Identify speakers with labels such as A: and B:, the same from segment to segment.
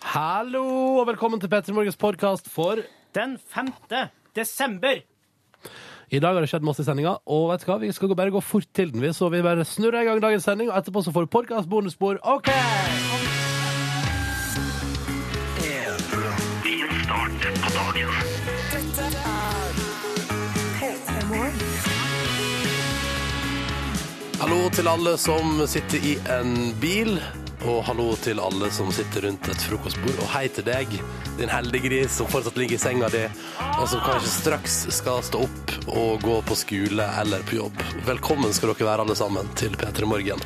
A: Hallo, og velkommen til Petter Morgens podkast for
B: Den 5. desember.
A: I dag har det skjedd masse i sendinga, og vet du hva, vi skal gå- bare gå fort til den, vi, så vi bare snurrer i gang dagens sending, og etterpå så får du podkast bonusspor. OK! Hallo til alle som sitter i en bil, og hallo til alle som sitter rundt et frokostbord. Og hei til deg, din heldige gris som fortsatt ligger i senga di, og som kanskje straks skal stå opp og gå på skole eller på jobb. Velkommen skal dere være alle sammen til P3 Morgen.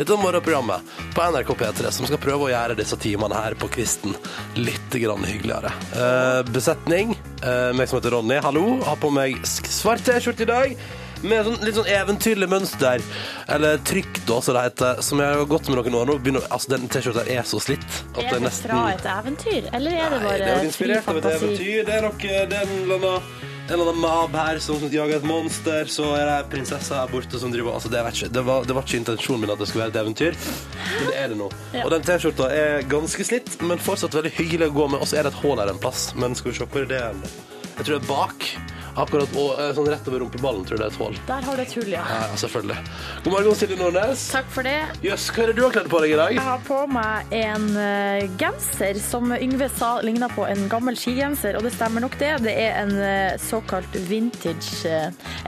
A: Dette er morgenprogrammet på NRK P3 som skal prøve å gjøre disse timene her på kvisten litt grann hyggeligere. Eh, besetning, eh, meg som heter Ronny, hallo. Har på meg sk- svart T-skjorte i dag. Med sånn, litt sånn eventyrlig mønster, eller trykk, da, som det heter, som jeg har gått med noen år nå. Begynner, altså, den T-skjorta er så slitt at det
C: Er
A: er
C: det
A: nesten
C: fra et eventyr, eller er det
A: Nei,
C: bare
A: det er jo
C: fri
A: inspirert av et
C: fantasi?
A: eventyr. Det er nok eh, det er en eller annen, en eller annen mab her som jager et monster, så er det ei prinsesse her borte som driver Altså, det vet jeg ikke. Det var, det var ikke intensjonen min at det skulle være et eventyr, men det er det nå.
C: Ja.
A: Og den T-skjorta er ganske slitt, men fortsatt veldig hyggelig å gå med. Og så er det et hull her en plass, men skal vi se hvor er det er? Jeg tror det er bak. Akkurat og, eh, sånn rett over rumpeballen tror jeg det er et hull.
C: Der har du et hull, ja.
A: Ja, ja, selvfølgelig. God morgen, Silje Nordnes.
C: Takk for det.
A: Jøss, hva er det du har kledd på deg i dag?
C: Jeg har på meg en eh, genser som Yngve sa ligner på en gammel skigenser, og det stemmer nok det. Det er en eh, såkalt vintage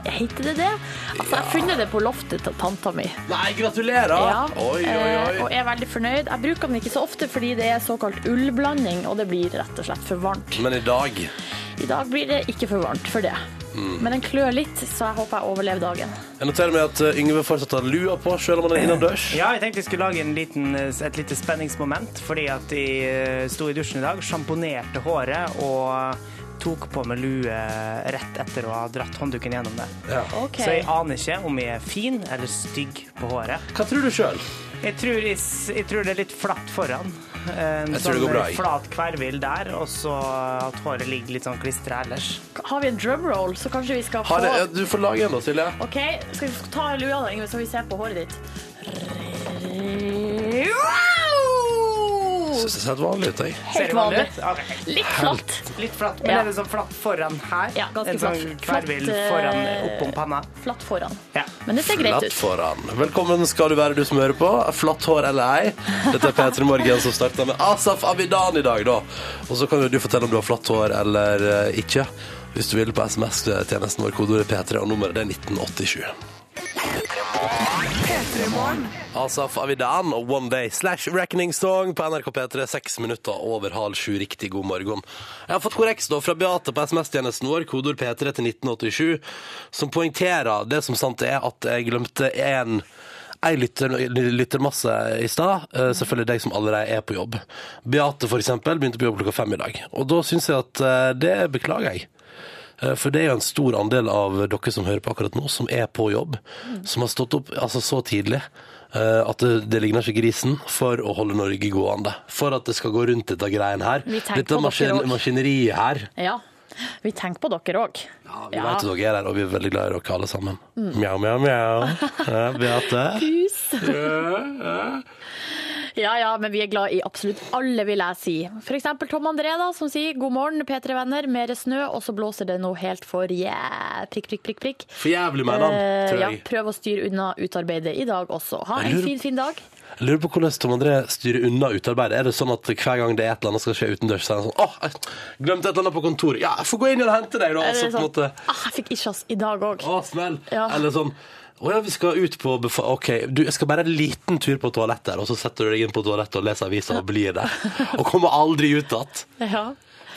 C: eh, Heter det det? Altså, jeg har funnet det på loftet til tanta mi.
A: Nei, gratulerer!
C: Ja.
A: Oi,
C: Eh,
A: oi,
C: Og
A: oi.
C: jeg er veldig fornøyd. Jeg bruker den ikke så ofte fordi det er såkalt ullblanding, og det blir rett og slett for varmt.
A: Men i dag
C: I dag blir det ikke for varmt for det.
A: Mm.
C: Men den klør litt, så jeg håper jeg overlever dagen.
A: Jeg noterer meg at eh, Yngve fortsatt har lua på, selv om han er innendørs.
B: Ja, jeg tenkte jeg skulle lage en liten, et lite spenningsmoment, fordi at jeg eh, sto i dusjen i dag, sjamponerte håret og tok på meg lue rett etter å ha dratt håndduken gjennom det.
A: Ja.
C: Ok.
B: Så jeg aner ikke om jeg er fin eller stygg på håret.
A: Hva tror du sjøl?
B: Jeg tror, jeg, s- jeg tror det er litt flatt foran. eh, En sånn
A: Jeg tror det går bra, jeg.
B: flat kvervill der, og så at håret ligger litt sånn klistra ellers.
C: Har vi en drumroll, så kanskje vi skal få
A: Har jeg- Du får lage en, da, Silje.
C: OK, skal vi ta lua da, Yngve, så vi ser på håret ditt? Wow!
A: Syns det ser helt vanlig ut, jeg.
B: Ser
C: Helt
B: det
C: vanlig.
B: vanlig ut? Ok.
C: Litt flatt.
B: Litt flatt, men
C: Ja.
B: er det sånn flatt foran her?
C: Ja, ganske
B: en sånn
C: flatt.
B: kvervill
C: Flatt, eh,
B: foran oppom panna?
C: Flatt foran.
B: Ja.
C: Men det ser greit
A: Flatt
C: ut.
A: foran. Velkommen skal du være, du som hører på. Flatt hår eller ei. Dette er P3 Morgen som starter med Asaf Abidan i dag, da. Og så kan jo du fortelle om du har flatt hår eller eh, ikke. Hvis du vil på SMS-tjenesten vår, kodeordet P3, og nummeret det er 1987. Asaf Avidan og One Day slash Reckoning Song på NRK P3, seks minutter over halv sju. Riktig god morgen. Jeg har fått korreks da fra Beate på SMS-tjenesten vår, kodord P3 til 1987, som poengterer det som sant er at jeg glemte en Ei lytter, lyttermasse i stad, eh, selvfølgelig deg som allerede er på jobb. Beate, for eksempel, begynte på jobb klokka fem i dag. Og da syns jeg at eh, det beklager jeg. Eh, For det er jo en stor andel av dere som hører på akkurat nå, som er på jobb. Som har stått opp altså, så tidlig eh, at det, det ligner ikke grisen for å holde Norge gående. For at det skal gå rundt dette greien her.
C: Vi tenker
A: Dette
C: på dere
A: maskin
C: også.
A: maskineriet her.
C: Ja. Vi tenker på dere òg.
A: Ja, vi vet at dere er her, og vi er veldig glad i dere alle sammen.
C: Mm.
A: Mjau, mjau, mjau. Ja, Beate.
C: Pus. ja ja, men vi er glad i absolutt alle, vil jeg si. F.eks. Tom André, da, som sier 'God morgen, P3-venner, mer snø', og så blåser det noe helt for yeah. prikk, prikk, prikk, prikk.
A: For jævlig, mener han,
C: Eh,
A: tror
C: ja,
A: jeg.
C: prøv å styre unna utarbeidet i dag også. Ha
A: Jeg
C: en
A: lurer-
C: fin, fin dag.
A: Jeg lurer på hvordan Tom André styrer unna utarbeidet. Er det sånn at hver gang det er et eller annet som skal skje utendørs, så er han sånn Åh, jeg glemte et eller annet på kontoret. Ja, jeg får gå inn igjen og hente deg, da. Og
C: Eller
A: så Altså, på en
C: sånn,
A: måte
C: ah, jeg fikk isjas i dag òg.
A: Å, smell!
C: Ja.
A: Eller sånn Å ja, vi skal ut på befa... OK, du, jeg skal bare en liten tur på toalettet, her, og så setter du deg inn på toalettet og leser avisa og blir der. Og kommer aldri ut igjen.
C: Ja.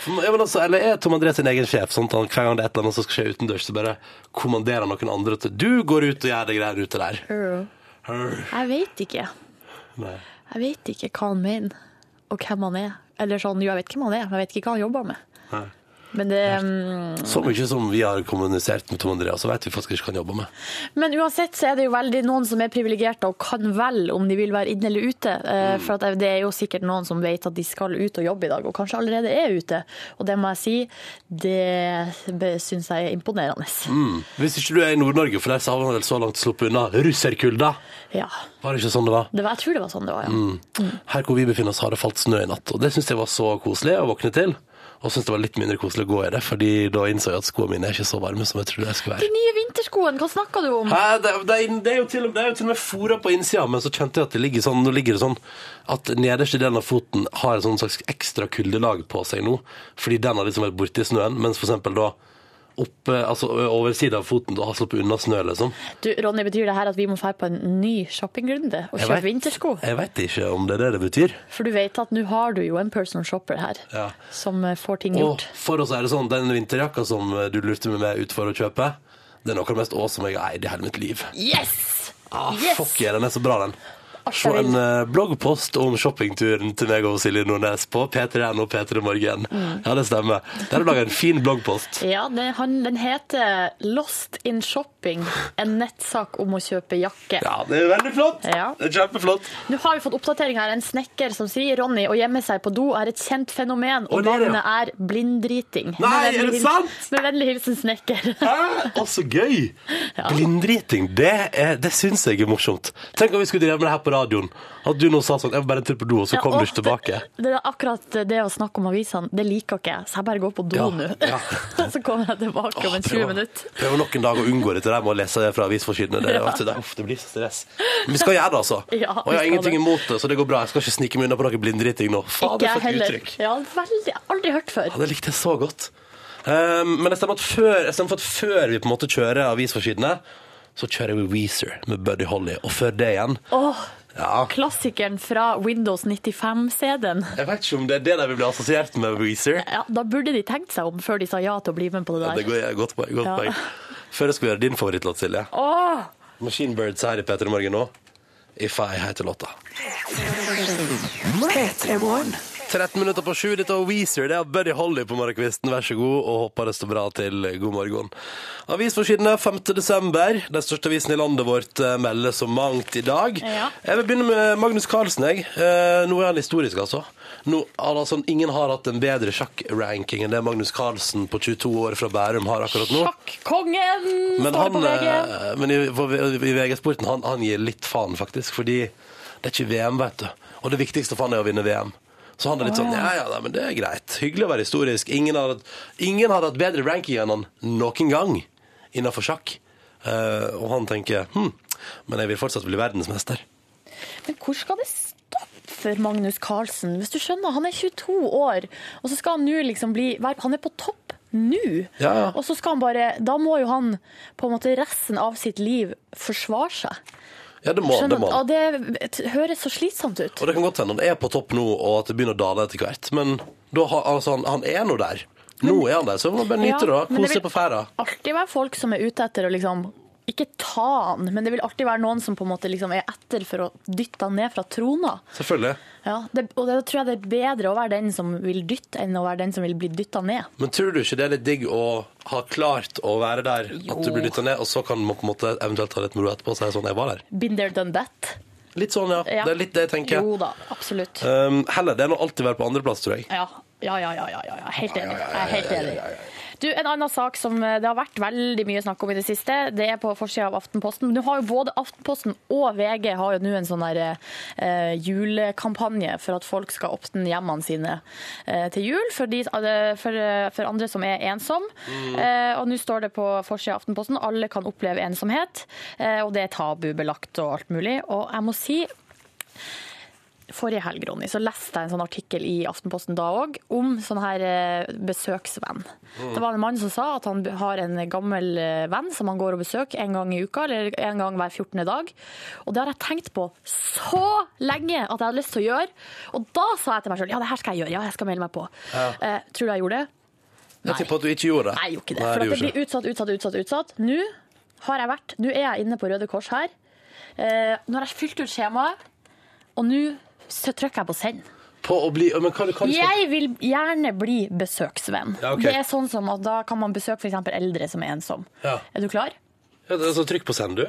A: For- ja, men altså, Eller er Tom André sin egen sjef? Sånn at han, hver gang det er et eller annet som skal skje utendørs, så bare kommanderer han noen andre til Du går ut og gjør de greiene ute der. Hør.
C: Jeg vet ikke.
A: Nei.
C: Jeg vet ikke hva han mener, og hvem han er. Eller sånn, jo, jeg vet hvem han er, men jeg vet ikke hva han jobber med. Men, det, mm,
A: Så mye som vi har kommunisert med Tom Andreas, så vet vi faktisk ikke hva han jobber med.
C: men uansett så er det jo veldig noen som er privilegerte og kan vel om de vil være inne eller ute. Eh,
A: Mm.
C: For at det er jo sikkert noen som vet at de skal ut og jobbe i dag, og kanskje allerede er ute. Og det må jeg si, det syns jeg er imponerende.
A: Mm. Hvis ikke du er i Nord-Norge, for der så har man vel så langt sluppet unna russerkulda.
C: Ja.
A: Var det ikke sånn det var?
C: Det var, jeg tror det var sånn det var, ja.
A: Mm. Her hvor vi befinner oss, har det falt snø i natt, og det syns jeg var så koselig å våkne til. Og syns det var litt mindre koselig å gå i det, fordi da innså jeg at skoene mine er ikke så varme som jeg trodde jeg skulle være.
C: De nye vinterskoene, hva snakker du om?
A: Hæ, det, det, er- det, er jo til, og- det er jo til og med fora på innsida, men så kjente jeg at det ligger sånn, nå ligger det sånn at nederste delen av foten har et sånn slags ekstra kuldelag på seg nå, fordi den har liksom vært borti snøen, mens for eksempel da oppe, altså ø- over siden av foten, da har sluppet unna snø, liksom.
C: Du, Ronny, betyr det her at vi må dra på en ny shoppingrunde og
A: Jeg
C: kjøpe
A: vet-
C: vintersko?
A: Jeg vet ikke om det er det det betyr.
C: For du vet at nå har du jo en personal shopper her,
A: Ja.
C: som eh, får ting
A: Og
C: gjort.
A: for oss er det sånn, den vinterjakka som eh, du lurte meg med ut for å kjøpe, det er noe av det mest awesome jeg har eid i hele mitt liv.
C: Yes!
A: Ah,
C: Yes!
A: Fuck yeah, den er så bra, den.
C: Alt
A: Se
C: jeg
A: en
C: vil.
A: eh, bloggpost om shoppingturen til meg og Silje Nordnes på p3.no p3morgen.
C: Mm.
A: Ja, det stemmer. Der har du laga en fin bloggpost.
C: Ja, det, han, den heter Lost in Shopping, en nettsak om å kjøpe jakke.
A: Ja, det er veldig flott.
C: Ja.
A: Det er Kjempeflott.
C: Nå har vi fått oppdatering her. En snekker som sier Ronny å gjemme seg på do er et kjent fenomen, og
A: Å, der, ja.
C: navnet er blinddriting. Med
A: Nei, er
C: vennlig
A: det
C: hils-
A: sant?
C: Med vennlig hilsen snekker.
A: Hæ? Å, så gøy! Blinddriting, det, er- det syns jeg er morsomt. Tenk om vi skulle drive med det her på radioen. At du nå sa sånn 'Jeg var bare en tur på do', og så kom
C: Ja,
A: du
C: og
A: ikke tilbake.
C: Det, det er akkurat det å snakke om avisene, det liker ikke jeg, så jeg bare går på do
A: Ja,
C: nå.
A: ja.
C: Og så kommer jeg tilbake om en 20 minutter.
A: Prøv nok en dag å unngå dette der med å lese det fra avisforsidene. Det, vet du, det, uff, det blir så stress. Men vi skal gjøre det, altså.
C: Ja,
A: og jeg
C: vi skal
A: har ingenting
C: det.
A: imot det, så det går bra. Jeg skal ikke snike meg unna på noe blinddriting nå.
C: Ikke
A: Fader,
C: jeg
A: for et
C: heller.
A: uttrykk.
C: Ja, veldig, aldri hørt før.
A: Ja, det likte jeg så godt. Ehm, men jeg stemmer, at før, jeg stemmer for at før vi på en måte kjører avisforsidene, så kjører vi Weezer med Buddy Holly. Og før det igjen
C: Åh,
A: Ja.
C: klassikeren fra Windows 95-CD-en.
A: Jeg vet ikke om det er det de vil bli assosiert med Weezer.
C: Ja, da burde de tenkt seg om før de sa ja til å bli med på det
A: Ja, det
C: der.
A: går jeg godt poeng. Godt
C: Ja.
A: poeng. Før jeg skulle gjøre din favorittlåt, Silje.
C: Åh,
A: Machine Birds her i P3 Morgen nå. If I heter låta. 13 minutter på sju, dette er Weezer. Det er Buddy Holly på morgenkvisten. Vær så god, og håper det står bra til. God morgen. Avisforsidene 5. desember. Den største avisen i landet vårt eh, melder så mangt i dag.
C: Ja.
A: Jeg vil begynne med Magnus Carlsen, jeg. Eh, Nå er han historisk, altså. Nå, altså. Ingen har hatt en bedre sjakk-ranking enn det Magnus Carlsen på 22 år fra Bærum har akkurat nå.
C: sjakkongen
A: Men,
C: står det
A: han,
C: på VG.
A: eh, men i, for- i VG-sporten han, han gir litt faen, faktisk. Fordi det er ikke VM, vet du. Og det viktigste for han er å vinne VM. Så han er litt sånn ja, ja, nei, men det er greit. Hyggelig å være historisk. Ingen har hatt, ingen har hatt bedre ranking enn han noen gang innenfor sjakk. Eh, og han tenker hm, men jeg vil fortsatt bli verdensmester.
C: Men hvor skal det stoppe for Magnus Carlsen? Hvis du skjønner, han er 22 år, og så skal han nå liksom bli være- Han er på topp nå.
A: Ja, ja.
C: Og så skal han bare Da må jo han på en måte resten av sitt liv forsvare seg.
A: Ja, det må han.
C: Skjønner,
A: Det må
C: ja,
A: han.
C: det t- høres så slitsomt ut.
A: Og det kan godt hende han er på topp nå, og at det begynner å dale etter hvert. Men da, har- altså, han, han er nå der. Nå er han der, så man bare nyte det.
C: Ja,
A: da. Kose
C: men det
A: seg
C: vil
A: på ferda.
C: alltid være folk som er ute etter å liksom ikke ta han, men det vil alltid være noen som på en måte liksom er etter for å dytte han ned fra trona.
A: Selvfølgelig.
C: Ja, det, og da tror jeg det er bedre å være den som vil dytte, enn å være den som vil bli dytta ned.
A: Men tror du ikke det er litt digg å ha klart å være der, at du blir dytta ned, og så kan man på en måte eventuelt ta litt moro etterpå og si sånn 'jeg var der'?
C: Been there, done that.
A: Litt sånn, ja.
C: Ja.
A: Det er litt det jeg tenker.
C: Jo da, absolutt.
A: Um, heller det enn å alltid være på andreplass, tror jeg.
C: Ja, ja, ja, ja, ja, ja, ja. Helt enig.
A: ja, ja,
C: Jeg er helt
A: ja, ja,
C: enig.
A: ja, ja, ja.
C: Du, En annen sak som eh, det har vært veldig mye snakk om i det siste, det er på forsida av Aftenposten. Nå har jo Både Aftenposten og VG har jo nå en sånn der, eh, julekampanje for at folk skal åpne hjemmene sine eh, til jul, for, de, eh, for, eh, for andre som er ensom.
A: Mm.
C: Eh, og Nå står det på forsida av Aftenposten alle kan oppleve ensomhet, eh, og det er tabubelagt og alt mulig. Og jeg må si Forrige helg Ronny, så leste jeg en sånn artikkel i Aftenposten da òg, om sånn her eh, besøksvenn.
A: Mm.
C: Det var en mann som sa at han har en gammel eh, venn som han går og besøker en gang i uka, eller en gang hver 14. dag. Og det har jeg tenkt på så lenge at jeg hadde lyst til å gjøre. Og da sa jeg til meg sjøl ja, det her skal jeg gjøre, ja, jeg skal melde meg på. Eh, tror du jeg gjorde det?
A: Jeg tipper at du ikke gjorde det.
C: Nei, jeg gjorde ikke det.
A: Nei, du
C: For at det
A: gjorde ikke
C: blir utsatt, utsatt, utsatt. utsatt. Nå har jeg vært, nå er jeg inne på Røde Kors her. Eh, nå har jeg fylt ut skjemaet, og nå så trykker jeg på send.
A: det. på å bli Men hva, hva du skal
C: Jeg vil gjerne bli besøksvenn.
A: Ja, ok.
C: Det er sånn som at Da kan man besøke f.eks. eldre som er ensom.
A: Ja.
C: Er du klar?
A: Ja, det er så Trykk på send, du.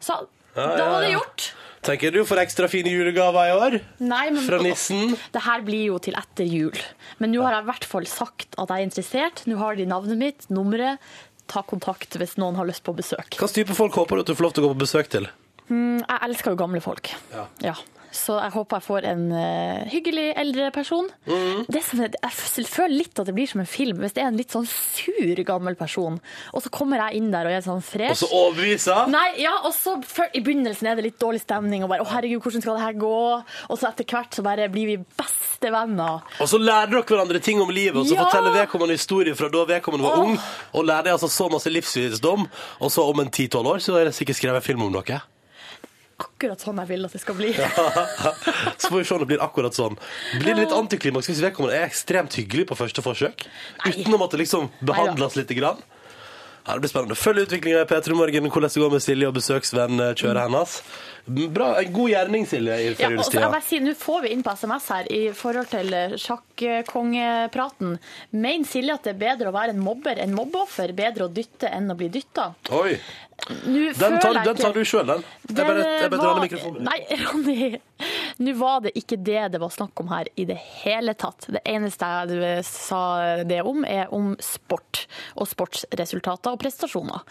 C: Sånn.
A: Ja,
C: Da
A: ja,
C: var det
A: ja.
C: gjort.
A: Tenker du får ekstra fine julegaver i år
C: Nei, men
A: fra nissen.
C: Det her blir jo til etter jul. Men nå har jeg i hvert fall sagt at jeg er interessert. Nå har de navnet mitt, nummeret. Ta kontakt hvis noen har lyst på besøk.
A: Hvilken type folk håper du at du får lov til å gå på besøk til?
C: Jeg elsker jo gamle folk.
A: Ja.
C: Så jeg håper jeg får en eh, hyggelig eldre person.
A: Mm.
C: Det som er, sånn jeg f- føler litt at det blir som en film, hvis det er en litt sånn sur gammel person, og så kommer jeg inn der og jeg er sånn
A: Og
C: fresh.
A: så overbevise?
C: Nei, ja, og så før, I begynnelsen er det litt dårlig stemning. Og bare, å herregud, hvordan skal det her gå? Og så etter hvert så bare blir vi bestevenner.
A: Og så lærer dere hverandre ting om livet, og så
C: Ja!
A: forteller vedkommende historier fra da vedkommende var
C: Åh!
A: ung, og lærer deg altså så masse livsvisdom, og så om en 10-12 år så er det sikkert skrevet film om dere.
C: Akkurat sånn jeg vil at det skal bli.
A: så får vi se om det blir akkurat sånn. Blir det litt antiklimaks hvis vedkommende er ekstremt hyggelig på første forsøk? Utenom at det liksom behandles lite grann? Ja, det blir spennende. Følg utviklingen i P3 Morgen, hvordan det går med Silje og besøksvenn eh, kjøret hennes. Bra, en god gjerning, Silje, i
C: Mm. Ja, og så jeg
A: førjulstida.
C: bare sier, Nå får vi inn på SMS her i forhold til sjakkongepraten. Mener Silje at det er bedre å være en mobber enn mobbeoffer? Bedre å dytte enn å bli dytta?
A: Oi, den tar, den tar du sjøl, den. Jeg bare, jeg bare drar ned mikrofonen.
C: Nei, Ronny. Nå var det ikke det det var snakk om her i det hele tatt. Det eneste jeg sa det om, er om sport og sportsresultater og prestasjoner.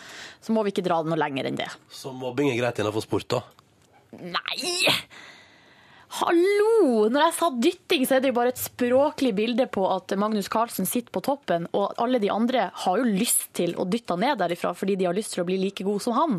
C: Så må vi ikke dra det noe lenger enn det.
A: Så mobbing er greit innenfor sport, da?
C: Nei! Hallo! Når jeg sa dytting, så er det jo bare et språklig bilde på at Magnus Carlsen sitter på toppen, og alle de andre har jo lyst til å dytte han ned derifra fordi de har lyst til å bli like god som han.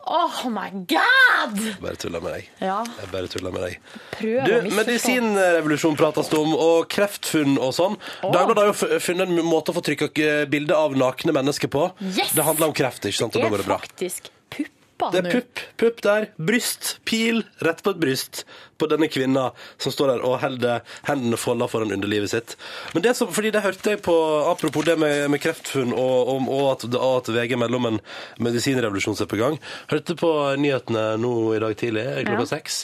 C: Oh my god!
A: Bare tuller med deg.
C: Ja,
A: Jeg bare tuller med deg.
C: prøv
A: Du,
C: å misforstå.
A: Medisinrevolusjon prates det om, og kreftfunn og sånn. Dagbladet har jo fu- funnet en måte å få trykka eh, bilde av nakne mennesker på.
C: Yes!
A: Det handler om kreft, ikke sant? Og
C: Det
A: da går
C: er
A: det bra.
C: faktisk puppa
A: Det er
C: nå.
A: pupp, pupp der. Bryst, pil, rett på et bryst på denne kvinna som står der og holder hendene folda foran underlivet sitt. Men det som, fordi det hørte jeg på, apropos det med, med kreftfunn og, og, og, at, og at VG mellom en medisinrevolusjon som er på gang, hørte på nyhetene nå i dag tidlig, klokka
C: Ja.
A: seks,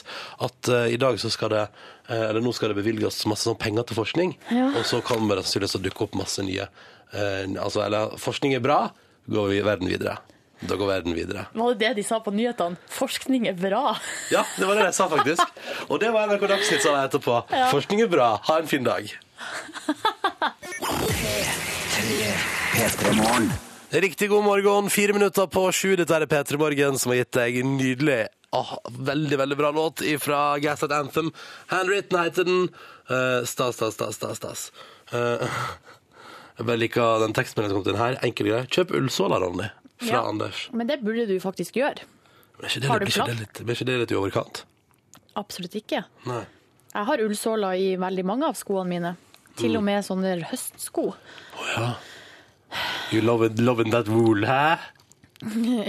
A: at eh, i dag så skal det eh, eller nå skal det bevilges masse sånn penger til forskning,
C: Ja.
A: og så kommer det sannsynligvis å dukke opp masse nye. eh, altså, eller forskning er bra, går vi verden videre. Da går verden videre.
C: Var det det de sa på nyhetene? Forskning er bra.
A: Ja, det var det jeg sa faktisk. Og det var NRK Dagsnytt sa jeg etterpå. Forskning er bra. Ha en fin dag. Riktig god morgen. Fire minutter på sju. Dette er P3 Morgen som har gitt deg en nydelig ah, veldig veldig bra låt fra Gasset Anthem. Handwritten heter den. Eh, stas, stas, stas, stas. stas. Eh, jeg bare liker den tekstmeldingen som kom til den her. Enkel greie. Kjøp ullsåler, Ronny. Fra
C: Ja.
A: Anders.
C: Men det burde du faktisk gjøre.
A: Men er ikke det,
C: Har du
A: blir ikke
C: plass?
A: det litt, blir ikke det litt i overkant?
C: Absolutt ikke.
A: Nei.
C: Jeg har ullsåler i veldig mange av skoene mine. Til og med sånne høstsko.
A: Ja. You loving, loving that wool, hæ?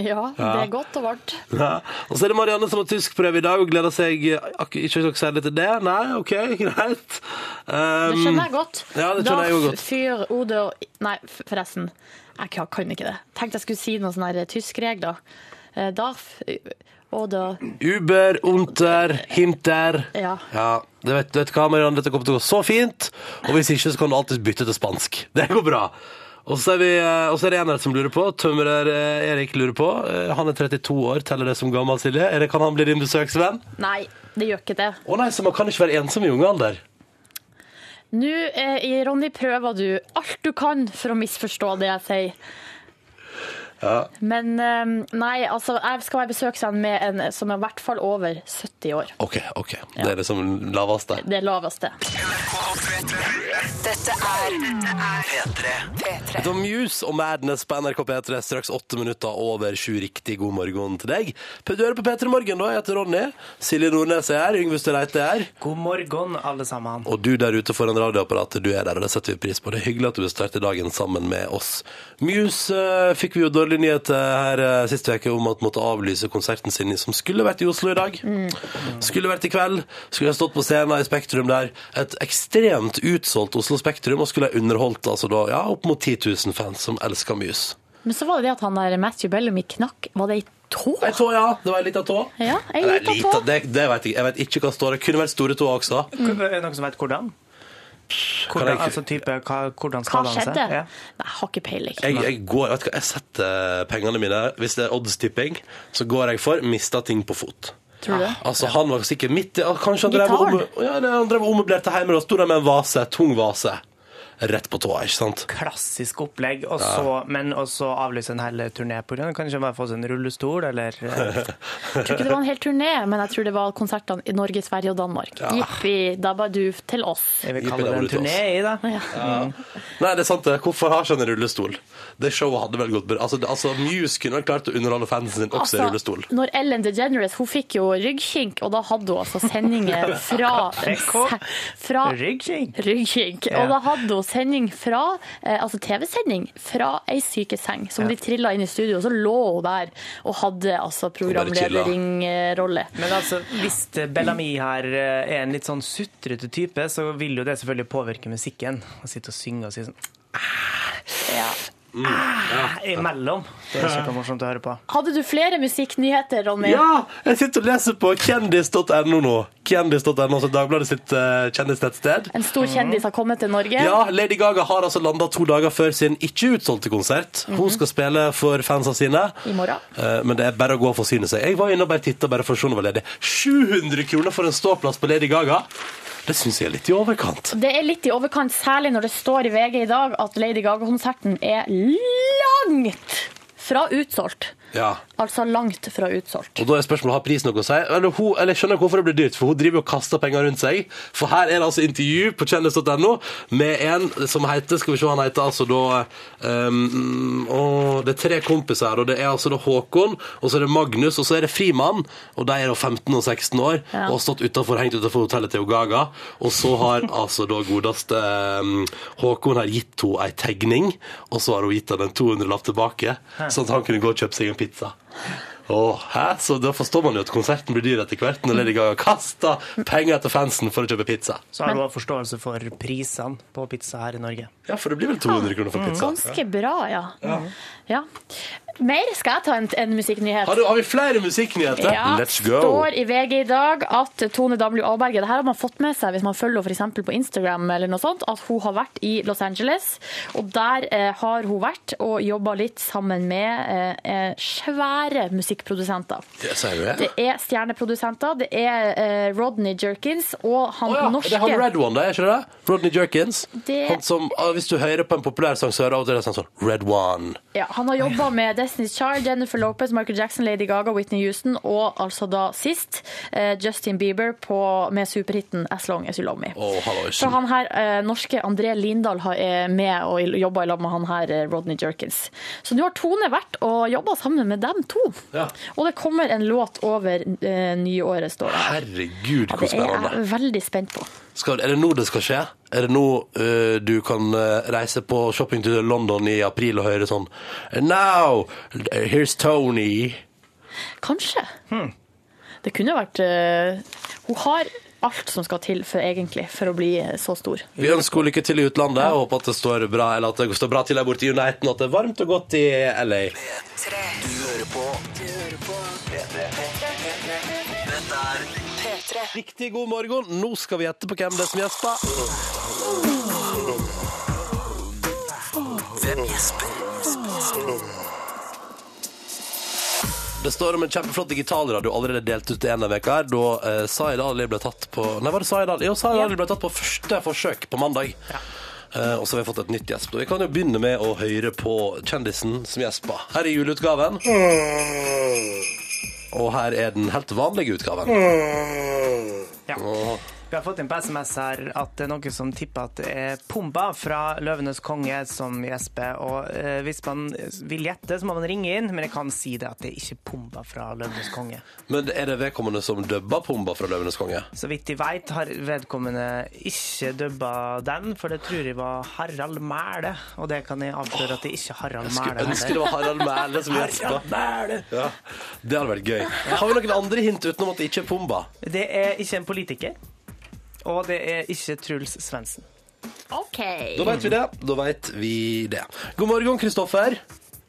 C: Ja, det er godt og varmt.
A: Ja. Og så er det Marianne som har tyskprøve i dag og gleder seg eh, ak Ikke noe særlig til det? Nei, OK, greit. Um,
C: Det skjønner jeg godt.
A: Ja, det skjønner jeg jo
C: da
A: godt.
C: fyr Oder Nei, f- forresten. Jeg kan- kan ikke det. Tenkte jeg skulle si noen sånne her tyskregler. Eh, Da f- Oder
A: Uber, unter, hinter.
C: Ja.
A: det vet, vet du hva, Marianne, dette kommer til å gå så fint. Og hvis ikke, så kan du alltid bytte til spansk. Det går bra. Og så er, vi, eh, og så er det en her som lurer på. Tømrer eh, Erik lurer på. Eh, Han er 32 år, teller det som gammel, Silje. Erik, kan han bli din besøksvenn?
C: Nei, det gjør ikke det.
A: Å nei, så man kan ikke være ensom i ung alder.
C: Nå, eh, Ronny, prøver du alt du kan for å misforstå det jeg sier. Men eh, nei, altså, jeg skal være besøksvenn med en som er i hvert fall over 70 år.
A: OK, ok. Det er det som laveste.
C: Det laveste.
D: Dette er P3.
A: Det var Muse og Madness på NRK P3 straks åtte minutter over sju. Riktig god morgen til deg. P- Du hører på P3 Morgen, da. Jeg heter Ronny. Silje Nordnes er her. Yngve Støreite er her.
B: God morgen, alle sammen.
A: Og du der ute foran radioapparatet, du er der, og det setter vi pris på. Det er hyggelig at du vil starte dagen sammen med oss. Muse eh, fikk vi jo dårlig nyhet eh, her eh, sist uke om at måtte avlyse konserten sin som skulle vært i Oslo i dag. Skulle vært i kveld. Skulle ha stått på scenen i Spektrum der. Et ekstremt utsolgt Oslo Spektrum, og skulle ha underholdt altså da, ja, opp mot 10 000 fans som elsker Muse.
C: Men så var det det at han der Matthew Bellamy knakk Var det i tå.
A: Ei tå, ja. Det var ei lita tå.
C: Ja, ei
A: Eller,
C: lita
A: lita,
C: tå.
A: Det, det vet jeg, jeg vet ikke hva det står. Det kunne vært store tåer også.
C: Mm.
B: Er det noen som vet hvordan? hvordan
A: jeg-
B: altså type, hva, hvordan
C: Hva
B: skal han
C: skjedde?
B: se? Ja.
C: Nei, jeg har ikke peiling.
A: Jeg, jeg går, vet du hva, jeg setter eh, pengene mine Hvis det er oddstipping, så går jeg for mista ting på fot.
C: Tror du det?
A: Altså, han var sikkert midt i ah, Kanskje han drev og
C: Gitaren?
A: omme- ja, nei, han drev og ommøblerte hjemme, og sto der med en vase, tung vase, rett på tåa, ikke sant?
B: Klassisk opplegg, og så, men også avlyse en hel turné på grunn av Kanskje bare få seg en rullestol, eller eh,
C: Jeg tror ikke det var en hel turné, men jeg tror det var konsertene i Norge, Sverige og Danmark. Jippi dabadu til oss.
B: jeg vil
A: Gi
B: kalle det
A: pedalen
B: en
A: ut til oss.
B: turné i, da.
C: Ja.
A: Nei, det er sant det. Hvorfor har ikke han en rullestol? Det showet hadde vel gått bra. Altså, det- altså Muse kunne vel klart å underholde fansen sin også i rullestol.
C: Altså, når Ellen DeGeneres hun fikk jo ryggkink, og da hadde hun altså sendinger fra,
B: Rekord.
C: fra
B: Rygging.
C: ryggkink.
B: Ja.
C: Og da hadde hun sending fra, eh, altså TV-sending fra ei sykeseng som de trilla inn i studio, og så lå hun der og hadde altså eh,
A: bare chilla.
C: programlederingrolle.
B: Men altså, hvis eh, Bellamy her eh, er en litt sånn sutrete type, så vil jo det selvfølgelig påvirke musikken. Å sitte og synge og si sånn
C: Ja.
B: "Æ", imellom. Det er supermorsomt å høre på.
C: Hadde du flere musikknyheter, Ronny?
A: Ja! Jeg sitter og leser på kjendis.no nå. Kjendis.no, så Dagbladet sitt eh, kjendisnettsted.
C: En stor kjendis har kommet til Norge.
A: Ja, Lady Gaga har altså landa to dager før sin ikke-utsolgte konsert. Hun skal spille for fansa sine.
C: I morgen.
A: Eh, Men det er bare å gå og forsyne seg. Jeg var inne og bare titta bare for å se om det var ledig. 700 kroner for en ståplass på Lady Gaga! Det syns jeg er litt i overkant.
C: Det er litt i overkant, særlig når det står i VG i dag at Lady Gaga-konserten er langt fra utsolgt.
A: Ja.
C: Altså langt fra utsolgt.
A: Og da er spørsmålet har prisen noe å si. Eller, hun, eller jeg skjønner hvorfor det blir dyrt, for hun driver og kaster penger rundt seg. For her er det altså intervju på kjendis.no med en som heter Skal vi se, han heter altså da um, å, Det er tre kompiser her, og det er altså da Håkon, og så er det Magnus, og så er det Frimann. Og de er da 15 og 16 år
C: Ja.
A: og har stått utenfor, hengt utenfor hotellet til Gaga. Og så har altså da godeste um, Håkon har gitt henne ei tegning, og så har hun gitt henne en 200-lapp tilbake, sånn at han kunne gå og kjøpe seg en pizza. Åh, hæ? Så da forstår man jo at konserten blir dyr etter hvert når Lady Gaga kaster penger etter fansen for å kjøpe pizza.
B: Så har du også forståelse for prisene på pizza her i Norge.
A: Ja, for det blir vel 200 kroner for pizza.
C: Ganske bra, ja. ja. Mer skal jeg ta en, en musikknyhet.
A: Har, du, har vi flere musikknyheter?
C: Ja,
A: Let's go!
C: står i VG i dag at Tone Damli Aaberge Det her har man fått med seg hvis man følger henne for eksempel på Instagram, eller noe sånt, at hun har vært i Los Angeles. Og der eh, har hun vært og jobba litt sammen med eh, eh, svære musikkprodusenter.
A: Det sier du det?
C: Det er stjerneprodusenter. Det er eh, Rodney Jerkins og
A: Å
C: han
A: ja,
C: norske
A: Det er han Red One, da, er ikke det? det? Rodney Jerkins.
C: Det-
A: Han som, ah, hvis du hører på en populær sang, så hører du av og til det sånn sånn Red One.
C: Ja, han har jobba med Destiny's Child, Jennifer Lopez, Michael Jackson, Lady Gaga, Whitney Houston og altså da sist eh, Justin Bieber på, med superhiten As Long As You Love Me.
A: Å, halloisen.
C: Så han her, eh, norske André Lindahl har- er med og jobber i lag med han her eh, Rodney Jerkins. Så nå har Tone vært og jobba sammen med dem to.
A: Ja.
C: Og det kommer en låt over eh, nyåret, står det.
A: Herregud, hvor
C: Det er
A: spennende.
C: jeg veldig spent på.
A: Skal, er det nå det skal skje? Er det nå eh, du kan eh, reise på shopping til London i april og høre sånn Now, here's Tony.
C: Kanskje.
A: Hmm.
C: Det kunne vært eh, Hun har alt som skal til for, egentlig, for å bli eh, så stor.
A: Vi ønsker henne lykke til i utlandet. og Håper at det står bra eller at det står bra til her borte i Uniten, og at det er varmt og godt i LA.
D: P3. Du hører på. Du hører på. P3. Dette er P3.
A: Riktig god morgen. Nå skal vi gjette på hvem det er som gjesper.
D: Hvem gjesper?
A: Det står om en kjempeflott digitalradio allerede delt ut i en av veka her, da eh, Zaid Ali ble tatt på Nei, var det Zaid Ali? Jo, Zaid Ali ble tatt på første forsøk på mandag. Eh, og så har vi fått et nytt gjesp. Og Vi kan jo begynne med å høre på kjendisen som gjesper. Her er juleutgaven. Og her er den helt vanlige utgaven.
B: Ja.
A: Åh.
B: Vi har fått inn på SMS her at det er noen som tipper at det er Pumba fra 'Løvenes konge' som gjesper. Og eh, hvis man vil gjette, så må man ringe inn, men jeg kan si det at det er ikke Pumba fra 'Løvenes konge'.
A: Men er det vedkommende som dubba Pumba fra 'Løvenes konge'?
B: Så vidt jeg veit, har vedkommende ikke dubba den, for det tror jeg var Harald Mæle. Og det kan jeg avsløre at det er ikke Harald
A: Skulle
B: Mæle.
A: ønske det var Harald Mæhle som gjespa. Ja. Det hadde vært gøy. Har vi noen andre hint utenom at det ikke er Pumba?
B: Det er ikke en politiker, og det er ikke Truls Svendsen.
C: OK.
A: Da veit vi det. Da vet vi det. God morgen, Kristoffer.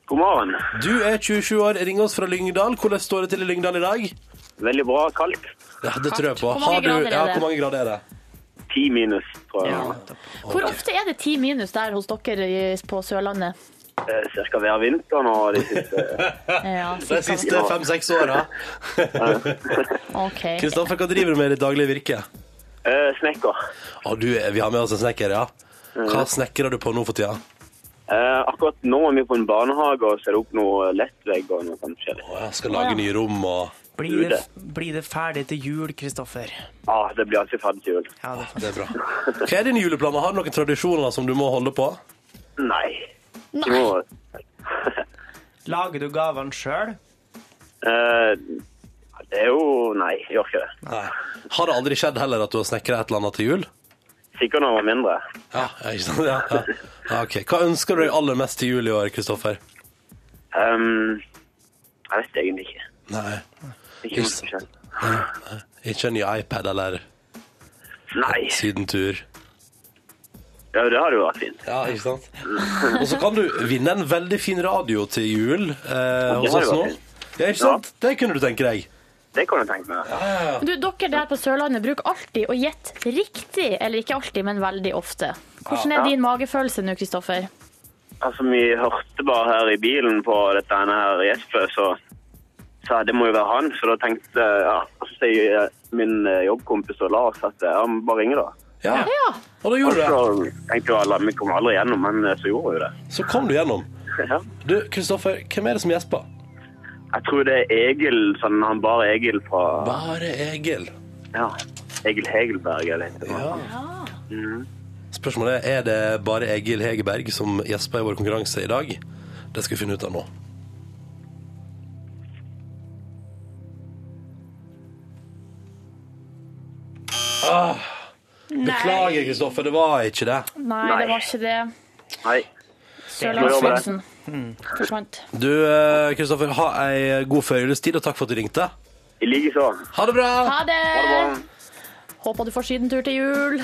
E: God morgen.
A: Du er 27 år, ring oss fra Lyngdal. Hvordan står det til i Lyngdal i dag?
E: Veldig bra kaldt.
A: Ja, det tror jeg på.
C: Hvor
A: Har
C: mange
A: du,
C: grader er
A: ja,
C: det?
A: hvor mange grader er det?
E: Ti minus, tror jeg.
C: Hvor ofte er det ti minus der hos dere i- på Sørlandet?
E: Eh, Cirka hver vinter nå de siste
C: Ja,
A: De siste fem-seks åra.
C: OK.
A: Kristoffer, hva driver du med i ditt daglige virke?
E: Eh, Snekker.
A: Å, du, vi har med oss en snekker, ja. Hva snekrer du på nå for tida?
E: Eh, akkurat nå er vi på en barnehage og ser opp noe lettvegg og noe sånt forskjellig.
A: Å, jeg skal lage nye rom og
B: Blir det, blir det ferdig til jul, Kristoffer?
E: Ah, det blir alltid ferdig til jul.
B: Ja, det er
A: Det er bra. Hva er dine juleplaner? Har du noen tradisjoner som du må holde på?
E: Nei.
C: Nei.
E: Nå,
B: fint. Lager du gavene sjøl?
E: eh, det er jo Nei, jeg gjør ikke det.
A: Nei. Har det aldri skjedd heller at du har snekra et eller annet til jul?
E: Sikkert når jeg var mindre.
A: Ja, ja, ikke sant? Ja, ja. Ja, ok. Hva ønsker du deg aller mest til jul i år, Kristoffer?
E: Ehm, jeg vet egentlig ikke.
A: Nei,
E: Ikke noe spesielt.
A: ikke en ny iPad eller
E: Nei.
A: sydentur.
E: Ja, det hadde jo vært fint.
A: Ja, ikke sant? Og så kan du vinne en veldig fin radio til jul eh, hos
E: har
A: oss
E: jo
A: nå.
E: vært fint.
A: Ja, ikke sant? Det kunne du tenke deg.
E: Det kan jeg tenke meg.
C: Du, dere der på Sørlandet bruker alltid å gjette riktig, eller ikke alltid, men veldig ofte. Hvordan er din magefølelse nå, Kristoffer?
E: Altså, vi hørte bare her i bilen på dette ene her gjespet, så sa jeg, det må jo være han. Så da tenkte jeg, ja, så sier jeg, min eh, jobbkompis og Lars at eh, ja, men bare ringe da.
A: Ja,
C: Ja,
A: og da
E: Og
A: gjorde du
E: så
A: det.
E: tenkte jeg, alle, vi kommer aldri gjennom, men eh, så gjorde vi det.
A: Så kom du gjennom.
E: Ja.
A: Du, Kristoffer, hvem er det som gjesper?
E: Jeg tror det er Egil, sånn han bare Egil fra,
A: Bare Egil.
E: ja, Egil Hegelberg eller noe.
A: Ja. Spørsmålet er, er det bare Egil Hegerberg som gjesper i vår konkurranse i dag? Det skal vi finne ut av nå. Ah, beklager, Kristoffer, det var ikke det.
C: Nei, det var ikke det.
E: Nei,
C: Sørlandsfølelsen forsvant.
A: Du, eh, Kristoffer, ha ei god førjulstid, og takk for at du ringte.
E: i like så.
A: Ha det bra!
C: Ha det!
E: Ha det bra.
C: Håper du får sydentur til jul.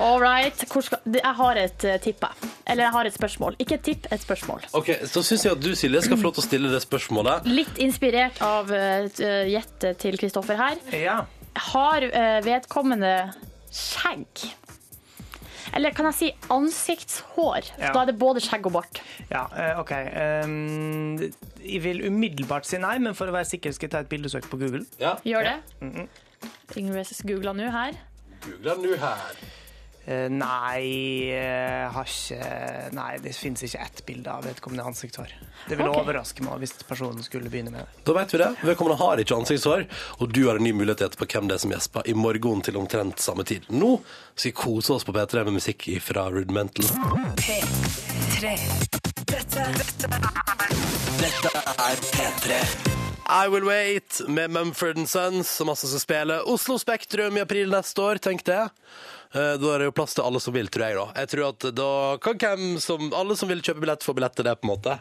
C: All right. Hvor skal... det- Jeg har et eh, tipp, jeg. Eller jeg har et spørsmål. Ikke et tipp, et spørsmål.
A: Ok, Så syns jeg at du, Silje, skal få lov til å stille det spørsmålet.
C: Litt inspirert av eh, t- eh, gjettet til Kristoffer her.
B: Ja.
C: Har eh, vedkommende skjegg? Eller kan jeg si ansiktshår?
B: Ja.
C: Da er det både skjegg og bart.
B: ja eh, OK. Ehm, jeg vil umiddelbart si nei, men for å være sikker skal jeg ta et bildesøk på Google.
A: Ja,
C: Gjør det? Yngves googler nå her.
A: googla nå her.
B: Eh, nei, eh, har ikke Nei, det fins ikke ett bilde av vedkommende ansiktshår. Det ville
C: Ok.
B: overraske meg hvis personen skulle begynne med det.
A: Da vet vi det. Vedkommende har ikke ansiktshår, og du har en ny mulighet til å gjette på hvem det er som gjesper i morgen til omtrent samme tid. Nå skal vi kose oss på P3 med musikk fra Rudimental. I Will Wait med Mumford Sons, som altså skal spille Oslo Spektrum i april neste år, tenk det. Eh, Da er det jo plass til alle som vil, tror jeg. da Jeg tror at da kan hvem som, alle som vil kjøpe billett, få billett til det, på en måte.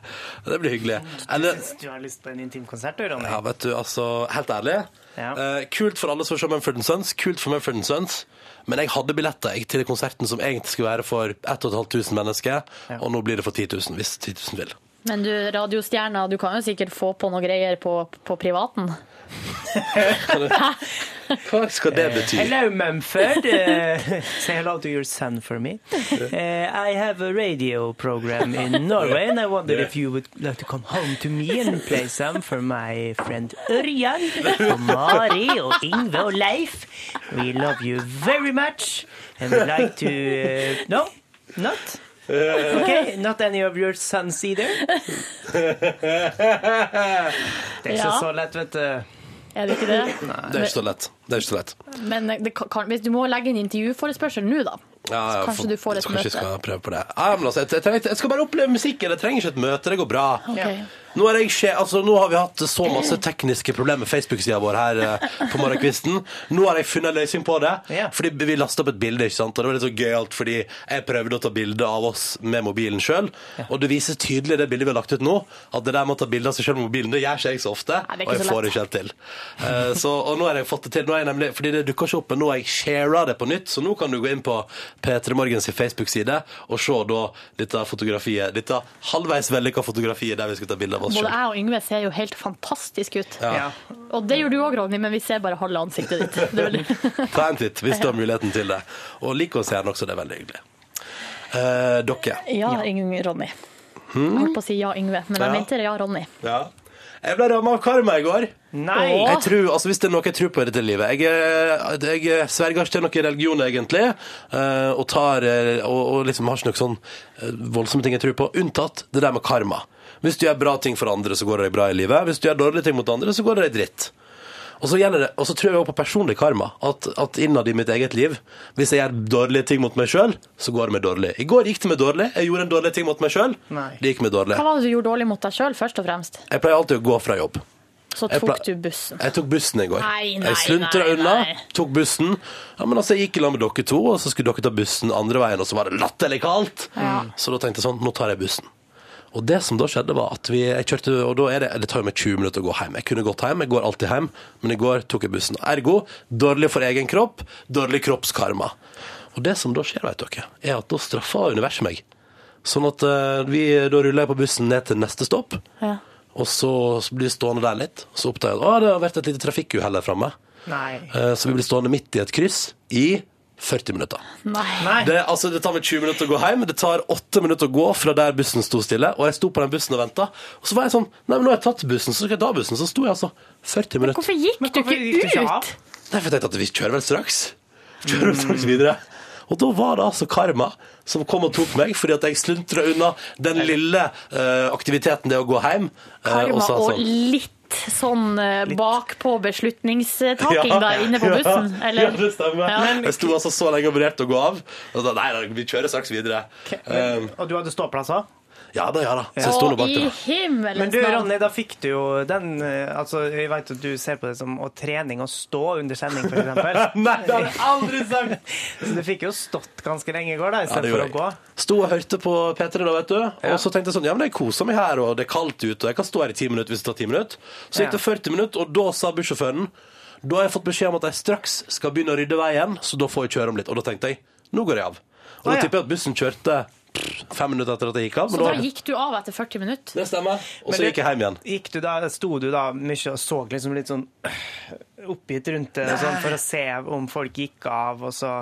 A: Det blir hyggelig. Eller,
B: Hvis du har lyst på en intimkonsert, du, Ronny.
A: ja, vet du, altså, helt ærlig.
B: Ja.
A: Eh, kult for alle som ser Mumford Sons, kult for Mumford Sons. Men jeg hadde billetter jeg, til konserten som egentlig skulle være for 1500 mennesker, og nå blir det for 10 000, hvis 10 000 vil.
C: Men du, radiostjerna, du kan jo sikkert få på noe greier på, på privaten.
A: Hva skal Eh, det bety?
B: Hello, Mumford. Eh, say hello to your son for me. Eh, I have a radio program in Norway, and I wondered if you would like to come home to me and play some for my friend Ørjan og Mari og Yngve og Leif. We love you very much, and we'd like to eh, No, not. Okay, not any of your sons either. Det er ikke
C: Ja.
B: så lett, vet du.
C: Er det ikke det?
A: Det er ikke så lett. Det er ikke så lett.
C: Men eh, det kan, hvis du må legge inn intervjuforespørsel nå, da.
A: Ja, ja,
C: kanskje
A: for-
C: du får et
A: kanskje jeg
C: møte.
A: skal prøve på det. Ja, men altså, jeg, jeg, trenger ikke- jeg skal bare oppleve musikken. Jeg trenger ikke et møte. Det går bra.
C: Ok.
A: Nå, er jeg, skje- altså, nå har vi hatt så masse tekniske problemer med Facebook-sida vår her eh, på morgenkvisten. Nå har jeg funnet en løsning på det.
B: Ja.
A: Fordi vi lasta opp et bilde, ikke sant? og det var litt så gøyalt fordi jeg prøvde å ta bilde av oss med mobilen sjøl. Og det viser tydelig i det bildet vi har lagt ut nå, at det der med å ta bilde av seg sjøl med mobilen, det gjør ikke jeg så ofte.
C: Nei, det er ikke
A: og jeg
C: så lett.
A: får det ikke helt til. Eh, så, og nå har jeg fått det til. Nå har jeg nemlig, fordi det dukker ikke opp, men nå har jeg shara det på nytt. Så nå kan du gå inn på P3 Morgens Facebook-side og se da dette fotografiet. Dette halvveis vellykka fotografiet der vi skal ta bilde av oss
C: Både
A: sjøl.
C: jeg og Yngve ser jo helt fantastisk ut.
B: Ja.
C: Og det gjør du òg, Ronny, men vi ser bare halve ansiktet ditt. Det er veldig...
A: Ta en titt hvis du har muligheten til det. Og lik oss gjerne også, det er veldig hyggelig. Eh, dere.
C: Ja, Yng- Ronny. Jeg holdt på å si ja, Yngve, men
A: Ja.
C: jeg mente ja, Ronny.
A: Ja. Jeg ble ramma av karma i går.
B: Nei!
C: Åh.
A: Jeg tror, altså Hvis det er noe jeg tror på i dette livet Jeg, er- jeg sverger ikke til noe religion, egentlig. eh, Og, tar, eh, og, og liksom har ikke noe sånn eh, voldsomme ting jeg tror på, unntatt det der med karma. Hvis du gjør bra ting for andre, så går det bra i livet. Hvis du gjør dårlige ting mot andre, så går det dritt. Og så, gjelder det, og så tror jeg også på personlig karma. At, at innad i mitt eget liv, hvis jeg gjør dårlige ting mot meg sjøl, så går det meg dårlig. I går gikk det meg dårlig. Jeg gjorde en dårlig ting mot meg sjøl.
B: Nei.
A: Det gikk meg dårlig.
C: Hva var det du gjorde dårlig mot deg sjøl, først og fremst?
A: Jeg pleier alltid å gå fra jobb.
C: Så
A: Jeg
C: tok
A: pla-
C: du bussen.
A: Jeg tok bussen i går.
C: Nei, nei,
A: jeg sluntra
C: nei,
A: unna,
C: nei.
A: tok bussen. Ja, men altså, Jeg gikk i lag med dere to, og så skulle dere ta bussen andre veien, og så var det latterlig kaldt! Så da tenkte jeg sånn, nå tar jeg bussen. Og det som da skjedde, var at vi jeg kjørte Og da er det, det tar jo meg 20 minutter å gå hjem. Jeg kunne gått hjem, jeg går alltid hjem, men i går tok jeg bussen. Ergo dårlig for egen kropp, dårlig kroppskarma. Og det som da skjer, vet dere, er at da straffer universet meg. Sånn at eh, vi, da ruller jeg på bussen ned til neste stopp.
C: Ja.
A: Og så blir vi stående der litt. Så oppdager jeg at «Å, det har vært et lite trafikkuhell her framme. Eh,
B: Nei.
A: Så vi blir stående midt i et kryss i 40 minutter.
C: Nei.
B: Nei.
A: Det, altså, det tar meg 20 minutter å gå hjem, det tar 8 minutter å gå fra der bussen sto stille. Og jeg sto på den bussen og venta. Og så var jeg sånn Nei, men nå har jeg tatt bussen, så skal jeg ta bussen. Så sto jeg altså 40 minutter.
C: Hvorfor gikk
B: Men
C: du
B: hvorfor gikk du
C: ikke
B: ikke
C: ut?
B: av?
A: Derfor tenkte jeg at vi kjører vel straks. Kjører vel straks videre. Og da var det altså karma som kom og tok meg, fordi at jeg sluntra unna den lille eh, aktiviteten det å gå hjem. eh, og
C: Karma
A: sa
C: og
A: sånn-
C: litt sånn eh, bakpå beslutningstaking
A: Ja.
C: der inne på bussen,
A: Ja,
C: eller?
A: Ja, det stemmer.
C: Ja.
A: Jeg sto altså så lenge og vurderte å gå av. Og da, nei, nei, vi kjører straks videre. Um,
B: Og du hadde ståplass òg?
A: ja da, ja da. Så jeg sto nå
C: Og
A: bak
C: i
A: der.
B: Men
C: himmelens
B: du,
C: navn!
B: Ronny, da fikk du jo den eh, Altså, jeg vet at du ser på det som å trening å stå under sending, for eksempel.
A: Nei, det har jeg aldri sagt!
B: Så du fikk jo stått ganske lenge i går, da,
A: Ja, det
B: istedenfor
A: gjorde
B: for å gå.
A: jeg. Sto og hørte på P3 da, vet du. Og så tenkte jeg sånn, ja, men jeg koser meg her, og det er kaldt ute, og jeg kan stå her i 10 minutter hvis det tar 10 minutter. Så gikk det 40 minutter, og da sa bussjåføren Da har jeg fått beskjed om at jeg straks skal begynne å rydde veien, så da får jeg kjøre om litt. Og da tenkte jeg nå går jeg av. Og da
B: Å, ja.
A: tipper jeg at bussen kjørte pff, fem minutter etter at jeg gikk av. Men
C: Så da
A: da,
C: gikk du av etter 40 minutter?
A: det stemmer. Og
B: Men
A: så
B: du-
A: gikk jeg hjem igjen.
B: Gikk du da, sto du da mye og så liksom litt sånn øh, oppgitt rundt det og sånn, for å se om folk gikk av, og så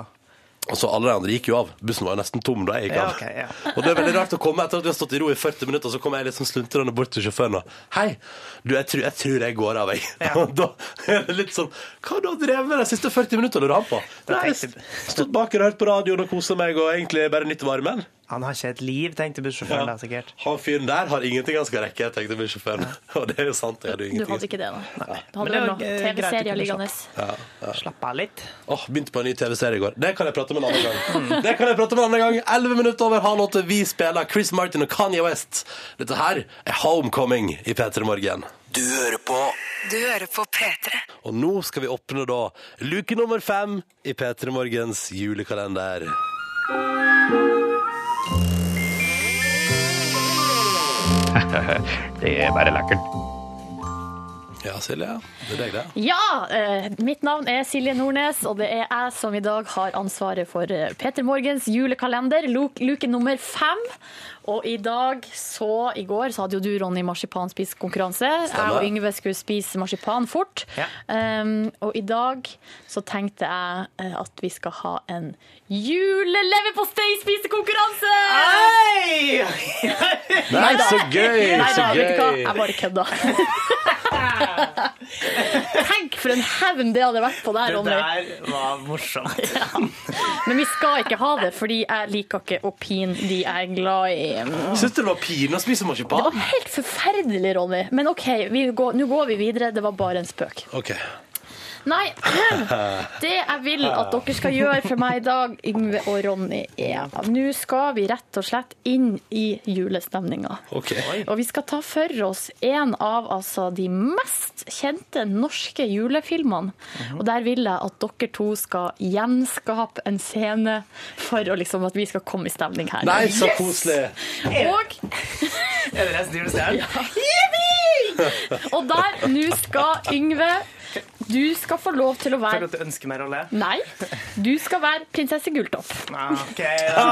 A: Altså, alle de andre gikk jo av. Bussen var jo nesten tom da jeg gikk
B: Ja,
A: av.
B: ok, ja.
A: Og det er veldig rart å komme etter at du har stått i ro i 40 minutter, så kommer jeg liksom sluntrende bort til sjåføren og Hei, du, jeg tror jeg, tror jeg går av, jeg.
B: Ja.
A: da er det litt sånn Hva har du drevet med de siste 40 minuttene du har hatt på?
B: Da
A: Nei,
B: tenkte-
A: stått bak og hørt på radioen og kosa meg og egentlig bare nytt varmen.
B: Han har ikke et liv, tenkte bussjåføren da, sikkert.
A: Han fyren der har ingenting han skal rekke, tenkte bussjåføren. Og det er jo sant. Jeg hadde jo
C: Du
A: ingenting.
C: hadde ikke det, da. Du
B: Men
C: hadde
B: det
C: vel
B: var,
C: noen
B: eh, greit å
C: TV-serier
B: kunne
C: liggende.
B: Slapp av litt.
A: Åh, Begynte på en ny TV-serie i går. Det kan jeg prate om en annen gang. Det kan jeg prate om en annen gang 11 minutter over halv åtte. Vi spiller Chris Martin og Kanye West. Dette her er Homecoming i P3 Morgen.
D: Du hører på
F: Du hører på P3.
A: Og nå skal vi åpne da luke nummer fem i P3 Morgens julekalender.
G: Det er bare lekkert.
A: Ja, Silje. Det er deg, det.
C: Ja! eh, Mitt navn er Silje Nordnes, og det er jeg som i dag har ansvaret for eh, Peter Morgens julekalender, lu- luke nummer fem. Og i dag så I går så hadde jo du, Ronny, marsipanspisekonkurranse. Jeg og Yngve skulle spise marsipan fort.
B: Ja.
C: Um, og i dag så tenkte jeg eh, at vi skal ha en juleleverpostei-spisekonkurranse!
B: Hei!
A: Nei, så gøy!
C: Nei
A: Så
C: da, vet du hva,
A: gøy!
C: jeg bare kødda. Tenk for en hevn det hadde vært på deg,
B: Det
C: Ronny.
B: der var morsomt.
C: Men vi skal ikke ha det, fordi jeg liker ikke å pine de jeg er glad i.
A: Syns du det var pine å spise
C: Det var
A: marsipan?
C: helt forferdelig, Ronny. Men OK, vi går- nå går vi videre. Det var bare en spøk.
A: OK.
C: Nei, det jeg vil at dere skal gjøre for meg i dag, Yngve og Ronny, er Nå skal vi rett og slett inn i julestemninga.
A: OK.
C: Og vi skal ta for oss en av altså, de mest kjente norske julefilmene.
A: Mhm.
C: Og der vil jeg at dere to skal gjenskape en scene for å, liksom, at vi skal komme i stemning her.
A: Nei, så koselig.
C: Og
B: Er det resten av julestjernen?
C: Yippee! Og der, nå skal Yngve Du skal få lov til å
B: Takk
C: være
B: at du ønsker meg rolle.
C: Nei, du skal være prinsesse Gulltopp.
B: Ah, OK, da.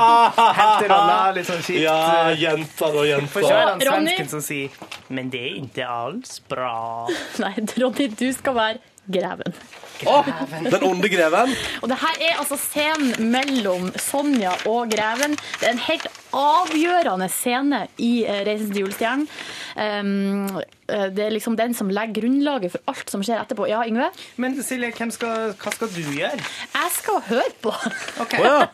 B: Helterolla, litt sånn kjipt.
A: Ja,
C: eh,
A: jenta da,
B: For så
A: jenta.
B: er det han
C: Ronny.
B: svensken som sier Men det er ikke alls bra.
C: Nei, Ronny, du skal være greven.
A: Å, den onde greven.
C: Og det her er altså scenen mellom Sonja og Greven. Det er en helt avgjørende scene i eh, 'Reisen til julestjernen'. Um, eh, det er liksom den som legger grunnlaget for alt som skjer etterpå. Ja, Yngve?
B: Men Silje, hvem skal, hva skal du gjøre?
C: Jeg skal høre på.
B: Ok,
A: Å ja.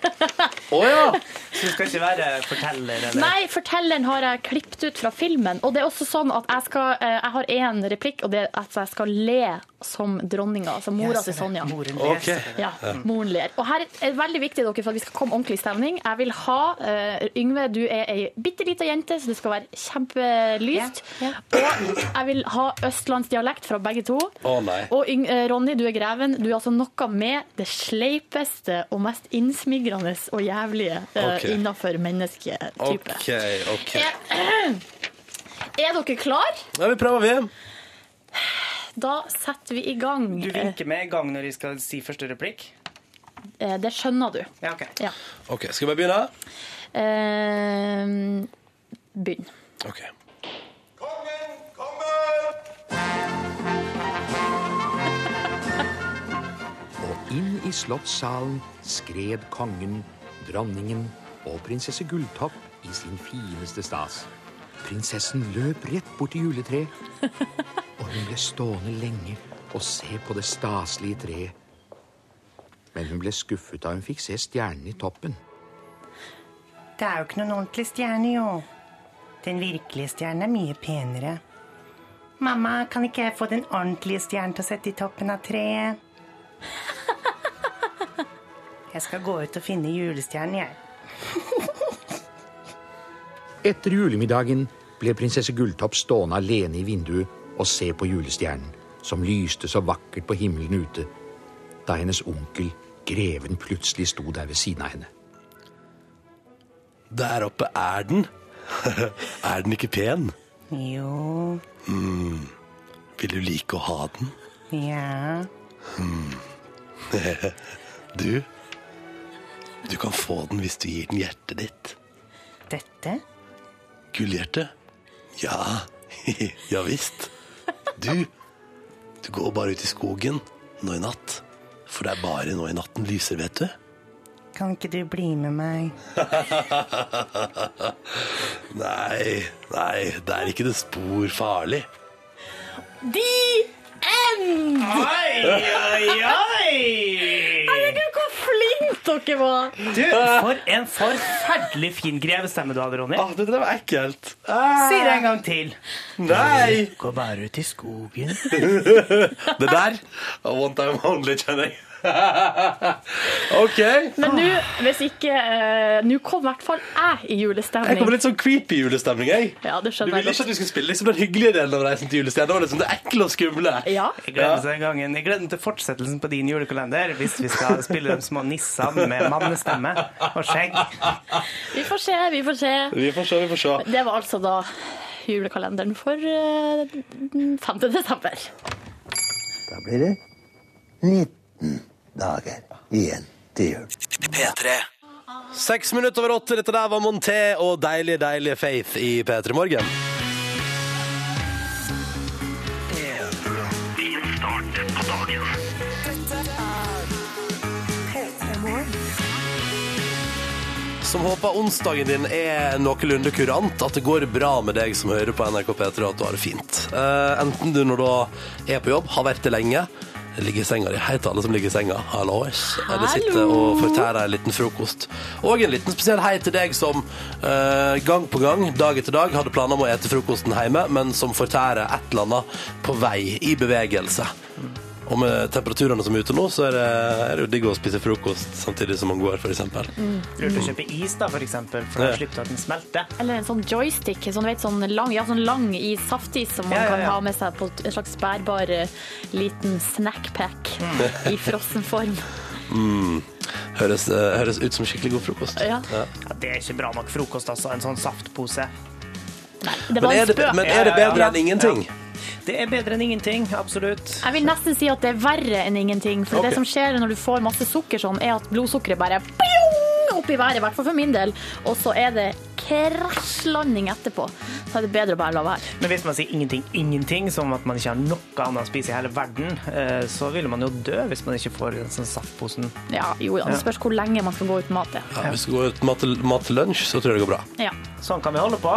A: Å ja.
B: Så du skal ikke være forteller, eller?
C: Nei, fortelleren har jeg klippet ut fra filmen. Og det er også sånn at jeg, skal, eh, jeg har én replikk, og det er at jeg skal le som dronninga. Altså mora til Sonja.
B: Moren
A: Ok.
B: leser det.
C: Ja, moren ler. Og her er det veldig viktig dere, for at vi skal komme ordentlig i stemning. Jeg vil ha eh, Yngve, du er ei bitte lita jente, så det skal være kjempelyst. Og jeg vil ha østlandsdialekt fra begge to.
A: Å, nei.
C: Og Yng eh, Ronny, du er greven. Du er altså noe med det sleipeste og mest innsmigrende og jævlige eh,
A: Ok.
C: innafor mennesketype.
A: OK, OK.
C: Er dere klar?
A: Ja, vi prøver, vi.
C: Da setter vi i gang.
B: Du vinker med i gang når de skal si første replikk?
C: Eh, det skjønner du.
B: Ja, OK.
C: Ja.
A: OK, skal vi bare begynne?
C: Eh, begynn.
A: OK.
G: Kongen kommer!
H: Og inn i slottssalen skred kongen, dronningen og prinsesse Gulltopp i sin fineste stas. Prinsessen løp rett bort til juletreet, og hun ble stående lenge og se på det staselige treet. Men hun ble skuffet da hun fikk se stjernen i toppen.
I: Det er jo ikke noen ordentlig stjerne, jo. Den virkelige stjernen er mye penere. Mamma, kan ikke jeg få den ordentlige stjernen til å sette i toppen av treet? Jeg skal gå ut og finne julestjernen, jeg.
H: Etter julemiddagen ble prinsesse Gulltopp stående alene i vinduet og se på julestjernen, som lyste så vakkert på himmelen ute, da hennes onkel, greven, plutselig sto der ved siden av henne.
A: Der oppe er den. er den ikke pen?
I: Jo,
A: Vil du like å ha den?
I: ja.
A: Du? Du kan få den hvis du gir den hjertet ditt.
I: Dette?
A: Gullhjerte? Ja. ja visst. Du, du går bare ut i skogen nå i natt. For det er bare nå i natten lyser, vet du.
I: Kan ikke du bli med meg?
A: Nei, nei, det er ikke det spor farlig.
C: The end!
B: Oi, oi, oi!
C: Herregud, hvor flink dere var!
B: Du, for en forferdelig fin grevestemme du hadde, Ronny.
A: det der var ekkelt.
B: Si det en gang til.
A: Nei!
B: Gå bare ut i skogen.
A: Det der One time only, kjenner jeg. OK. Jeg
C: Men nå, hvis ikke eh, Nå kom i hvert fall jeg i julestemning.
A: kommer litt sånn creepy julestemning, jeg.
C: Ja, det
A: Du
C: skjønner
A: ville
C: jeg
A: ikke at
C: godt.
A: vi skulle spille liksom den hyggelige delen av Reisen til julestjernen. Det var liksom det ekle og skumle.
C: Ja.
B: Jeg gleder meg til gangen. Jeg gleder meg til fortsettelsen på din julekalender hvis vi skal spille de små nissene med mannestemme og skjegg.
C: Vi får se, vi får se.
A: Vi får se, vi får se.
C: Det var altså da julekalenderen for eh, 5. desember.
J: Da blir det 19 dager igjen til jul.
D: P3.
A: Seks minutter over åtte. Dette der var Monté og deilige, deilige Faith i P3 Morgen. Som håper onsdagen din er noenlunde kurant, at det går bra med deg som hører på NRK P3, og at du har det fint. Eh, enten du når du er på jobb, har vært det lenge, ligger i senga di. Hei til alle som ligger i senga. Hallois. Eller sitter
C: Hallo.
A: og fortærer en liten frokost. Og en liten spesiell hei til deg som eh, gang på gang, dag etter dag, hadde planer om å ete frokosten hjemme, men som fortærer et eller annet på vei, i bevegelse. Og med temperaturene som er ute nå, så er det, er det jo digg å spise frokost samtidig som man går, f.eks.
B: Lurt å kjøpe is, da, for eksempel, for da
A: Ja.
B: slipper du at den smelter.
C: Eller en sånn joystick, sånn, du vet, sånn lang, ja, sånn lang i saftis som man
B: Ja, ja,
C: kan
B: ja.
C: ha med seg på en slags bærbar eh, liten snackpack i frossen form.
A: Mm. Høres, eh, høres ut som skikkelig god frokost.
C: Ja.
B: Ja, det er ikke bra nok frokost, altså. En sånn saftpose.
C: det var Men en er det- spøk. men er det bedre enn ingenting?
B: Det er bedre enn ingenting, absolutt.
C: Jeg vil nesten si at det er verre enn ingenting. For
B: Ok.
C: det som skjer når du får masse sukker sånn, er at blodsukkeret bare pjong, opp i været, i hvert fall for min del. Og så er det krasjlanding etterpå. Så er det bedre å bare la være.
B: Men hvis man sier ingenting, ingenting, som at man ikke har noe annet å spise i hele verden, eh, så vil man jo dø hvis man ikke får den sånn saftposen.
C: Ja, jo, ja, det spørs hvor lenge man skal gå uten mat.
A: Ja, hvis du går ut mat til, mat til lunsj, så tror jeg det går bra.
C: Ja.
B: Sånn kan vi holde på.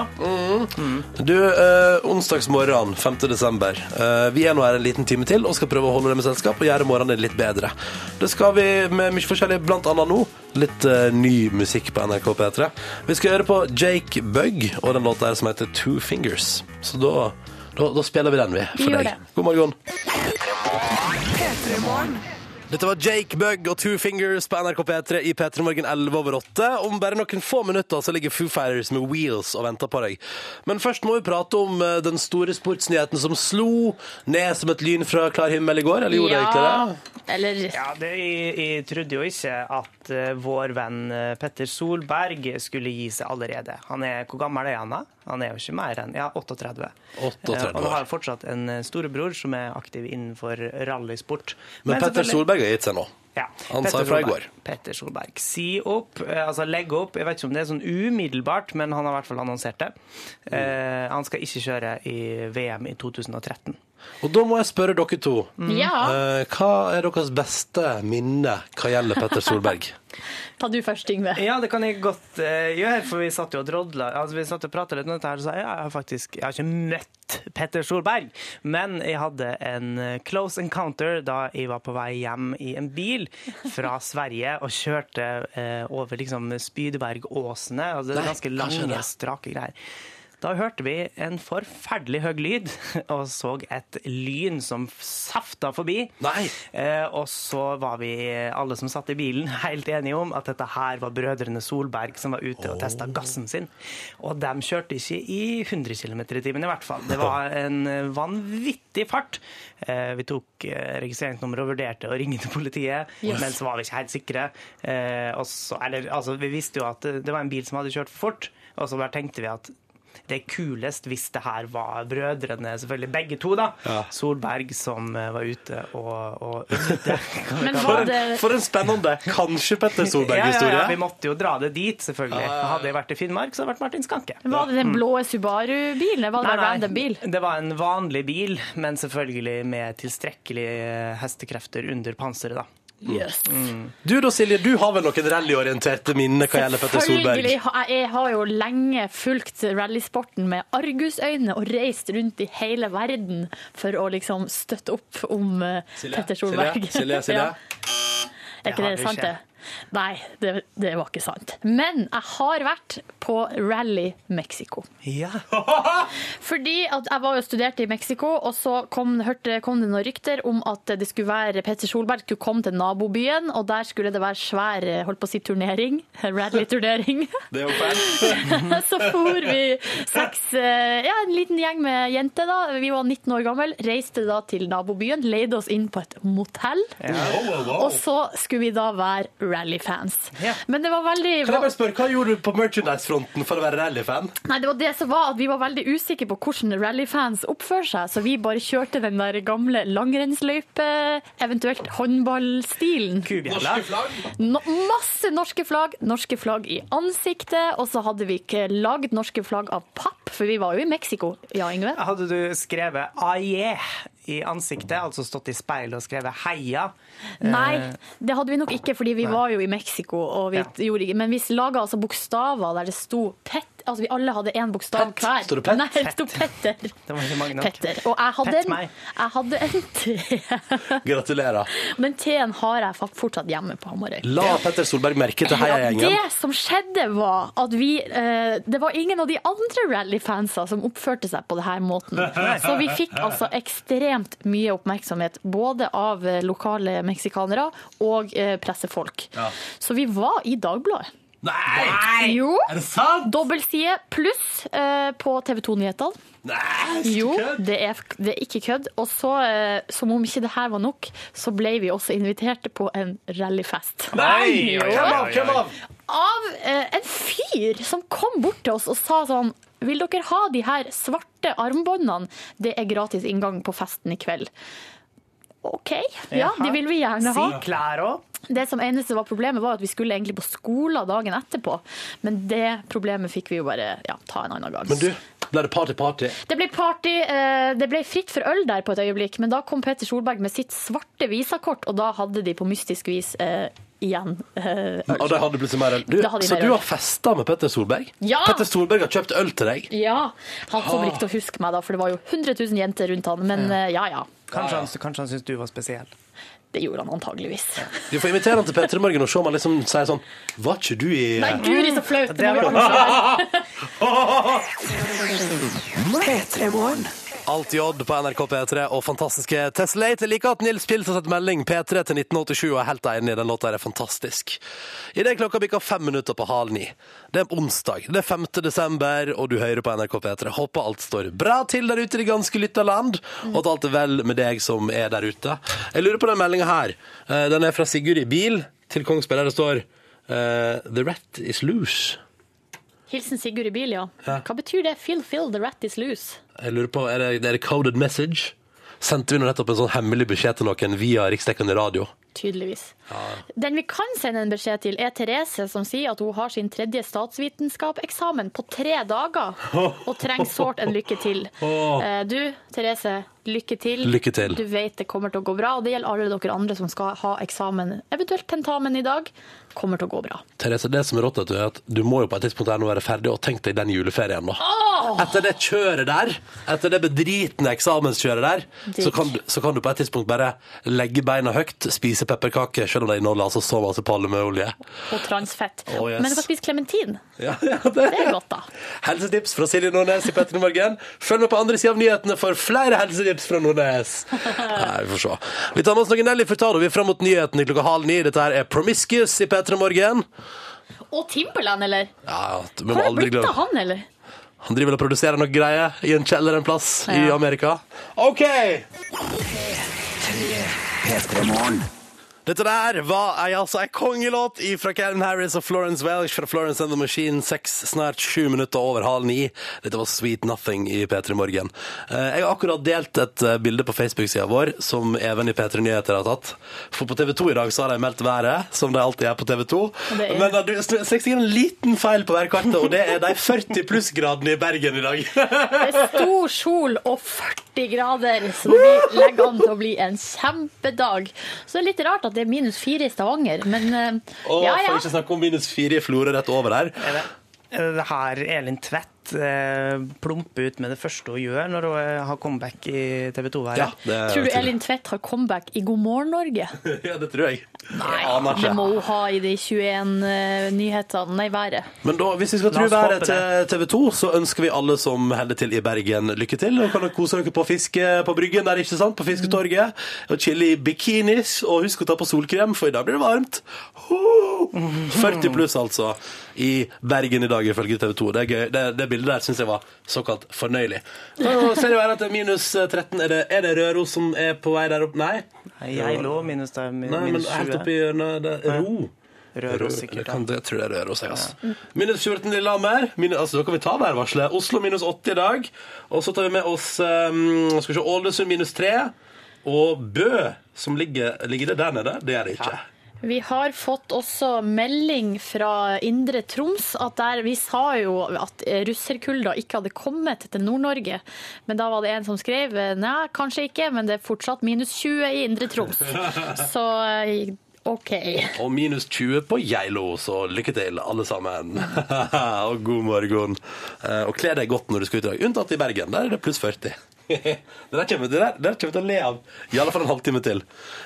A: Du, eh, onsdagsmorgen 5. desember. Eh, vi er nå her en liten time til og skal prøve å holde deg med selskap og gjøre morgenen litt bedre. Det skal vi med mye forskjellig, blant annet nå. Litt eh, ny musikk på NRK P3. Vi skal høre på Jake Bugg og den låta her som heter Two Fingers. Så da, da, da spiller vi den, vi.
D: Vi
A: For
D: gjør
A: deg.
D: det.
A: God morgen.
D: P3morgen.
A: Dette var Jake Bugg og Two Fingers på NRK P3 i P3 Morgen 11 over 8. Om bare noen få minutter så ligger Foo Fighters med Wheels og venter på deg. Men først må vi prate om eh, den store sportsnyheten som slo ned som et lyn fra klar himmel i går. Eller gjorde det egentlig det?
C: Eller
B: Ja, det, jeg, jeg trodde jo ikke at eh, vår venn eh, Petter Solberg skulle gi seg allerede. Han er, hvor gammel er han da? Han er jo ikke mer enn ja, 38.
A: 38
B: Eh,
A: år.
B: og han har jo fortsatt en eh, storebror som er aktiv innenfor rallysport.
A: Men, Petter
B: selvfølgelig-
A: Solberg har gitt seg nå.
B: Ja.
A: Han sa
B: Petter
A: fra i
B: Solberg.
A: går.
B: Petter Solberg. Si opp, eh, altså legge opp. Jeg vet ikke om det er sånn umiddelbart, men han har i hvert fall annonsert det.
A: Mm.
B: Eh, han skal ikke kjøre i VM i 2013.
A: Og da må jeg spørre dere to.
C: Mm. Ja.
A: Eh, Hva er deres beste minne hva gjelder Petter Solberg?
C: Ta du først, Yngve.
B: Ja, det kan jeg godt eh, gjøre, for vi satt jo og drodla. Altså, vi satt og prata litt om dette her, og sa ja, jeg har faktisk jeg har ikke møtt Petter Solberg, men jeg hadde en eh, close encounter da jeg var på vei hjem i en bil fra Sverige og kjørte eh, over liksom Spydebergåsene. Altså, det
K: Nei,
B: er ganske
K: hva skjer da?
B: lange, strake greier. Da hørte vi en forferdelig høy lyd, og så et lyn som safta forbi. Eh, og så var vi alle som satt i bilen, helt enige om at dette her var brødrene Solberg som var ute og testa gassen sin. Og de kjørte ikke i 100 km i timen, i hvert fall. Det var en vanvittig fart. Eh, vi tok eh, registreringsnummeret og vurderte å ringe til politiet,
K: Yes.
B: men så var vi ikke helt sikre. Eh, og så, eller, altså, vi visste jo at det det var en bil som hadde kjørt for fort, og så bare tenkte vi at det er kulest hvis det her var brødrene, selvfølgelig begge to, da.
A: Ja.
B: Solberg som eh, var ute og, og øvde.
A: Men var det- For en- for en spennende kanskje Petter Solberg-historie.
B: Ja, ja, ja, vi måtte jo dra det dit, selvfølgelig. Hadde jeg vært i Finnmark, så hadde det vært Martin Skanke.
C: Var det den blå Subaru-bilen? Eller var
B: Nei,
C: det bare
B: nei,
C: random bil?
B: Det var en vanlig bil, men selvfølgelig med tilstrekkelig eh, hestekrefter under panseret, da.
C: Yes.
A: Du da, Silje, du har vel noen rallyorienterte minner hva gjelder Petter Solberg?
C: Selvfølgelig. har- Jeg har jo lenge fulgt rallysporten med argusøyne og reist rundt i hele verden for å liksom støtte opp om eh,
A: Silje,
C: Petter Solberg.
A: Silje, Silje, Silje.
C: Ja. Er
A: Det
C: ikke det,
A: har vi
C: sant,
A: ikke.
C: det? Nei, det, det var ikke sant. Men jeg har vært på rally Mexico. Fordi at jeg var jo studerte i Mexico, og så kom, hørte, kom det noen rykter om at det skulle være Petter Solberg skulle komme til nabobyen, og der skulle det være svær eh, holdt på å si turnering, rally-turnering.
A: Det er jo feil.
C: så for vi seks, eh, ja, en liten gjeng med jenter da, vi var 19 år gammel, reiste da til nabobyen, leide oss inn på et motell,
A: Wow, wow, wow.
C: og så skulle vi da være rally-fans. Men det var veldig...
A: Kan jeg bare spørre, Hva gjorde du på merchandise-fronten for å være rallyfan?
C: Nei, det var det som var at vi var veldig usikre på hvordan rallyfans oppfører seg, så vi bare kjørte den der gamle langrennsløype, eventuelt håndballstilen.
B: Norske flagg?
C: No, masse norske flagg, norske flagg i ansiktet, og så hadde vi ikke lagd norske flagg av papp, for vi var jo i Mexico. Ja, Yngve?
B: Hadde du skrevet «Aje» i ansiktet, altså stått i speil og skrevet «Heia»?
C: Nei, det hadde vi nok ikke, fordi vi
B: Eh, ah, Nei.
C: var jo i Mexico, og vi
B: Ja.
C: gjorde ikke Men vi laga altså bokstaver der det sto Pet, altså, vi alle hadde én bokstav hver.
A: Står det Pet?
C: Nei, det sto Petter.
B: Det var ikke mange nok.
C: Petter. Og jeg hadde,
B: Pet
C: en,
B: meg.
C: jeg hadde en T.
A: Gratulerer.
C: Den T-en har jeg fakt- fortsatt hjemme på Hamarøy.
A: La Petter Solberg merke til
C: Ja,
A: heiagjengen.
C: det som skjedde var at vi eh, Det var ingen av de andre rallyfansa som oppførte seg på denne måten. Så vi fikk altså ekstremt mye oppmerksomhet både av eh, lokale meksikanere og eh, pressefolk.
A: Ja.
C: Så vi var i Dagbladet.
A: Nei!
C: Jo.
A: Er det sant?
C: Dobbeltside pluss eh, på TV 2-nyhetene.
A: Nei,
C: Jo, det er, det er ikke kødd. Og så, eh, som om ikke det her var nok, så ble vi også invitert på en rallyfest.
A: Nei!
C: Jo.
A: Hvem av? Hvem av?
C: Av eh, en fyr som kom bort til oss og sa sånn Vil dere ha de her svarte armbåndene? Det er gratis inngang på festen i kveld. OK, ja,
B: Jaha.
C: de vil vi gjerne ha.
B: Si klær òg.
C: Det som eneste var problemet, var at vi skulle egentlig på skolen dagen etterpå. Men det problemet fikk vi jo bare ja, ta en annen gang.
A: Men du, ble det party-party?
C: Det ble party, eh, det ble fritt for øl der på et øyeblikk, men da kom Peter Solberg med sitt svarte visakort, og da hadde de på mystisk vis eh, igjen eh,
A: Og de hadde plutselig mer øl. Du,
C: Da hadde de
A: så
C: mer
A: du
C: øl.
A: har festa med Petter Solberg?
C: Ja!
A: Petter Solberg har kjøpt øl til deg?
C: Ja, han kommer
A: Ah.
C: ikke til å huske meg da, for det var jo 100 000 jenter rundt han, men eh, ja ja,
B: Kanskje han, kanskje han syntes du var spesiell.
C: det gjorde han antageligvis.
A: Du får invitere han til P3 Morgen og se om han liksom sier sånn Var ikke du i eh,
C: Nei, guri så flaut! Det
B: Det
C: må
B: var-
C: vi komme
A: Alt i odd på NRK P3 og fantastiske Tessellate. Jeg liker at Nils Pils har sett melding P3 til 1987 og er helt enig i den låta her er fantastisk. I det klokka bikker fem minutter på halv ni. Det er onsdag, det er 5. desember, og du hører på NRK P3. Håper alt står bra til der ute i det ganske lytta land, og at alt er vel med deg som er der ute. Jeg lurer på den meldinga her. Eh, Den er fra Sigurd i bil til Kongsberg, der det står eh, The rat is loose.
C: Hilsen Sigurd i bil, ja. Hva betyr det? Phil, Phil, the rat is loose.
A: Jeg lurer på, er det, er det coded message? Sendte vi nå nettopp en sånn hemmelig beskjed til noen via riksdekkende radio?
C: Tydeligvis. Den vi kan sende en beskjed til, er Therese, som sier at hun har sin tredje statsvitenskapeksamen på tre dager og trenger sårt en lykke til. Eh, Du, Therese, lykke til.
A: Lykke til.
C: Du vet det kommer til å gå bra, og det gjelder alle dere andre som skal ha eksamen, eventuelt tentamen i dag. Kommer til å gå bra.
A: Therese, det som er rått, vet du, er at du må jo på et tidspunkt her nå være ferdig, og tenk deg den juleferien, da. Etter det kjøret der, etter det bedritne eksamenskjøret der, så
C: Digg.
A: kan, du- så kan du på et tidspunkt bare legge beina høyt, spise pepperkake, selv om det inneholder altså så masse palmeolje.
C: Og transfett.
A: Å, yes.
C: Men du kan spise klementin.
A: Ja, ja, det
C: Det er godt, da.
A: Helsetips fra Silje Nordnes i Petter i morgen. Følg med på andre siden av nyhetene for flere helsetips fra Nordnes. Nei, vi får se. Vi tar med oss noen Nelly Furtado. Vi er fram mot nyhetene klokka halv ni. Dette her er Promiscuous i Petter i morgen.
C: Og Timberland, eller?
A: Ja, ja, vi må
C: Har det
A: aldri
C: blitt av
A: glemme
C: han, eller?
A: Han driver vel og produserer noe greier i en kjeller en plass i
C: Ja.
A: Amerika. OK!
D: P3 Morgen.
A: Dette der var ei, altså, ei kongelåt fra Karen Harris og Florence Welsh fra Florence and the Machine. Seks, snart sju minutter over halv ni. Dette var Sweet Nothing i P3 Morgen. Eh, Jeg har akkurat delt et eh, bilde på Facebook-sida vår som Even i P3 Nyheter har tatt. For på TV 2 i dag så har de meldt været, som de alltid gjør på TV 2.
C: det er-
A: Men eh, det har seg en liten feil på værkartet, og det er de 40 plussgradene i Bergen i dag.
C: Det er stor sol og 40 grader, så det blir- legger an til å bli en kjempedag. Så det er litt rart at det er minus fire i Stavanger, men eh,
A: Og
C: ja,
A: får
C: ja.
A: ikke snakke om minus fire i Florø rett over her.
B: Er det, er det her Elin Tvedt eh, plumper ut med det første hun gjør når hun eh, har comeback i TV 2-været?
A: Ja, det er
C: Tror du Elin Tvedt har comeback i God morgen Norge?
A: Ja, det tror jeg. Jeg aner
C: Nei,
A: ikke.
C: det må hun ha i de 21 eh, nyhetene, nei, været.
A: Men da, hvis vi skal tro
B: La oss håpe
A: været til TV 2, så ønsker vi alle som holder til i Bergen, lykke til. Og kan dere kose dere på fiske på Bryggen der, ikke sant? På Fisketorget. Og chille i bikinis. Og husk å ta på solkrem, for i dag blir det varmt. Ho! 40 pluss, altså, i Bergen i dag, ifølge TV 2. Det, er gøy. det, det bildet der syns jeg var såkalt fornøyelig. Nå ser det være at det er minus 13. Er det, er det Røros som er på vei der oppe? Nei?
B: Nei, Jeg lå minus, der, min-
A: Nei, men
B: minus
A: helt
B: 20.
A: oppi hjørnet. Det er ro.
B: Røros, sikkert.
A: Det kan, det tror jeg det er Røros, jeg, altså. Minus 14 Lillehammer. Minus, altså, da kan vi ta værvarselet. Oslo minus 80 i dag. Og så tar vi med oss um, skal vi se, Ålesund minus 3. Og Bø, som ligger, ligger det der nede? Det er det ikke.
C: Vi har fått også melding fra Indre Troms at der vi sa jo at russerkulda ikke hadde kommet til Nord-Norge. Men da var det en som skrev nei, kanskje ikke, men det er fortsatt minus 20 i Indre Troms. Så eh, OK.
A: Og minus 20 på Geilo, så lykke til, alle sammen. og god morgen. Eh, Og kle deg godt når du skal ut i dag, unntatt i Bergen. Der er det pluss 40. det der kommer det der, det der kommer vi til å le av. I alle fall en halvtime til.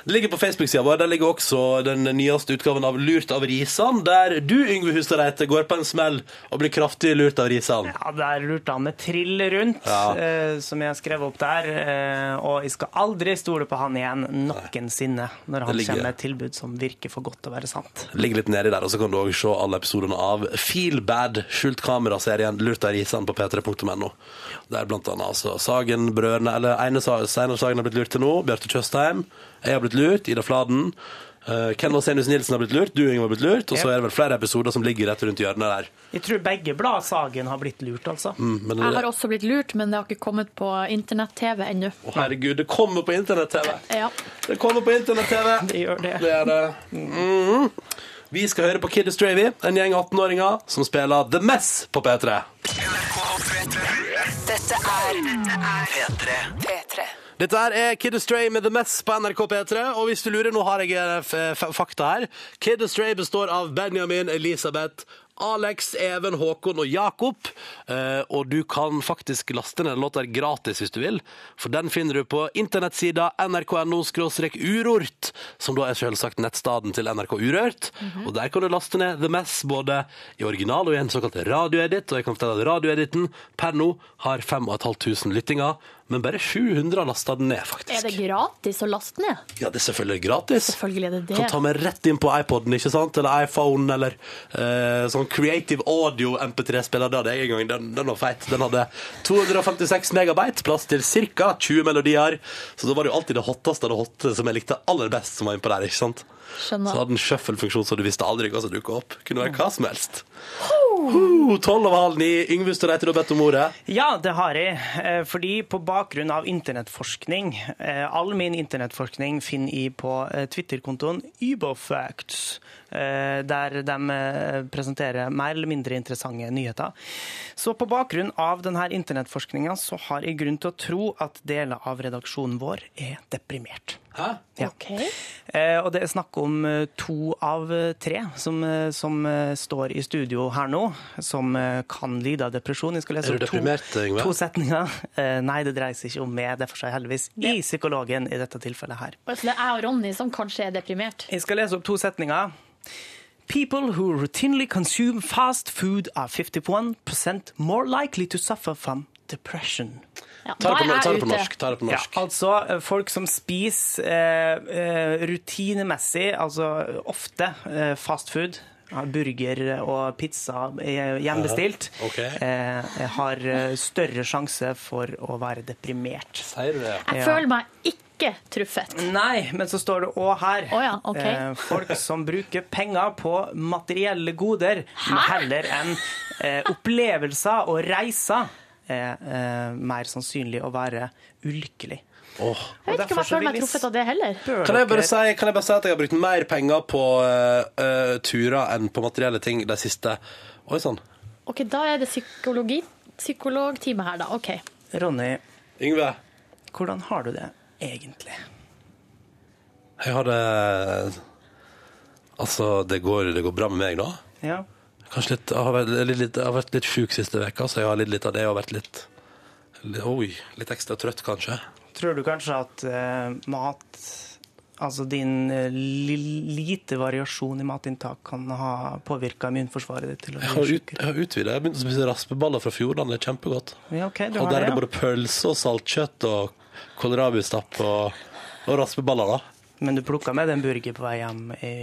A: Det ligger på Facebook-sida vår. Der ligger også den nyeste utgaven av Lurt av Risan, der du, Yngve Hustad Reite, går på en smell og blir kraftig lurt av Risan.
B: Ja, der lurte han med trill rundt,
A: Ja.
B: eh, som jeg skrev opp der. eh, og jeg skal aldri stole på han igjen noensinne når han
A: Det ligger-
B: kommer med et tilbud som virker for godt til å være sant.
A: Ligg litt nedi der, og så kan du òg se alle episodene av Feel Bad, skjult kamera-serien Lurt av risene på p3.no. Der blant annet altså Sagen-brødrene, eller Einar Sa- Steinar Sagen har blitt lurt til nå, Bjarte Tjøstheim. Jeg har blitt lurt, Ida Fladen. eh, Ken Vasenius Nilsen har blitt lurt, du Inge har blitt lurt, og så
B: Yep.
A: er det vel flere episoder som ligger rett rundt hjørnet der.
B: Jeg tror begge blad Sagen har blitt lurt, altså.
A: Mm, men
C: Jeg har også blitt lurt, men det har ikke kommet på internett-TV ennå.
A: Å, herregud, det kommer på internett-TV!
C: Ja.
A: Det kommer på internett-TV!
B: Det gjør det.
A: Det er det. Mhm. Vi skal høre på Kid Stravey, en gjeng 18-åringer som spiller The Mess på P3.
F: Dette er P3. P3.
A: Dette her er Kid Astray med The Mess på NRK P3. Og hvis du lurer, nå har jeg eh, f- f- fakta her. Kid Astray består av Benjamin, Elisabeth, Alex, Even, Håkon og Jakob. Eh, og du kan faktisk laste ned den låta gratis hvis du vil. For den finner du på internettsida nrk.no-urort, som da er selvsagt nettstaden til NRK Urørt. Og der kan du laste ned The Mess både i original og i en såkalt radioedit. Og jeg kan fortelle at radioediten per nå har 5500 lyttinger, men bare 700 har lasta den ned, faktisk.
C: Er det gratis å laste ned?
A: Ja, det er selvfølgelig gratis.
C: Selvfølgelig er det
A: Kan ta
C: det.
A: meg rett inn på iPoden, ikke sant? Eller iPhone, eller eh, sånn Creative Audio MP3-spiller. Det hadde jeg en gang. Den, den var feit. Den hadde 256 megabyte, plass til ca. 20 melodier. Så da var det jo alltid det hotteste av det hotte som jeg likte aller best, som var innpå der, ikke sant? Så
C: Skjønner.
A: hadde den shuffle-funksjon, så du visste aldri hva som dukket opp. Kunne være hva som helst. Ho, Tolv over halv ni. Yngve Støreite, du har bedt om ordet.
B: Ja, det har jeg. Eh, Fordi på bakgrunn av internettforskning eh, All min internettforskning finner jeg på eh, Twitter-kontoen Ubofacts, eh, der de eh, presenterer mer eller mindre interessante nyheter. Så på bakgrunn av denne internettforskninga så har jeg grunn til å tro at deler av redaksjonen vår er deprimert.
A: Hæ?
B: Ja. Eh, og det er snakk om eh, to av eh, tre som, eh, som eh, står i studio her nå, som eh, kan lide av depresjon. Jeg skal lese
A: Er du
B: opp to,
A: deprimert, Yngve?
B: to setninger. Eh, nei, det dreier seg ikke om meg, derfor sa jeg heldigvis i psykologen i dette tilfellet her.
C: Så det er jeg og Ronny som kanskje er deprimert.
B: Jeg skal lese opp to setninger. People who routinely consume fast food are 51% more likely to suffer from depression.
C: Ja,
A: Ta det på,
C: da er
A: ta
C: jeg
A: det på
C: ute.
A: norsk. Ta det på norsk.
B: Ja, altså eh, folk som spiser eh, eh, rutinemessig, altså ofte eh, fast food. ja, Burger og pizza eh, hjemmebestilt.
A: Ja, ok.
B: eh, har eh, større sjanse for å være deprimert.
A: Sier du det?
C: Jeg
B: Ja.
C: føler meg ikke truffet.
B: Nei, men så står det òg her.
C: Å ja, ok.
B: eh, folk som bruker penger på materielle goder heller enn eh, opplevelser og reiser, er eh, mer sannsynlig å være ulykkelig.
A: Åh.
C: Jeg vet ikke om
B: Derfor
C: jeg
B: så
C: føler meg
B: vil jeg
C: truffet av det heller.
B: Bør
A: Kan jeg, bare
B: dere-
A: si, kan jeg bare si at jeg har brukt mer penger på eh, eh, turer enn på materielle ting de siste Oi sånn. sann.
C: Ok, Da er det psykologi, psykologtime her, da. Ok.
B: Ronny,
A: Yngve,
B: hvordan har du det egentlig?
A: jeg har det Altså, det går, det går bra med meg nå.
B: Ja.
A: Kanskje litt, jeg, har vært, litt, litt, jeg har vært litt sjuk siste veka, så jeg har litt, litt av det. Jeg har vært litt, litt Oi, litt ekstra trøtt, kanskje.
B: Tror du kanskje at eh, mat, altså din eh, li lite variasjon i matinntak, kan ha påvirka immunforsvaret ditt til å
A: Jeg har,
B: bli
A: ut, jeg
B: sjukere?
A: har utvida. Jeg har begynt å spise raspeballer fra Fjordland. Det er kjempegodt.
B: Ja, ok, du
A: Og
B: har
A: der er
B: det,
A: det
B: ja.
A: både pølse og saltkjøtt og kålrabistapp og, og raspeballer, da.
B: Men du plukka med deg en burger på vei hjem i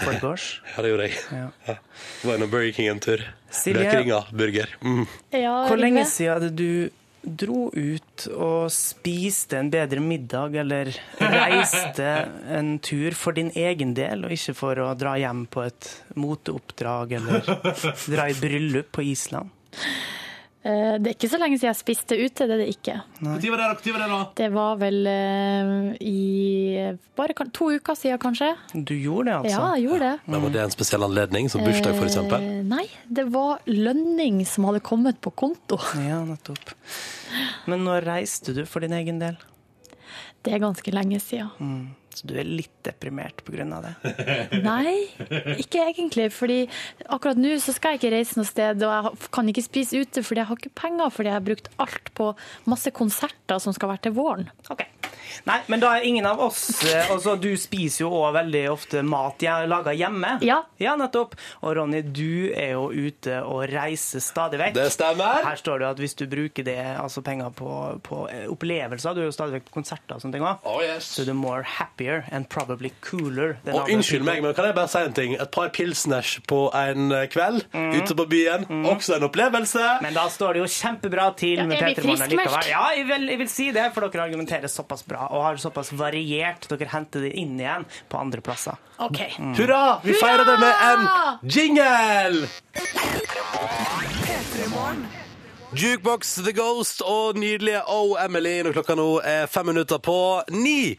B: forgårs?
A: Ja, det gjorde jeg.
B: Ja.
A: Ja. Var innom Burger King en tur.
B: Silje-
A: Løkringa burger. Mm.
C: Ja,
B: Hvor lenge
C: Yngve?
B: siden er det du dro ut og spiste en bedre middag, eller reiste en tur for din egen del, og ikke for å dra hjem på et moteoppdrag eller dra i bryllup på Island?
C: Eh, Det er ikke så lenge siden jeg spiste ute, det er det ikke.
A: Når var det, da? Når var det da?
C: Det var vel eh, i bare kan- to uker siden, kanskje.
B: Du gjorde det, altså?
C: Ja, jeg gjorde det.
A: Men var det en spesiell anledning, som bursdag for eksempel?
C: Eh, Nei, det var lønning som hadde kommet på konto.
B: Ja, nettopp. Men når reiste du for din egen del?
C: Det er ganske lenge siden.
B: Så du er litt deprimert pga. det.
C: Nei, ikke egentlig. Fordi akkurat nå så skal jeg ikke reise noe sted, og jeg ha- kan ikke spise ute fordi jeg har ikke penger, fordi jeg har brukt alt på masse konserter som skal være til våren.
B: Nei, men da er ingen av oss eh, Altså, du spiser jo òg veldig ofte mat jeg lager hjemme. Ja. nettopp. Og Ronny, du er jo ute og reiser stadig vekk.
A: Det stemmer.
B: Her står det at hvis du bruker det, altså penger på, på eh, opplevelser Du er jo stadig vekk på konserter og sånne ting òg. So the more happier and probably cooler. than
A: Og
B: other
A: unnskyld
B: people.
A: meg, men kan jeg bare si en ting? Et par pilsners på en eh, kveld ute på byen. Også en opplevelse.
B: Mm. Men da står det jo kjempebra til med
A: er vi
B: Peter Morgen
A: friskmeldt?
B: likevel. Ja, jeg vil, jeg vil si det, for dere argumenterer såpass bra og har såpass variert. Dere henter det inn igjen på andre plasser.
C: OK.
A: Hurra! Vi feirer det med en jingle! Jukebox The Ghost og nydelige Oh Emily når klokka nå er fem minutter på ni.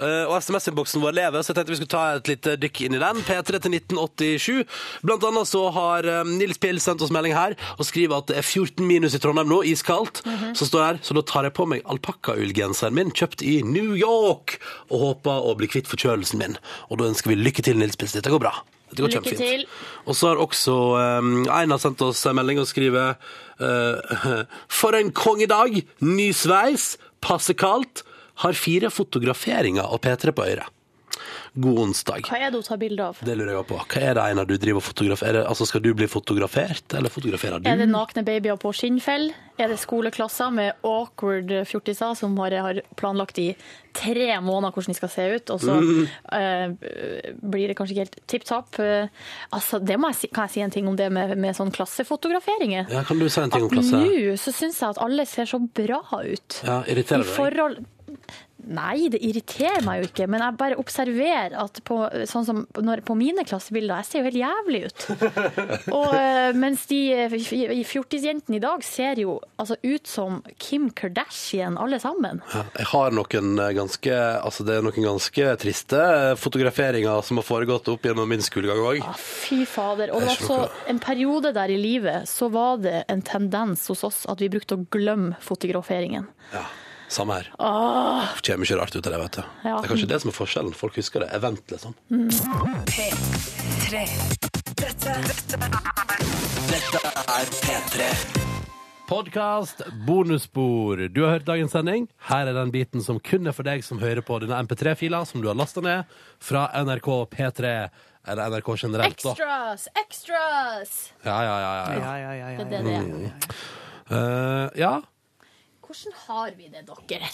A: Eh, og SMS-innboksen vår lever, så jeg tenkte vi skulle ta et lite dykk inn i den. P3 til 1987. Blant annet så har eh, Nils Pill sendt oss melding her og skriver at det er 14 minus i Trondheim nå, iskaldt.
C: Mhm.
A: Så står det her, så da tar jeg på meg alpakkaullgenseren min, kjøpt i New York, og håper å bli kvitt forkjølelsen min. Og da ønsker vi lykke til, Nils Pill. Dette går bra. Dette går
C: Lykke
A: kjempefint.
C: til.
A: Og så har også um, Einar sendt oss en melding og skriver eh, For en kongedag! Ny sveis, passe kaldt. Har fire fotograferinger og P3 på øret. God onsdag.
C: Hva er det hun tar bilde av?
A: Det lurer jeg på. Hva er det Einar du driver og fotograferer? Altså, skal du bli fotografert, eller fotograferer du?
C: Er det nakne babyer på skinnfell? Er det skoleklasser med awkward fjortiser som bare har planlagt i tre måneder hvordan de skal se ut, og så
A: Mm.
C: eh, blir det kanskje ikke helt tipp topp? Eh, altså, det må jeg si, kan jeg si en ting om det med, med sånn klassefotograferinger?
A: Ja, kan du si en ting om
C: At
A: klasse?
C: Nå så syns jeg at alle ser så bra ut.
A: Ja, irriterer det
C: I
A: deg?
C: forhold... Nei, det irriterer meg jo ikke, men jeg bare observerer at på, sånn som når, på mine klassebilder, jeg ser jo helt jævlig ut. Og eh, mens de eh, f- f- fjortisjentene i dag ser jo altså, ut som Kim Kardashian alle sammen.
A: Ja, Jeg har noen eh, ganske altså det er noen ganske triste eh, fotograferinger som har foregått opp gjennom min skolegang òg.
C: Fy fader. Og
A: Det er
C: det var
A: ikke
C: så en periode der i livet så var det en tendens hos oss at vi brukte å glemme fotograferingen.
A: Ja, samme her.
B: Ah.
C: Åh,
A: Det kommer mye rart ut av det, vet du.
C: Ja.
A: Det er kanskje det som er forskjellen. Folk husker det. Event, liksom.
D: P3. Dette, dette er Dette er P3.
A: Podkast bonusspor. Du har hørt dagens sending. Her er den biten som kun er for deg som hører på denne MP3-fila som du har lasta ned fra NRK P3 eller NRK generelt. da.
C: Extras! Extras!
A: Ja, ja, ja. ja,
C: Ja,
A: ja,
C: ja, Det er det det er.
A: Mm. Eh, ja.
C: Hvordan har vi det, dere?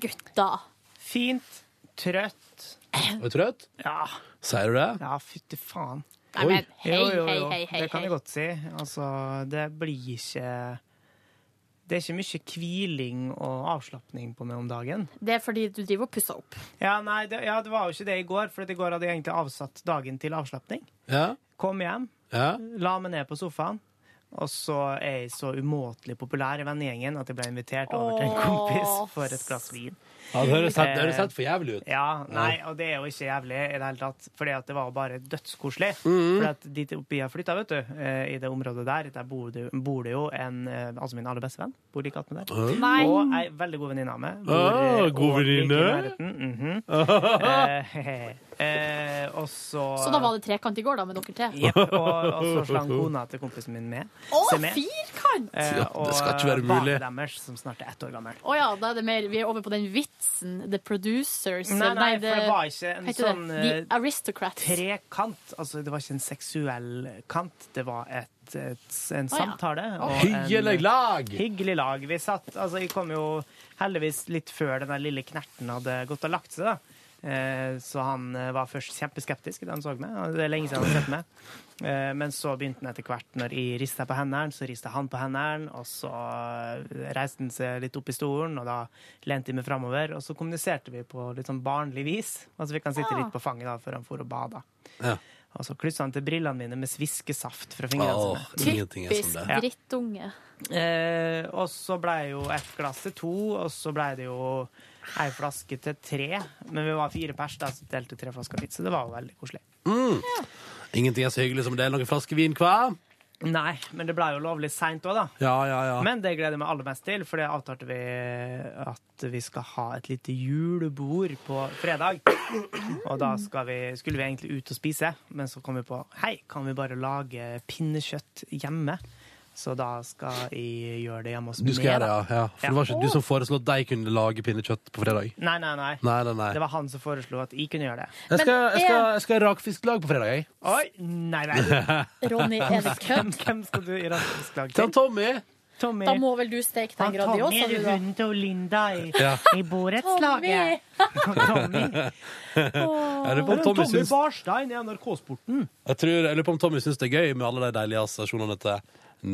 C: Gutta.
B: Fint. Trøtt.
A: Er du trøtt?
B: Ja.
A: Sier du det?
B: Ja, fytti faen.
A: Nei, men,
C: hei, hei, hei, hei,
B: Det kan jeg
C: hei.
B: godt si. Altså, det blir ikke Det er ikke mye hviling og avslapning på meg om dagen.
C: Det er fordi du driver og pusser opp.
B: Ja, nei, det, ja, det var jo ikke det i går, for i går hadde jeg egentlig avsatt dagen til avslapning.
A: Ja.
B: Kom hjem,
A: Ja.
B: la meg ned på sofaen, og så er jeg så umåtelig populær i vennegjengen at jeg ble invitert over til en kompis for et glass vin.
A: Ja, det høres helt- det høres
B: Eh,
A: helt for jævlig ut.
B: Ja, nei, og det er jo ikke jævlig i det hele tatt, fordi at det var bare dødskoselig.
A: Mhm.
B: Fordi at dit oppi jeg flytta, vet du, eh, i det området der, der bor det, bor det jo en eh, Altså min aller beste venn bor like attmed der.
A: Åh. Nei.
B: Og ei veldig god venninne av meg.
A: Ah,
B: eh,
A: god
B: og like i
A: venninne.
B: nærheten, mhm. Eh, eh, Og så
C: Så da var det trekant i går, da, med dere til?
B: Jepp, og, og så slang kona til kompisen min med.
C: Å,
B: Se med.
C: firkant!
B: Eh,
A: Ja, det skal ikke være
B: og
A: mulig.
B: barnet deres, som snart er ett år gammel.
C: Å ja, da er det mer Vi er over på den vitsen. The producers.
B: Nei, nei,
C: det-
B: for det var ikke en
C: hva heter det?
B: sånn, eh,
C: The aristocrats.
B: Trekant. Altså, det var ikke en seksuell kant, det var et, et, en
C: Å, ja.
B: samtale.
A: Å,
B: og
A: hyggelig
B: en-
A: lag!
B: Hyggelig lag. Vi satt Altså, jeg kom jo heldigvis litt før den der lille knerten hadde gått og lagt seg, da. Eh, Så han eh, var først kjempeskeptisk da han så meg. og Det er lenge siden han har sett meg. Eh, Men så begynte han etter hvert, når jeg rista på hendene, så rista han på hendene, og så eh, reiste han seg litt opp i stolen, og da lente jeg meg framover, og så kommuniserte vi på litt sånn barnlig vis. Altså vi kan sitte
K: Ah.
B: litt på fanget da, før han for og bada.
A: Ja.
B: Og så klussa Altså, han til brillene mine med sviskesaft fra fingrene
A: Åh, ingenting er som det.
B: Ja.
C: drittunge.
B: Eh, og så blei jo ett glass til to, og så blei det jo ei flaske til tre. Men vi var fire pers, da, så delte tre flasker hvitt, så det var jo veldig koselig.
A: Mm. Ingenting er så hyggelig som det er noen flaske vin hva?
B: Nei, men det ble jo lovlig seint òg, da.
A: Ja, ja, ja.
B: Men det gleder jeg meg aller mest til, for det avtalte vi at vi skal ha et lite julebord på fredag. Og da skal vi, skulle vi egentlig ut og spise, men så kom vi på hei, kan vi bare lage pinnekjøtt hjemme? Så da skal jeg gjøre det hjemme hos
A: Du skal
B: meg,
A: gjøre det, ja. ja. For det var ikke
B: Ja.
A: du som foreslo at de kunne lage pinnekjøtt på fredag?
B: Nei, nei, nei.
A: Nei, nei, nei.
B: Det var han som foreslo at jeg kunne gjøre det.
A: Jeg skal, jeg skal, jeg skal ha rakfisklag på fredag, jeg.
B: Oi, nei vel.
A: Ronny, er det kødd?
B: Hvem, hvem skal du i rakfisklag
A: Til Tommy!
B: Tommy.
C: Da må vel du steke den Grandiosa, du, da.
B: hunden til Linda i,
A: Ja.
B: i
C: Tommy!
B: borettslaget.
A: Jeg lurer på om Tommy syns-
B: Barstein i NRK-sporten.
A: Jeg tror, jeg lurer på om Tommy syns det er gøy med alle de deilige assosiasjonene til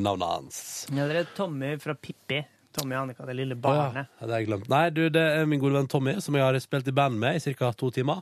A: navnet hans.
B: Ja, det er Tommy fra Pippi. Tommy og Annika, det lille
A: Å ja,
B: barnet.
A: det har jeg glemt. Nei, du, det er min gode venn Tommy, som jeg har spilt i band med i ca. to timer.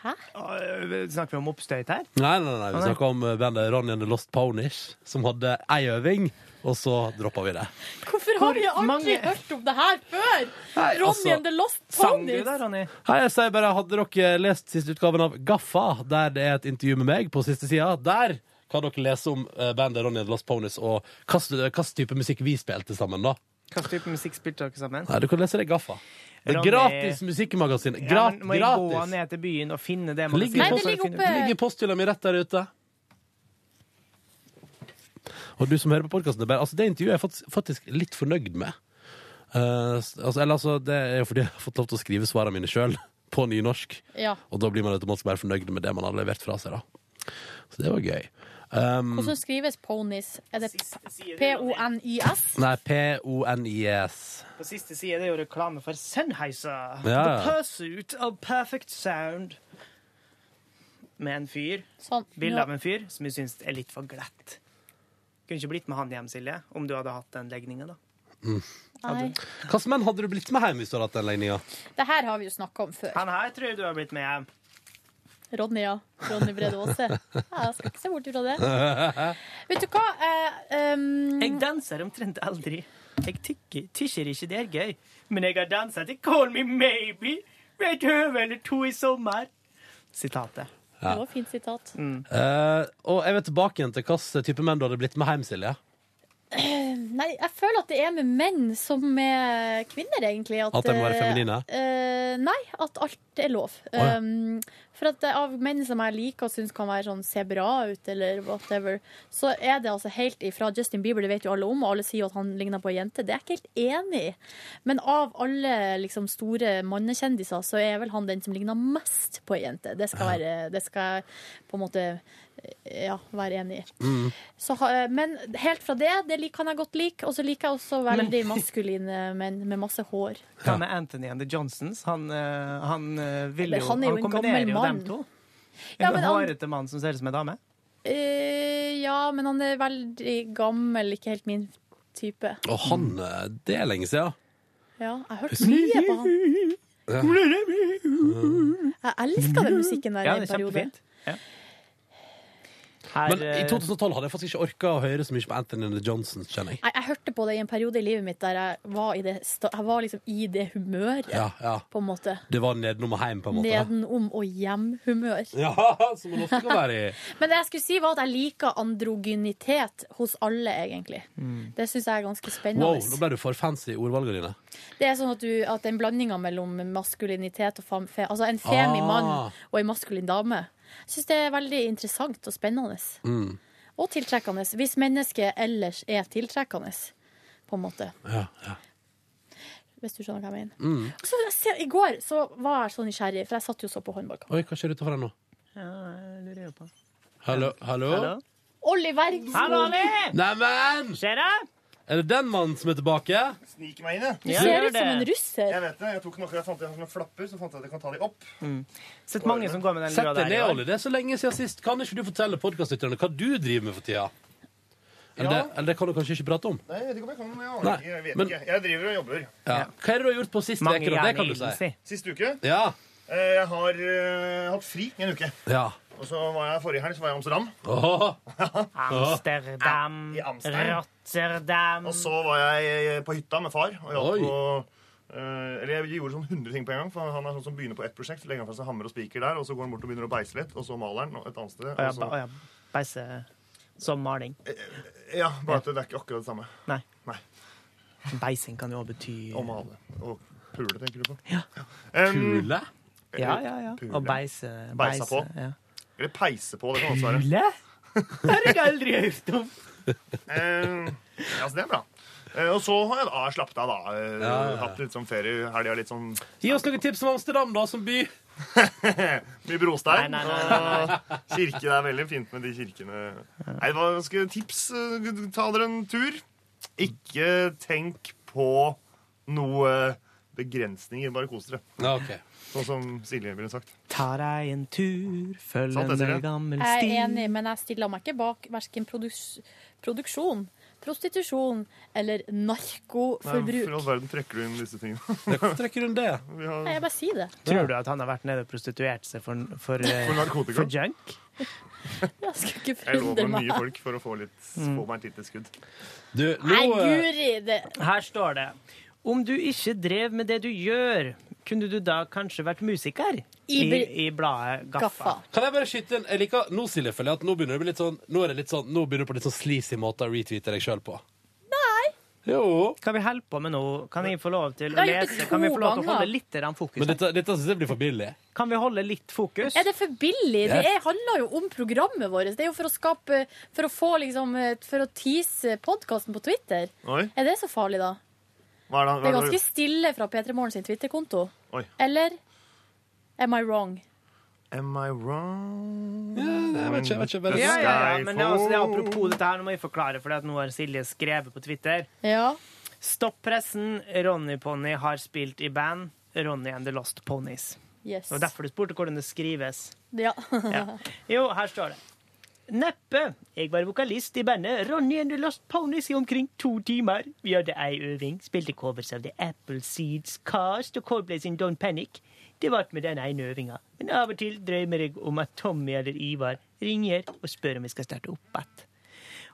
B: Øh, Snakker vi om oppstøyt her?
A: Nei, nei, nei, vi
B: Å, nei.
A: snakker om eh, bandet Ronny and the Lost Ponies, som hadde ei øving, og så droppa vi det.
C: Hvorfor har vi aldri
B: mange-
C: hørt om det her før?
A: Nei,
C: Ronny
A: altså-
C: and the Lost
B: Sang du
C: Ponies.
B: der, Ronny?
A: Hei, jeg sier bare, Hadde dere lest siste utgaven av Gaffa, der det er et intervju med meg på siste sida, der kan dere lese om eh, bandet Ronny and the Lost Ponies og hva slags type musikk vi spilte sammen, da.
B: Hva slags type musikk spilte dere sammen?
A: Nei, du kan lese det i Gaffa. Det er
B: Ronny-
A: gratis musikkmagasin.
B: Ja,
A: Grat,
B: men må jeg gå
A: gratis!
B: ned til byen og finne det?
A: Ligger
B: magasinet?
A: i post- ligger i posthylla mi rett der ute. Og du som hører på podkasten, det, er bare- altså, det intervjuet er jeg fakt- faktisk litt fornøyd med. Eh, s- altså, eller altså, det er jo fordi jeg har fått lov til å skrive svarene mine sjøl, på nynorsk.
C: Ja.
A: Og da blir man automatisk mer fornøyd med det man har levert fra seg, da. Så det var gøy. Um,
C: Hvordan skrives ponies? Er det P-O-N-I-S?
A: nei, P-O-N-I-S.
B: På siste side det er jo reklame for Sennheiser.
A: Ja.
B: The pursuit of perfect sound. Med en fyr.
C: Sånn.
B: Bilde
C: Nå-
B: av en fyr som jeg syns er litt for glatt. Kunne ikke blitt med han hjem, Silje, om du hadde hatt den legninga, da.
C: Nei.
A: Hvilke menn hadde du blitt med hjem hvis du hadde hatt den legninga?
C: Det her har vi jo snakka om før.
B: Han her tror jeg du har blitt med hjem.
C: Ronny, ja. Ronny Brede Aase. Ja, jeg skal ikke se bort fra det. Vet du hva? Eh, um,
B: Jeg danser omtrent aldri. Jeg tykker, tykker ikke det er gøy. Men jeg har dansa til Call Me Maybe ved et høve eller to i sommer. Sitatet.
C: Det var et fint sitat.
A: Eh, og jeg vil tilbake igjen til hvilken type menn du hadde blitt med hjem, Silje.
C: Nei, jeg føler at det er med menn som med kvinner, egentlig.
A: At de må være
C: eh,
A: feminine?
C: eh, nei, at alt er lov.
A: ja.
C: Um, for at det, av menn som jeg liker og syns kan være sånn se bra ut, eller whatever, så er det altså helt ifra Justin Bieber, det vet jo alle om, og alle sier jo at han ligner på ei jente. Det er jeg ikke helt enig i. Men av alle liksom, store mannekjendiser, så er vel han den som ligner mest på ei jente. Det skal, være, det skal jeg på en måte eh, ja, være enig i. Så, ha- eh, men helt fra det, det lik- kan jeg godt like. Og så liker jeg også veldig maskuline menn med masse hår.
B: Hva med Anthony and the Johnsons? Han, eh, han eh, vil
C: Men
B: jo
C: han er jo en gammel
B: kombinerer jo
C: mann.
B: dem to. En
C: Ja, men han-
B: hårete mann som ser ut som en dame.
C: Eh, ja, men han er veldig gammel, ikke helt min type.
A: Og han eh, Det er lenge siden.
C: Ja, jeg har hørt mye på han. Mm. Jeg elska den musikken der
B: Ja,
C: i
B: det
C: en
B: er
C: periode.
B: kjempefint. Ja. Her, eh,
A: Men i 2012 hadde jeg faktisk ikke orka å høre så mye på Anthony and the Johnson, kjenner jeg.
C: Nei, jeg hørte på det i en periode i livet mitt der jeg var, i det, sta- jeg var liksom i det humøret,
A: Ja, ja.
C: på en måte.
A: Det var nedenom og hjem, på en måte.
C: Nedenom og hjem-humør.
A: Ja, som man ofte kan være i.
C: Men det jeg skulle si var at jeg liker androgynitet hos alle, egentlig. Det syns jeg er ganske spennende.
A: Mm. Wow, nå ble du for fancy i ordvalgene dine.
C: Det er sånn at, du, at den blandinga mellom maskulinitet og fam, fe, Altså en femi
A: Ah.
C: mann og en maskulin dame. Jeg syns det er veldig interessant og spennende.
A: Mm.
C: Og tiltrekkende. Hvis mennesket ellers er tiltrekkende, på en måte.
A: Ja, ja.
C: Hvis du skjønner hva jeg mener.
A: Mm.
C: Og Så, jeg ser, I går så var jeg så nysgjerrig, for jeg satt jo og så på håndballkamp.
A: Oi, hva skjer utenfor her nå?
B: Ja, jeg lurer jo på.
A: Hallo? hallo?
B: Hallo?
C: Olli
B: Hallo,
C: Bergsvåg!
B: Ali!
A: Neimen!
B: Skjer det?
A: Er det den mannen som er tilbake?
G: Sniker meg inn, jeg.
C: Du
B: Ja,
C: ser
B: gjør
C: ut som en
B: det.
C: russer.
G: Jeg vet det. Jeg tok den akkurat samtidig som jeg flapper, så fant jeg at jeg kan ta de opp.
B: Sett mange som går med den
A: Sett
B: lua
A: deg
B: der.
A: ned,
B: i år.
A: Olli. Det er så lenge siden sist. Kan ikke du fortelle podkastlytterne hva du driver med for tida? Eller,
G: Ja.
A: det, eller det kan du kanskje ikke prate om?
G: Nei, jeg vet ikke om jeg kan men jeg
A: Nei,
G: aner ikke. Jeg vet
A: men-
G: ikke. Jeg driver og jobber.
A: Ja. Hva er det du har gjort på siste
B: Mange
A: uke? da? Det kan du
B: gjerne
A: si.
B: si.
G: Sist uke
A: Ja.
G: eh, jeg har eh, hatt fri en uke.
A: ja.
G: Og så var jeg forrige helg så var jeg i Amsterdam.
A: Åh.
B: Amsterdam,
G: I Amsterdam.
B: Rotterdam
G: Og så var jeg eh, på hytta med far. Og
A: Oi.
G: jeg, på, eh, eller jeg gjorde sånn 100 ting på en gang. For han er sånn som begynner på ett prosjekt, så legger han fra seg hammer og spiker der, og så går han bort og begynner å beise litt, og så maler han og et annet sted.
B: Å ja,
G: Og så,
B: ba- å ja, beise som maling.
G: Ja, bare at det er ikke akkurat det samme.
B: Nei.
G: Nei.
B: Beising kan jo også bety
G: Å male. Og pule, tenker du på?
B: Ja.
G: Em,
B: Pule? Ja, ja, ja.
G: Pule.
B: Og beise.
G: Beisa på.
B: Ja.
G: Eller peise på, det kan også være.
B: Pule? Har jeg aldri hørt om.
G: Eh, ja, så det er bra. Eh, og så har jeg da slappet av, da. Eh,
A: Ja, ja, ja.
G: Hatt litt sånn ferie i helga, litt sånn
A: Gi oss noen tips om Amsterdam, da, som by.
G: Mye brostein.
A: Nei, nei, nei, nei, nei.
G: Og kirke. Det er veldig fint med de kirkene. Nei, det var ganske tips. eh, Ta dere en tur. Ikke tenk på noe begrensninger. Bare kos dere. Sånn som Silje ville sagt.
B: Ta deg en tur, følg
G: Sant, Sånn,
B: en
G: det, Silje?
B: gammel
C: Jeg
B: sti.
C: er enig, men jeg stiller meg ikke bak verken produs produksjon, prostitusjon eller
G: Nei,
C: narkoforbruk.
G: Eh, For all verden trekker du inn disse tingene.
A: Hvorfor trekker du inn det?
C: Nei, jeg bare sier det.
B: Tror du at han har vært nede og prostituert seg for, for, eh,
G: For narkotika?
B: For junk?
C: Jeg skal ikke
G: Jeg
C: forundre
G: lover mye
C: meg.
G: folk for å få, litt, få meg et lite skudd.
B: Nei,
C: Nei,
A: eh,
C: guri! Det.
B: Her står det Om du ikke drev med det du gjør, kunne du da kanskje vært musiker? I,
A: I-
B: i bladet Gaffa.
A: Kan jeg bare skyte inn? Jeg liker, nå Silje, føler jeg at nå begynner det å bli litt sånn Nå er det litt sånn, nå begynner du på litt sånn sleazy måte å retweete deg sjøl på. Jo.
B: Kan vi holde på med noe? Kan jeg få lov til
C: Jeg
B: å
C: har gjort det
B: lese? Kan vi
C: to
B: få lov til å
C: ganger.
B: holde litt grann fokus?
A: Men dette, dette syns jeg blir for billig.
B: Kan vi holde litt fokus?
C: Er det for billig? Det
A: Ja.
C: er, handler jo om programmet vårt. Det er jo for å skape For å få liksom For å tease podkasten på Twitter.
G: Oi.
C: Er det så farlig, da?
G: Hva er det,
C: Det er
G: hva er
C: ganske
G: det?
C: stille fra P3 Morgen sin Twitter-konto.
G: Oi.
C: Eller am I wrong?
G: Am I wrong?
A: jeg vet ikke, jeg vet ikke, bare-
B: Ja, ja, ja. Men det er, altså, det er apropos dette her, nå må jeg forklare, for nå har Silje skrevet på Twitter.
C: Ja.
B: Stopp pressen. Ronny Pony har spilt i band Ronny and the Lost Ponies.
C: Yes.
B: Det var derfor du spurte hvordan det skrives.
C: Ja.
B: Jo, her står det. Neppe. Jeg var vokalist i bandet Ronny and the Lost Ponies i omkring to timer. Vi hadde ei øving, spilte covers av The Appleseeds, Cast og Coldplay sin Don't Panic. Det vart med den ene øvinga. Men av og til drømmer jeg om at Tommy eller Ivar ringer og spør om vi skal starte opp igjen.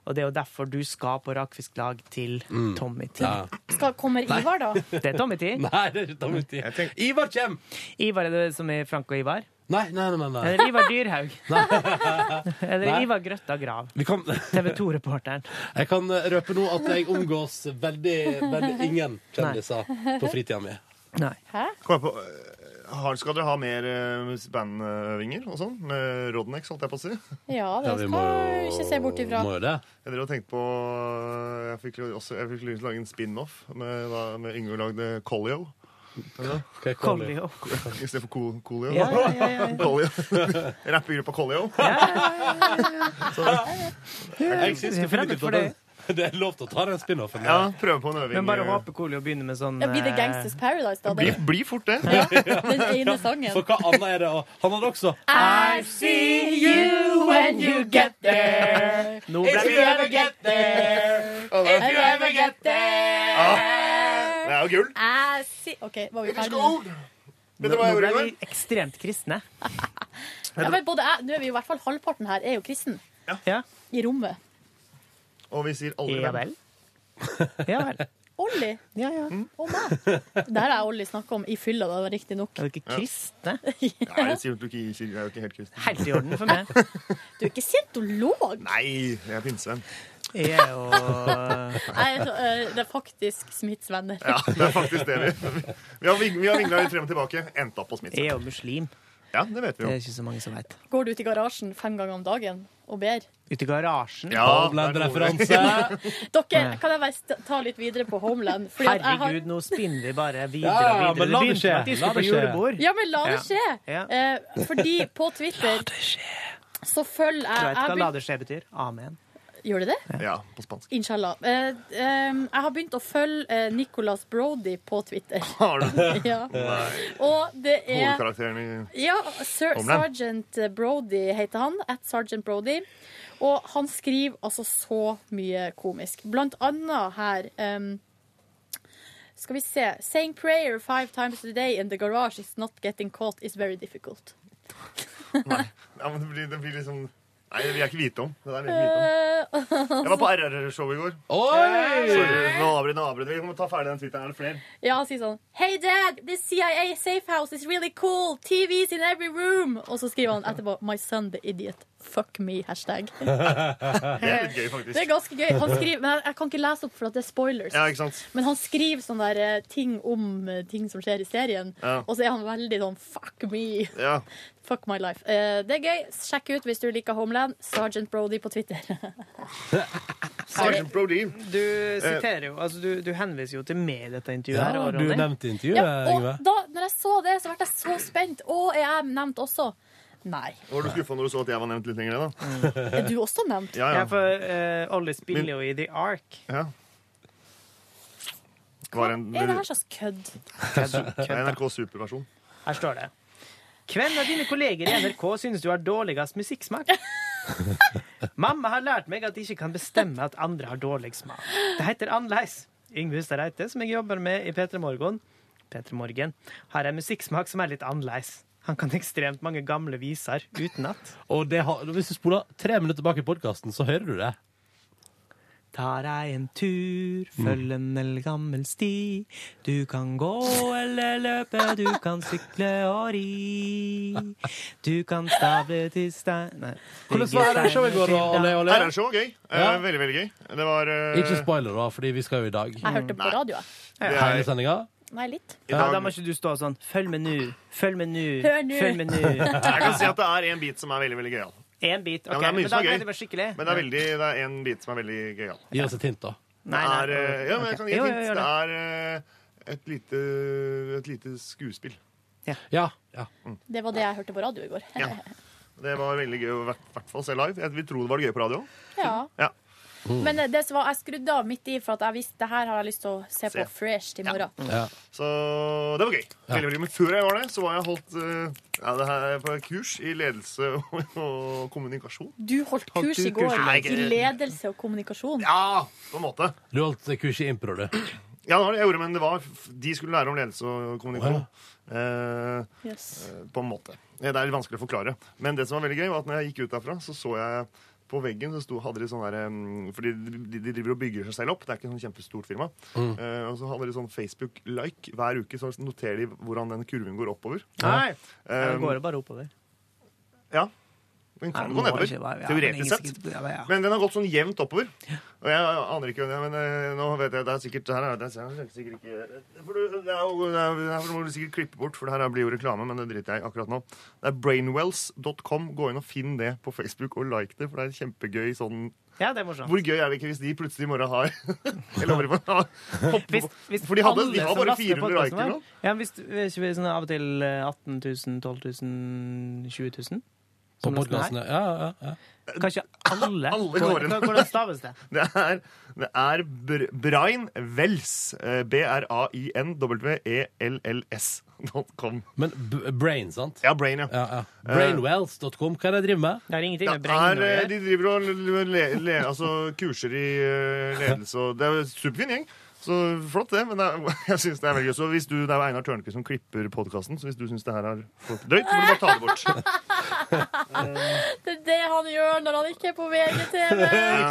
B: Og det er jo derfor du skal på Rakfisklag til Tommy T.
C: Skal, kommer Ivar, da?
B: Det er Tommy T.
A: Mm. Nei, det er ikke Tommy T. Ivar kjem!
B: Ivar er det som er Frank og Ivar?
A: Nei, nei, nei. nei,
B: Eller Ivar Dyrhaug? Eller
A: Nei.
B: Ivar Grøtta Grav?
A: Vi kan,
B: TV 2-reporteren.
A: jeg kan eh, røpe nå at jeg omgås veldig, veldig ingen kjendiser på fritida mi.
G: Kom jeg på, eh, har, skal dere ha mer eh, bandøvinger og sånn? Med Rodnex, holdt jeg på å si.
C: Ja, det skal vi ikke se bort ifra.
G: Jeg drev og tenkte på eh, Jeg fikk, jo også, jeg fikk lyst til å lage en spin-off med, da, med Yngve lagde Collio.
A: Hva er Collio?
G: I stedet for Cool Colio.
A: Ja, ja, ja, ja, ja.
G: Collio. Rappegruppa Collio.
A: Jeg syns det, det er lov til å ta den spin-offen.
G: Ja, prøve på en øving.
B: Men bare håper Kolio begynner med sånn
C: Ja, blir det
B: eh,
C: Gangsters Paradise, da?
G: Blir bli fort det.
C: Den ene sangen.
A: For hva annet er det? å- Han hadde også
C: I see you when you get there.
A: Nå
C: If you ever get there. If you ever get there.
G: Det er jo gull.
C: Ah. I see OK, var vi ferdige?
B: Nå
G: Vet dere hva
B: nå
G: jeg gjorde
B: ble
G: i går?
B: vi ekstremt kristne.
C: Ja, men både jeg, nå er vi i hvert fall halvparten her, er jo kristen.
B: Ja.
C: I rommet.
G: Og vi sier aldri
B: Ja
G: hvem.
B: Ja vel.
C: Olli.
B: Ja, ja.
G: Mm.
C: Og meg. Det her har jeg Olli snakka om i fylla, da, riktignok.
B: Er dere kristne?
G: Nei, jeg sier jo ikke i kirke. Jeg er jo ikke helt kristen.
B: Helt i orden for meg.
C: Du er ikke scientolog!
G: Nei, jeg er pinsevenn.
B: Jeg er jo
C: Jeg er så, eh, det er faktisk Smiths venner.
G: Ja, det er faktisk det vi Vi har, ving- vi har vingla litt frem og tilbake. Endte opp på Smith.
B: jeg er jo muslim.
G: Ja, det vet
B: Det
G: vi
B: er
A: Eh,
G: jo.
B: ikke så mange som veit.
C: Går du ut i garasjen fem ganger om dagen og ber?
B: Ute i garasjen.
G: Ja,
A: Homeland-referanse.
C: Dere, kan jeg bare st- ta litt videre på Homeland? Fordi at jeg har-
B: Herregud, nå spinner vi bare videre
A: Ja, ja,
B: og videre.
A: men la det
B: Det begynte med at de
A: skje. La
B: skulle på
A: det skje.
B: julebord.
C: Ja, men la det skje.
B: Ja.
C: Eh, fordi på Twitter så følger jeg,
B: Du vet
C: jeg
B: hva la
C: begyn-
B: det skje betyr? Amen.
C: Gjør det det?
G: Ja, på spansk.
C: Inshallah. Eh, eh, jeg har begynt å følge eh, Nicholas Brody på Twitter.
G: Har du
C: ja. Og det er
G: hovedkarakteren i
C: ja, Sir,
G: Homeland.
C: Sergeant Brody heter han. At Sergeant Brody. Og han skriver altså så mye komisk. Blant annet her ehm, Skal vi se. Saying prayer five times a day in the garage is not getting caught is very difficult.
G: Ja, men det blir, det blir liksom Nei, det vil jeg ikke vite om. Det der vil jeg ikke vite om.
C: Eh,
G: Jeg var på RR-show i går.
A: Oi!
G: Sorry, nå avbryter nå avbryter vi. Vi må ta ferdig den tweeten. Er det flere?
C: Ja, han sier sånn Hey dad, this CIA safe house is really cool. TVs in every room. Og så skriver han etterpå My son the idiot. Fuck me. Hashtag.
G: Det er litt gøy, faktisk.
C: Det er ganske gøy. Han skriver, men jeg, jeg kan ikke lese opp for at det er spoilers.
G: Ja, ikke sant?
C: Men han skriver sånne der, eh, ting om eh, ting som skjer i serien,
G: Ja.
C: og så er han veldig sånn fuck me.
G: Ja.
C: Fuck my life. Eh, det er gøy. Sjekk ut hvis du liker Homeland. Sergeant Brody på Twitter.
G: Sergeant Brody.
B: Du
A: Eh.
B: siterer jo, altså du, du henviser jo til meg i dette intervjuet.
A: Ja,
B: her, og
A: du
B: Ronny.
A: nevnte intervjuet,
C: ja, og da når jeg så det, så ble jeg så spent. Å, er jeg nevnt også? Nei.
G: Var du skuffa når du så at jeg var nevnt litt lenger ned, da?
C: Er du også nevnt?
G: Ja, ja.
B: for eh, Olli spiller jo i The Ark.
G: Ja. Var en,
C: Er det her slags kødd?
G: NRK Superversjon.
B: Her står det. Hvem av dine kolleger i NRK synes du har dårligst musikksmak? Mamma har lært meg at de ikke kan bestemme at andre har dårlig smak. Det heter annerledes. Yngve Hustad Reite, som jeg jobber med i P3 Morgen, Peter Morgen, har en musikksmak som er litt annerledes. Han kan ekstremt mange gamle viser utenat.
A: Og det har, hvis du spoler tre minutter bak i podkasten, så hører du det.
B: Tar deg en tur,
A: Mm.
B: følg en eller gammel sti. Du kan gå eller løpe, du kan sykle og ri. Du kan stable til stein Nei.
A: Hvordan var
B: Ligge
A: RR-showet i går, da,
B: stein
A: Olli?
B: til stein.
A: Olli?
G: RR-show, gøy. Eh,
A: Ja.
G: Veldig, veldig gøy. Det var eh,
A: Ikke spoiler, da, fordi vi skal jo i dag.
C: Jeg hørte på
G: Nei.
C: radio, jeg.
G: det er-
A: Hele sendinga.
C: Nei, litt.
G: I dag-
B: Ja, da må ikke du stå sånn Følg med nå, følg med nå,
C: Hør nå.
B: følg med nå.
G: Jeg kan si at det er en bit som er veldig veldig gøyal.
B: Én bit.
G: Ja,
B: ok,
G: men det er mye
B: men da
G: som er
B: gleder
G: gøy.
B: jeg meg skikkelig.
G: Men det er, veldig, det er en bit som er veldig gøyal.
A: Gi oss et hint, da.
B: Nei,
G: Det
B: nei,
G: er, eh, ja, men jeg
B: ok.
G: kan gi
B: Jo,
G: et
B: jo,
G: hint.
B: gjør
G: Det
B: det.
G: er eh, et lite, et lite skuespill.
A: Ja. ja.
C: Det var det jeg hørte på radio i går.
G: Ja. Det var veldig gøy, i hvert hvert fall se live. Jeg vil tro det var det gøy på radio.
C: Ja.
G: Ja.
C: Men eh, det som var, jeg skrudde av midt i, for at jeg visste det her har jeg lyst til å se på
G: Se.
C: fresh til morgen.
A: ja.
G: Så det var gøy. Veldig, veldig. Men før jeg var det, så var jeg holdt eh, ja, det her er på kurs i ledelse og, og kommunikasjon.
C: Du holdt
G: Holdt
C: kurs
G: du
C: i går
G: kurs i dag?
C: i ledelse og kommunikasjon.
G: Ja, på en måte.
A: Du holdt kurs i impro, du.
G: Ja, det var det jeg gjorde, men det var, de skulle lære om ledelse og kommunikasjon. Eh,
C: Yes.
G: Eh, på en måte. Eh, Det er litt vanskelig å forklare. Men det som var veldig gøy, var at når jeg gikk ut derfra, så så jeg på veggen så sto, hadde de sånn der em, Fordi de, de driver og bygger seg selv opp. Det er ikke sånn kjempestort firma. Eh, og så hadde de sånn Facebook-like hver uke. Så noterer de hvordan den kurven går oppover.
B: Nei,
G: Eh,
B: det går jo bare oppover.
G: ja.
B: Nei,
G: Den kan
B: den
G: gå
B: må
G: nedover.
B: ikke være- ja, men
G: teoretisk
B: ingen
G: sett.
B: sikkert- ja, ja.
G: Men den har gått sånn jevnt oppover. Og jeg aner ikke hvem det er, men eh, nå vet jeg Det er sikkert Det her er det er sikkert ikke det får du- Det er jo- det er- det her må du sikkert klippe bort, for det her blir jo reklame, men det driter jeg i akkurat nå. Det er brainwells.com. Gå inn og finn det på Facebook og like det, for det er kjempegøy sånn
B: Ja, det er morsomt.
G: Hvor gøy er det ikke hvis de plutselig i morgen har Eller over i morgen har hoppet
B: Hvis-
G: på-
B: hvis
G: For de, hadde,
B: alle
G: de har
B: som
G: bare
B: laster
G: 400
B: podcasten
G: like eller
B: vår-
G: noe.
B: Ja, hvis hvis vi sånn av og til eh, 18 000, 12 000, 20 000
A: På
B: som laster den her.
A: podkasten. Ja, ja, ja.
B: Kanskje alle,
G: Alle går inn.
B: Hvordan- Hvordan staves det?
G: Det er, det er Br- Brain Wells. eh, E B-r-a-i-n-w-e-l-l-s.com.
A: Men b brain, sant?
G: Ja, Brain, ja.
A: Ja, ja. Brainwells.com, hva er det jeg driver med?
B: Det har ingenting med
G: Det er,
B: brenning å
G: eh,
B: gjøre.
G: de driver og le, le, le, altså, kurser i eh, ledelse og Det er jo en superfin gjeng. Så flott, det. Men det er, jeg synes det er veldig gøy. Så hvis du, det er jo Einar Tørnquist som klipper podkasten, så hvis du syns det her er for drøyt, må du bare ta det bort.
C: Det er det han gjør når han ikke er på
G: Eh.
C: VGTV.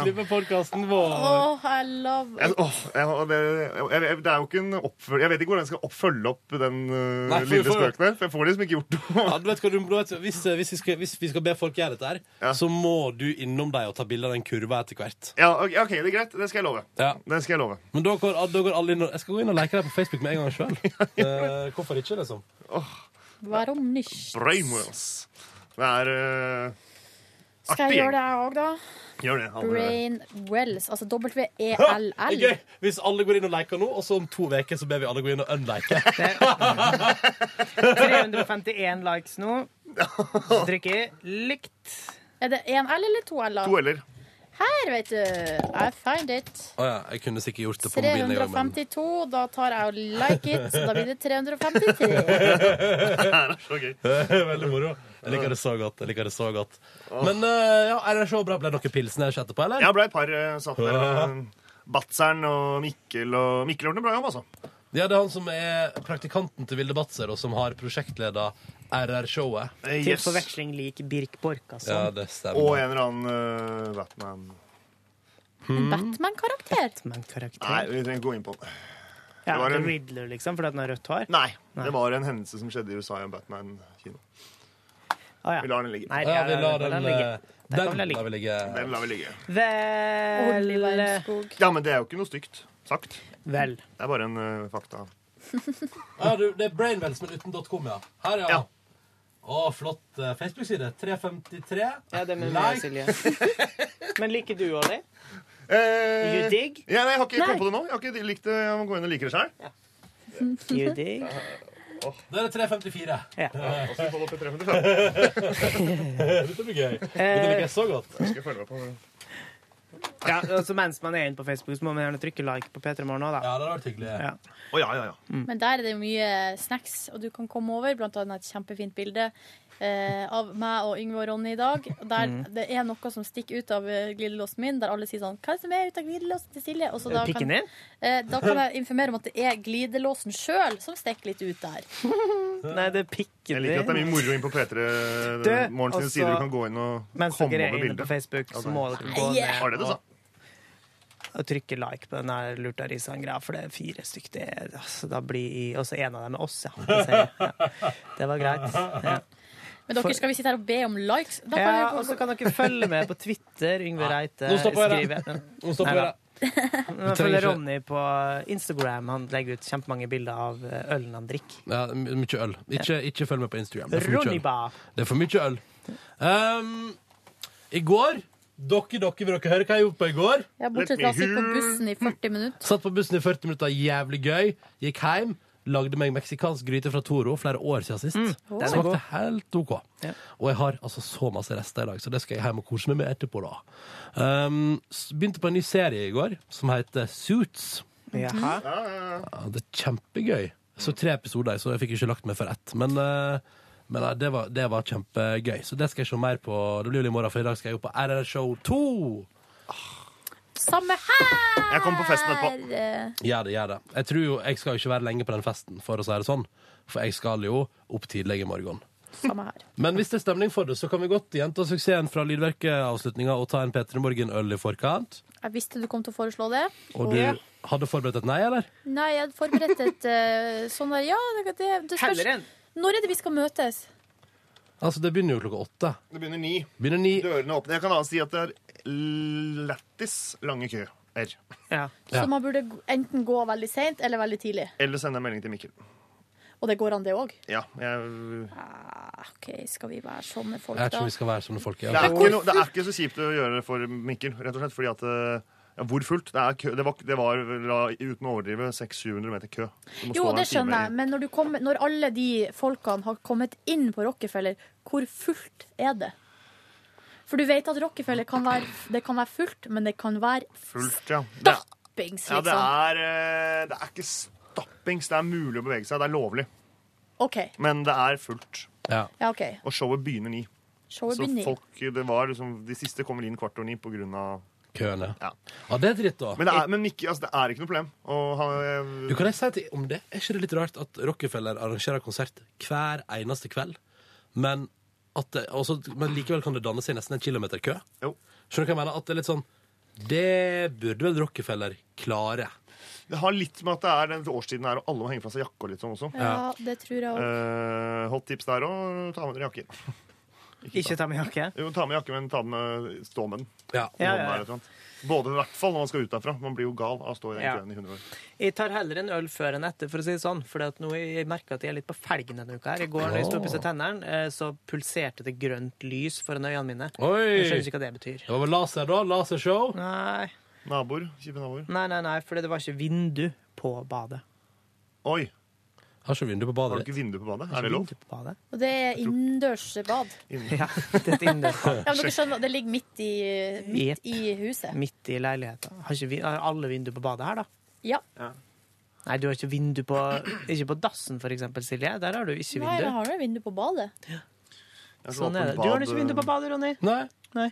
A: Klipper podkasten vår.
C: Åh, I love
G: Jeg, åh, jeg, og det, jeg, jeg, det er jo ikke en oppfølge Jeg vet ikke hvordan jeg skal oppfølge opp den eh,
A: Nei, for du
G: lille
A: får jo-
G: spøken der. For jeg får liksom ikke gjort noe.
A: Ja, du vet hva du, du vet, hvis, eh, hvis, vi skal, hvis vi skal be folk gjøre dette, her
G: Ja.
A: så må du innom deg og ta bilde av den kurva etter hvert.
G: Ja, ok, ok, det er greit. Det skal jeg love.
A: Ja.
G: Det skal jeg love.
A: Men da går, da går alle inn og, Jeg skal gå inn og like deg på Facebook med en gang sjøl. Eh, hvorfor ikke, liksom?
C: Varom nicht.
G: Brainwells. Det er eh,
C: Skal jeg
G: artig gjeng.
C: gjøre det her òg, da?
G: Gjør det. Hanne.
A: eh,
C: Brain Wells, altså
A: Ha, det er
C: W-E-L-L.
A: gøy. Hvis alle går inn og liker nå, og så om to uker så ber vi alle gå inn og unlike.
B: 351 likes nå. Så trykker jeg likt.
C: Er det én L eller to L-er?
G: To eller.
C: Her, vet du. I find it.
A: Å ja, jeg kunne sikkert gjort det på mobilen. en gang, men-
C: 352. Da tar jeg og like it, så da blir det 353.
G: Så gøy.
A: Veldig moro. Jeg liker det så godt. jeg liker det så godt Men eh, ja, er det så bra? Ble det noe pilsners etterpå, eller?
G: Jeg ble et par eh, satt der. eh, Batzeren og Mikkel og Mikkel har gjort en bra jobb, altså.
A: Ja, det er han som er praktikanten til Vilde Batzer, og som har prosjektleda RR-showet.
G: Eh,
B: Til
G: yes.
B: forveksling lik Birk altså.
A: Ja,
B: Borkasson.
A: det
G: Og
A: stemmer.
G: en eller annen eh, Batman.
C: En Batman-karakter?
G: Nei, vi trenger ikke gå inn på den.
B: Ja,
G: Det var
B: ikke
G: en-
B: Riddler, liksom, fordi at den har rødt hår?
G: Nei. Det var en hendelse som skjedde i USA i en Batman-kino. Vi lar den ligge.
B: Nei, ja, Ja, vi ja, lar den- den ligge.
A: eh,
B: Den
G: Den
B: kan vi la ligge.
G: lar vi ligge.
B: Vel
G: Ja, men det er jo ikke noe stygt sagt.
B: Vel.
G: Det er bare en eh, fakta.
A: Ja, du, det er brainwells, men uten .com, ja. Her, ja. Å, flott eh, Facebook-side. 353.
B: Ja, det
A: mener
B: jeg, Men liker du Olli? You dig?
G: Eh, Ja, nei, jeg har ikke
B: Nei.
G: kommet på det nå. Jeg har ikke likt det. Jeg må gå inn og like det sjøl.
B: You dig?
A: Da er det 354.
B: Ja.
G: Og så får du opp i 355.
A: Dette blir gøy.
B: Dette liker jeg
A: så godt.
G: Jeg skal følge med på
B: Ja, altså Mens man er inne på Facebook, så må man gjerne trykke like på P3 Morgen òg, da.
A: Ja, det hadde vært hyggelig.
B: Ja.
G: Å, ja, ja, ja.
C: Men der er det jo mye snacks, og du kan komme over. Blant annet et kjempefint bilde eh, av meg og Yngve og Ronny i dag. Og Der
B: Mm.
C: det er noe som stikker ut av eh, glidelåsen min, der alle sier sånn Hva er det som er ute av glidelåsen til Silje? Og så da
B: Pikken
C: kan,
B: din?
C: eh, da kan jeg informere om at det er glidelåsen sjøl som stikker litt ut der.
B: Nei, det er pikken
G: Jeg liker at det er mye moro inn på P3
B: Du,
G: Morgen sine
B: også-
G: sider. Du kan gå inn og
B: Mens
G: komme
B: dere er
G: over
B: inne
G: bildet.
B: på Facebook,
G: Ja,
B: så
G: det-
B: må dere gå
G: Nei,
B: ned
G: Var det det du sa?
B: og trykke like på den der lurtarisan-greia, for det er fire stykk. Det er- altså, da blir Og så en av dem er oss, ja. Det, sier jeg. ja. det var greit. Ja.
C: Men dere
B: For-
C: skal vi sitte her og be om likes? Da kan
B: Ja,
C: vi-
B: og så kan dere følge med på Twitter. Yngve Reite
C: Nå stopper jeg det.
B: skriver
A: Nå stopper
B: Neida.
A: jeg
B: Men Jeg
A: trenger
B: følger
A: ikke-
B: Ronny på Instagram. Han legger ut kjempemange bilder av eh, ølen han drikker.
A: Ja, m- mye øl. Ikke, ikke følg med på Instagram. Det er for
B: Ronny
A: mye øl.
B: Ba.
A: Det er for mye øl. Um, I går Dere, dere, vil dere høre hva jeg gjorde på i går?
C: ja, bortsett fra å sitte på bussen i 40 minutter.
A: Satt på bussen i 40 minutter, jævlig gøy. Gikk hjem. Lagde meg meksikansk gryte fra Toro flere år siden sist.
B: den er god.
A: Smakte helt OK. Og jeg har altså så masse rester i dag, så det skal jeg hjem og kose meg med etterpå. da. Um, s- begynte på en ny serie i går som heter Suits.
B: Jaha.
A: Ja, det er kjempegøy. Så tre episoder, så jeg fikk ikke lagt meg for ett. Men, eh, men eh, det, var, det var kjempegøy. Så det skal jeg se mer på. Det blir vel i morgen, for i dag skal jeg jo på RR Show 2.
C: Samme her!
A: Jeg kommer på festen
C: Eh,
A: Gjør det, gjør det. Jeg tror jo, jeg skal jo ikke være lenge på den festen, for å si det sånn. For jeg skal jo opp tidlig i morgen.
C: Samme her.
A: Men hvis det er stemning for det, så kan vi godt gjenta suksessen fra lydverkeavslutninga og ta en P3 Morgen-øl i forkant.
C: Jeg visste du kom til å foreslå det.
A: Og du hadde forberedt et nei, eller?
C: Nei, jeg hadde forberedt et eh, sånn der Ja, det, det, det spørs
A: Heller en.
C: Når er det vi skal møtes?
A: Altså, det begynner jo klokka åtte.
G: Det begynner ni.
A: Begynner ni.
G: Dørene åpner. Jeg kan da si at det er lættis lange køer.
C: Så man burde g- enten gå veldig seint eller veldig tidlig.
G: Eller sende en melding til Mikkel.
C: Og det går an, det òg.
G: Ja, jeg...
C: OK, skal vi være sånne folk,
A: Jeg vet
C: da?
A: ikke om vi skal være sånne folk.
G: det, er ikke no, det er ikke så kjipt å gjøre det for Mikkel, rett og slett, fordi at eh, ja, hvor fullt? Det, er kø. det var, det var la, uten å overdrive 600-700 meter kø. Du
C: Jo,
G: må stå der
C: det
G: en time
C: skjønner jeg,
G: i-
C: men når, du kommer- når alle de folkene har kommet inn på Rockefeller, hvor fullt er det? For du vet at Rockefeller kan være, det kan være fullt, men det kan være
G: Fullt, ja. Det,
C: bings,
G: ja, det
C: liksom.
G: er, eh, det er ikke stappings. Det er mulig å bevege seg. Det er lovlig.
C: OK.
G: Men det er fullt.
C: Ja, ok.
G: Og showet begynner ni.
C: Showet
G: så
C: begynner ni.
G: folk, det var liksom, De siste kommer inn kvart over ni på grunn av
A: Køene.
G: Ja.
A: det er dritt, da.
G: Men, det er, men Mikkel, altså, det er ikke noe problem. eh, Og han,
A: Du, kan jeg si til, om det? Er ikke det litt rart at Rockefeller arrangerer konsert hver eneste kveld, men, at det, også, men likevel kan det danne seg nesten en kilometer kø? Skjønner du hva jeg mener? At det er litt sånn Det burde vel Rockefeller klare.
G: Det har litt med at det er den årstiden her, og alle må henge fra seg jakke og litt sånn også.
C: Ja, det tror jeg òg.
G: Eh, hot tips der òg. Ta med dere jakker.
B: Ikke ta med jakke?
G: Jo, ta med jakke, men ta med, stå med den.
A: Ja.
B: Ja, ja, ja.
G: Både i hvert fall når man skal ut derfra. Man blir jo gal av å stå i den
B: Ja.
G: køen i 100 år.
B: Jeg tar heller en øl før enn etter, for å si det sånn. For at nå jeg merker at jeg er litt på felgen denne uka. her. I går når jeg sto og pusset tennene, eh, så pulserte det grønt lys foran øynene mine.
A: Oi!
B: Jeg skjønner ikke hva det betyr.
A: Det var vel laser, da? Lasershow?
B: Nei.
G: Naboer? Kjipe naboer?
B: Nei, nei, nei, for det var ikke vindu på badet.
G: Oi!
A: Har ikke vindu på badet?
G: Har du ikke vindu på badet?
B: Ikke
G: Er det lov?
B: vindu på badet.
C: Og det er innendørs bad.
B: Ja, det er et innendørs-
C: Ja, men dere skjønner, det ligger midt i, midt
B: Jep.
C: i huset.
B: Midt i leiligheta. Har ikke vi, har alle vindu på badet her, da?
C: Ja.
B: Nei, du har ikke vindu på Ikke på dassen, for eksempel, Silje. Der har du ikke
C: Nei, jeg
B: vindu.
C: har jo vindu på badet.
B: Sånn er det. Du har ikke vindu på badet, Ronny.
A: Nei.
B: Nei.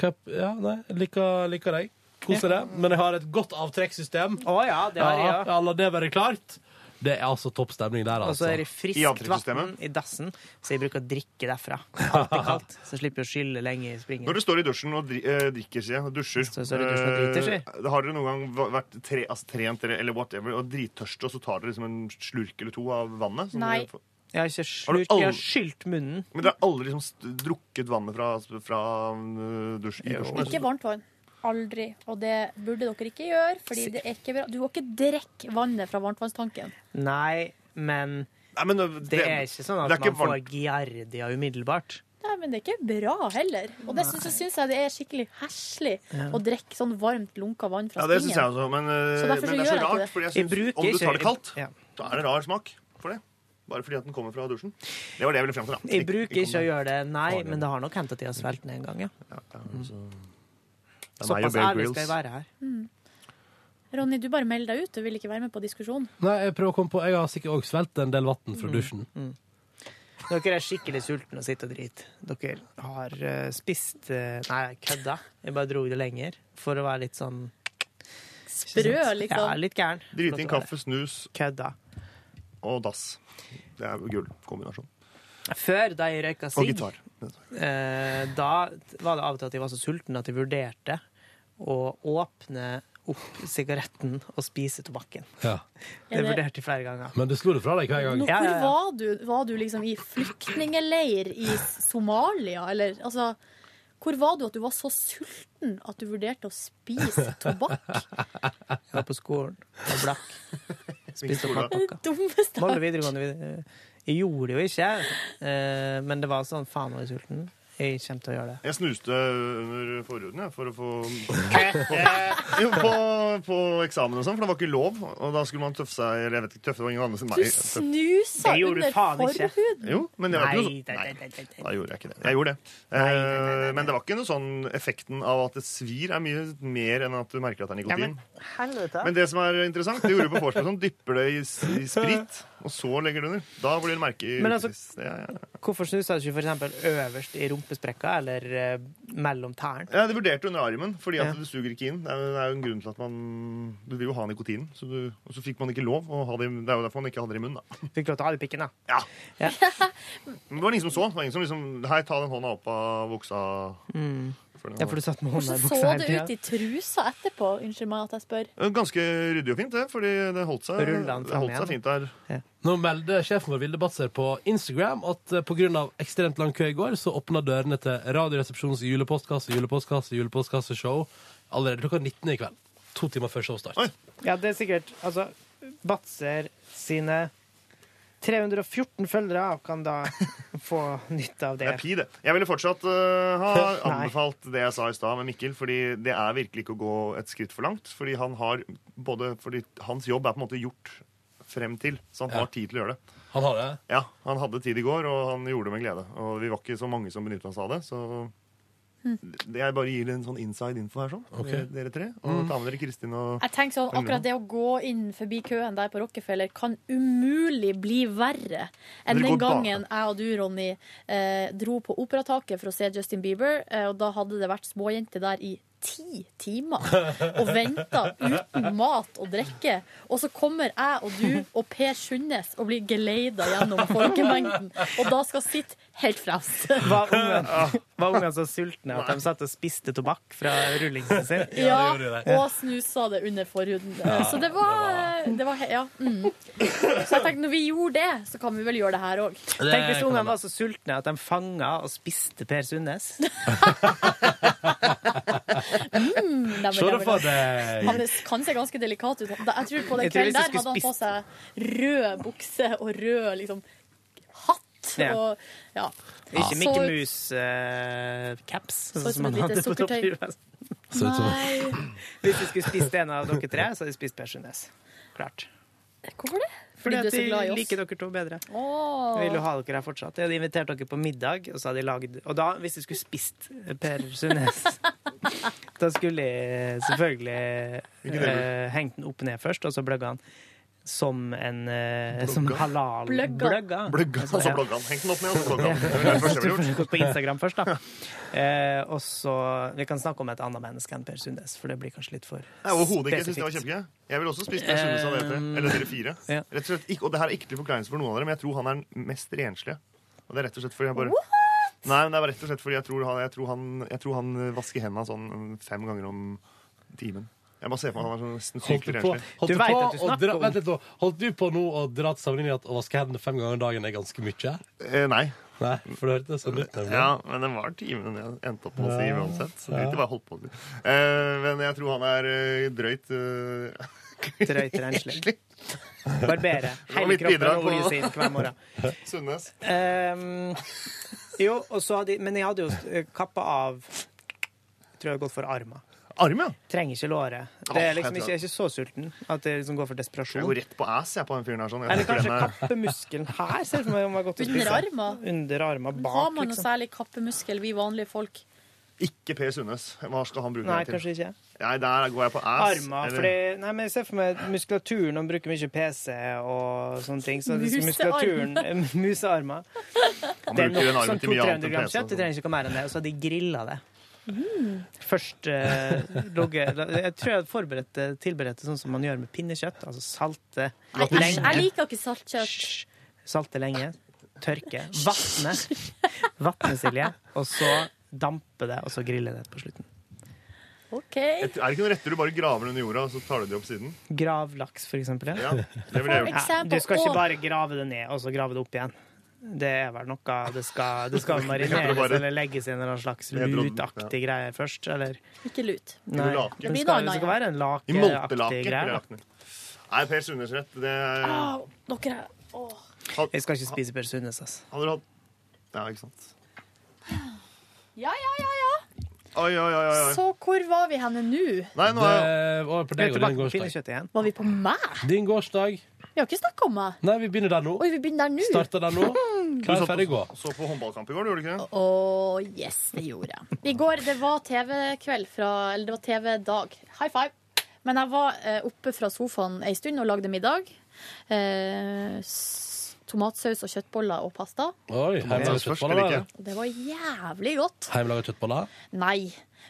A: Kap- Ja, nei, jeg liker, liker deg. Koser deg. Men jeg har et godt avtrekkssystem.
B: Å ja, det har jeg
A: ja,
B: også.
A: ja, La det være klart. Det er altså topp stemning der,
B: Og
A: altså.
B: så er det friskt vann i dassen, så jeg bruker å drikke derfra. Alltid kaldt, så jeg slipper å skylle lenge i springen.
G: Når du står i dusjen og dri- eh, drikker, sier jeg, og dusjer
B: står i dusjen og driter, sier
G: eh, Har dere noen gang va- vært tre, altså, trent eller, eller whatever og drittørste, og så tar dere liksom en slurk eller to av vannet? som
B: Nei.
G: dere får-
B: Jeg har ikke
G: Har du
B: slurk, jeg har
G: aldri-
B: skylt munnen.
G: Men dere har aldri liksom st- drukket vannet fra, fra eh, dusj, i dusjen?
C: Ikke varmt vann. Aldri. Og det burde dere ikke gjøre, fordi det er ikke bra. Du må ikke drikke vannet fra varmtvannstanken.
B: Nei, men, det er ikke sånn at
G: eh, det er ikke
B: man får
G: varmt.
B: giardia umiddelbart.
C: Nei, men det er ikke bra heller. Og det syns, så syns jeg det er skikkelig heslig
B: Ja.
C: å drikke sånn varmt lunka vann fra
G: Ja,
C: springen.
G: det syns jeg også, men, eh,
C: Så derfor
G: men
C: så
G: det er så
C: gjør jeg ikke
G: rart.
C: det.
G: Fordi
B: Jeg
G: jeg synes,
B: bruker
G: om du
B: ikke-
G: tar det kaldt,
B: Ja.
G: så er det rar smak for det. Bare fordi at den kommer fra dusjen. Det var det jeg ville frem til, da.
B: Jeg bruker ikke å gjøre det, nei, men det har nok hendt at jeg har svelget den en gang, ja.
G: altså. Det er meg og
B: Mm. Såpass
G: Bear
B: ærlig skal
G: Grylls.
B: jeg være her.
C: Mm. Ronny, du bare melder deg ut. Du vil ikke være med på diskusjonen.
A: Nei, jeg prøver å komme på Jeg har sikkert også svelget en del vann
B: Mm.
A: fra dusjen.
B: Dere er skikkelig sultne og sitter og driter. Dere har eh, spist eh, Nei, jeg kødda. Jeg bare dro det lenger for å være litt sånn Sprø,
C: liksom.
B: Ja, litt gæren.
G: Driting, kaffe, snus
B: Kødda.
G: og dass. Det er gull kombinasjon.
B: Før, da jeg røyka
G: Og
B: sigg,
G: gitar.
B: eh, da var det av og til at jeg var så sulten at jeg vurderte å åpne opp sigaretten og spise tobakken.
A: Ja.
B: Det vurderte jeg flere ganger.
A: Men du slo det fra deg hver gang.
C: Nå, hvor var du? Var du liksom i flyktningeleir i Somalia, eller altså Hvor var du at du var så sulten at du vurderte å spise tobakk?
B: Jeg var på skolen og blakk. Spiste opp
C: Det er
B: matpakka.
C: det dummeste
B: Molde
C: jeg har hørt.
B: videregående vid- Jeg gjorde det jo ikke, eh, men det var sånn faen, nå er jeg sulten. Jeg kommer til å gjøre det.
G: Jeg snuste under forhuden jeg, for å få Jo, på, på eksamen og sånn, for det var ikke lov. Og da skulle man tøffe seg Eller jeg vet ikke, tøffe det var ingen andre enn meg.
C: Du snusa
G: Det gjorde du
C: under
G: faen ikke.
C: forhuden!
G: Jo, men det var ikke noe
B: Nei,
G: sånn.
B: nei,
G: Nei, da gjorde jeg ikke det. Jeg gjorde det. Eh, Men det var ikke noe sånn effekten av at det svir er mye mer enn at du merker at det er
B: Ja, men
G: nikotin.
B: helvete.
G: Men det som er interessant, det gjorde du på vorspiel. Sånn, dypper det i, s- i sprit, og så legger du under. Da blir det merke i
B: Men altså-
G: ukesvis. Det er-
B: Hvorfor snuser du ikke for eksempel øverst i rumpesprekka eller eh, mellom tærne?
G: Ja, det vurderte under armen, fordi at
B: Ja.
G: det suger ikke inn. Det er, jo- det er jo en grunn til at man Du vil jo ha nikotinen, så du, og så fikk man ikke lov å ha det i Det er jo derfor man ikke hadde det i munnen, da.
B: Fikk lov til å ha det i pikken, da.
G: Ja. Men det var ingen som så. Det var ingen som liksom Hei, ta den hånda opp av buksa.
B: Mm. Ja, for du satt med hånda i
C: Så
B: buksa hele
C: det
B: tida.
C: ut i trusa etterpå? Unnskyld meg at jeg spør.
G: Ganske ryddig og fint, det. Fordi det holdt seg,
B: Rullet den
G: det
B: fram
G: holdt seg
B: igjen.
G: fint der.
A: Nå melder sjefen vår Vilde Batzer på Instagram at eh, pga. ekstremt lang kø i går, så åpna dørene til Radioresepsjonens julepostkasse, julepostkasse, julepostkasseshow allerede klokka 19 i kveld. To timer før showstart.
B: Ja, det er sikkert Altså, Batzer sine 314 følgere kan da få nytte av
G: Det
B: det.
G: er pi, det. Jeg ville fortsatt øh, ha
B: Nei.
G: anbefalt det jeg sa i stad med Mikkel, fordi det er virkelig ikke å gå et skritt for langt. Fordi han har både Fordi hans jobb er på en måte gjort frem til, så han
A: Ja.
G: har tid til å gjøre det.
A: Han har det?
G: Ja, han hadde tid i går, og han gjorde det med glede. Og vi var ikke så mange som benyttet oss av det, så det- Jeg bare gir en sånn inside info her, sånn.
A: Ok. Hm.
G: Dere- Dere tre. Og ta med dere Kristin og
C: Jeg tenker sånn, Akkurat det å gå inn forbi køen der på Rockefeller kan umulig bli verre enn
G: Dere
C: den
G: går bare-
C: gangen jeg og du, Ronny, eh, dro på Operataket for å se Justin Bieber, eh, og da hadde det vært småjenter der i ti timer og venta uten mat og drikke. Og så kommer jeg og du og Per Sundnes og blir geleida gjennom folkemengden, og da skal sitte helt fremst.
B: Var ungene, var ungene så sultne at de satt og spiste tobakk fra rullingsen sin?
C: Ja, og snusa det under forhuden. Eh, Så det var, det var he- Ja. Mm. Så jeg tenkte når vi gjorde det, så kan vi vel gjøre det her òg.
B: Tenk hvis ungene var så sultne at de fanga og spiste Per Sundnes.
A: Se det for deg.
C: Han er- kan se ganske delikat ut. Da- Jeg tror på den
B: Jeg tror
C: kvelden
B: hvis
C: der
B: jeg
C: hadde han på
B: skulle
C: seg rød bukse og rød liksom hatt.
B: Ja.
C: Og, ja.
B: Ikke
C: Så-
B: Mickey eh, Mouse-caps.
C: Så ut som et lite sukkertøy. Nei,
B: Hvis de skulle spist en av dere tre, så hadde de spist Per Sundnes. Klart.
C: hvorfor det?
B: Fordi
C: Fordi, du er
B: at
C: så
B: de
C: glad i oss.
B: liker dere to bedre.
C: Åh.
B: Jeg vil jo ha dere her fortsatt. Jeg hadde invitert dere på middag, og så hadde jeg lagd Og da, hvis jeg skulle spist eh, Per Sundnes, da skulle jeg selvfølgelig
G: Hvilken del?
B: eh, hengt den opp ned først, og så bløgga han. som en eh, som halal
G: Bløgga.
B: Bløgga.
G: Bløgga. Og så blogga han. Heng den opp ned, og så blogga han. Det var det første jeg ville gjort.
B: Gå på Instagram først, da. Eh, og så Vi kan snakke om et annet menneske enn Per Sundnes, for det blir kanskje litt for
G: Nei, overhodet ikke. Jeg synes det var
B: spesifikt.
G: kjempegøy. Jeg ville også spist Per Sundnes av dere.
B: Eh,
G: Eller dere fire. Rett og slett, ikke, og det her er ikke til forkleinelse for noen av dere, men jeg tror han er den mest renslige. Og det er rett og slett fordi jeg bare Nei, men det er rett og slett fordi jeg tror han, jeg tror han, jeg tror han vasker hendene sånn fem ganger om timen. Jeg bare ser for meg han er sånn nesten
A: Holdt
G: sykt
A: du på,
G: renslig.
A: holdt du på, å dra, vent litt nå. Holdt du på nå å dra til sammenligning at å vaske hendene fem ganger om dagen er ganske mye?
G: Eh, nei.
A: Nei, for det hørtes sånn ut. nemlig.
G: Ja, men det var timen jeg endte opp med å si
A: Ja,
G: uansett. Så
A: ja.
G: det var holdt på å si. Eh, men jeg tror han er eh, drøyt eh,
B: Drøyt renslig. Barbere
G: Det var
B: hele
G: mitt
B: kroppen
G: bidrag
B: og olje
G: på-
B: sin hver morgen.
G: Sundnes.
B: Ehm, jo, og så hadde, men jeg hadde jo kappa av Jeg tror jeg hadde gått for armen.
G: Arm, ja?
B: Trenger ikke låret.
G: Åh,
B: Det er liksom ikke,
G: jeg tror-
B: jeg er ikke så sulten at det liksom går for
G: Jeg
B: desperasjon.
G: går rett på ass jeg på den fyren her. sånn. Jeg
B: Eller
G: tenker
B: kanskje
G: den
B: kappemuskelen
G: er-
B: her. Ser jeg for meg om jeg har gått og
C: Under
B: spist.
C: armen?
B: Under armen bak,
C: Har man noe
B: liksom.
C: særlig kappemuskel, vi vanlige folk?
G: Ikke Per Sundnes. Hva skal han bruke
B: Nei,
G: den
B: kanskje ikke.
G: Nei, der går jeg på ass.
B: Armer,
G: eller-
B: fordi Nei, men jeg ser for meg muskulaturen. Han bruker mye PC og sånne ting. Så
C: Musearm.
B: muskulaturen Musearmer.
G: Han
B: Det er nok
G: bruker den armen
B: sånn
G: til mye annet
B: 200-300
G: enn
B: gram
G: PC. altså.
B: kjøtt. Du trenger ikke å mer enn det. Og så har de grilla det. Først eh, logge- Jeg tror jeg forberedte, tilberedte sånn som man gjør med pinnekjøtt. Altså salte
C: Nei, æsj, jeg
B: lenge.
C: liker ikke saltkjøtt.
B: Salte lenge, tørke, vatne. Vatne, Silje. Og så dampe det, og så grille det på slutten.
C: OK.
G: Er det ikke noen retter du bare graver under jorda, og så tar du de opp siden?
B: Gravlaks, for eksempel.
G: Ja, det ville jeg gjort.
B: Ja, du skal ikke bare grave det ned, og så grave det opp igjen. Det er vel noe Det skal, det skal marineres
G: bare-
B: eller legges i en eller annen slags
G: Jeg tror-
B: lutaktig greie først, eller
C: Ikke lut.
B: Nei,
G: Lake.
B: det skal, det skal være en
G: I
B: lakeaktig
G: moltelake. ville jeg
B: greie. Ah.
G: lagt den i. Nei, Per Sundnes rett. Det er
C: Au, dere er Åh.
B: Jeg skal ikke spise Per Sundnes, altså.
G: Hadde du hatt Ja, ikke sant.
C: Ja, ja, ja, ja.
G: Oi, oi, oi. oi.
C: Så hvor var vi henne nå?
G: Nei, nå er jeg
A: Det var på deg og din gårsdag.
C: Var vi på meg?
A: Din gårsdag.
C: Vi har ikke snakka om meg.
A: Nei, vi begynner der nå.
C: Oi, vi begynner der nå.
A: Starter der nå. Hva er ferdig å gå?
G: så på håndballkamp i går, gjorde du ikke det?
C: Å, yes, det gjorde jeg. I går, det var TV-kveld fra Eller det var TV-dag. High five. Men jeg var eh, oppe fra sofaen ei stund og lagde middag. Eh, s- tomatsaus og kjøttboller og pasta.
A: Oi, hjemmelaga
G: Tomatsaus først,
A: kjøttboller?
G: eller
A: da?
G: ikke?
C: Og det var jævlig godt.
A: Hjemmelaga kjøttboller?
C: Nei.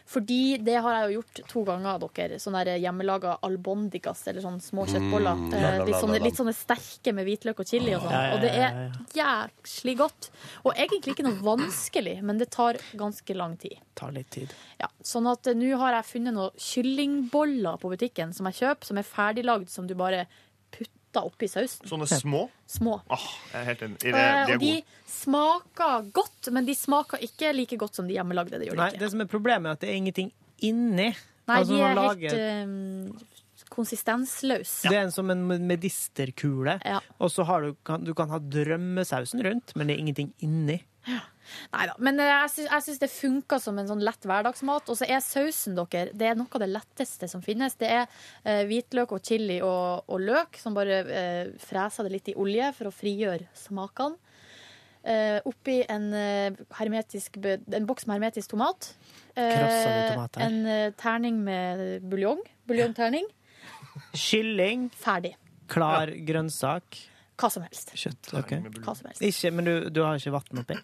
C: Fordi det har jeg jo gjort to ganger, dere. Sånne der hjemmelaga albondigas, eller sånne små kjøttboller.
A: Mm,
C: Eh,
A: la, la,
C: litt,
A: la,
C: sånne,
A: la.
C: litt sånne sterke med hvitløk og chili og sånn.
A: Ja, ja,
C: Og det er jæklig godt. Og egentlig ikke noe vanskelig, men det tar ganske lang tid.
B: Tar litt tid.
C: Ja, sånn at eh, nå har jeg funnet noen kyllingboller på butikken som jeg kjøper, som er ferdiglagd, som du bare putter oppi sausen.
G: Sånne små?
C: Små.
G: Åh, jeg er helt enig. De, de
C: Eh,
G: er
C: og de
G: gode.
C: smaker godt, men de smaker ikke like godt som de hjemmelagde. Det gjør de
B: Nei, det som er problemet, er at det er ingenting inni.
C: Nei,
B: Altså,
C: de
B: når
C: er
B: man
C: helt
B: lager-
C: eh, konsistensløse.
B: Det er en som en medisterkule, og så har du, kan du kan ha drømmesausen rundt, men det er ingenting inni.
C: Nei da. Men eh, jeg syns, jeg syns det funker som en sånn lett hverdagsmat. Og så er sausen dere, det er noe av det letteste som finnes. Det er eh, hvitløk og chili og, og løk som bare eh, freser det litt i olje for å frigjøre smakene. Eh, oppi en, eh, hermetisk, be- en boks med hermetisk tomat.
B: Krossende tomat her.
C: en eh, terning med buljong. Buljongterning.
B: Kylling.
C: Ferdig.
B: Klar grønnsak.
C: Hva som helst.
B: Kjøtt. ok.
C: Hva som helst.
B: Ikke, men du, du har ikke vann oppi?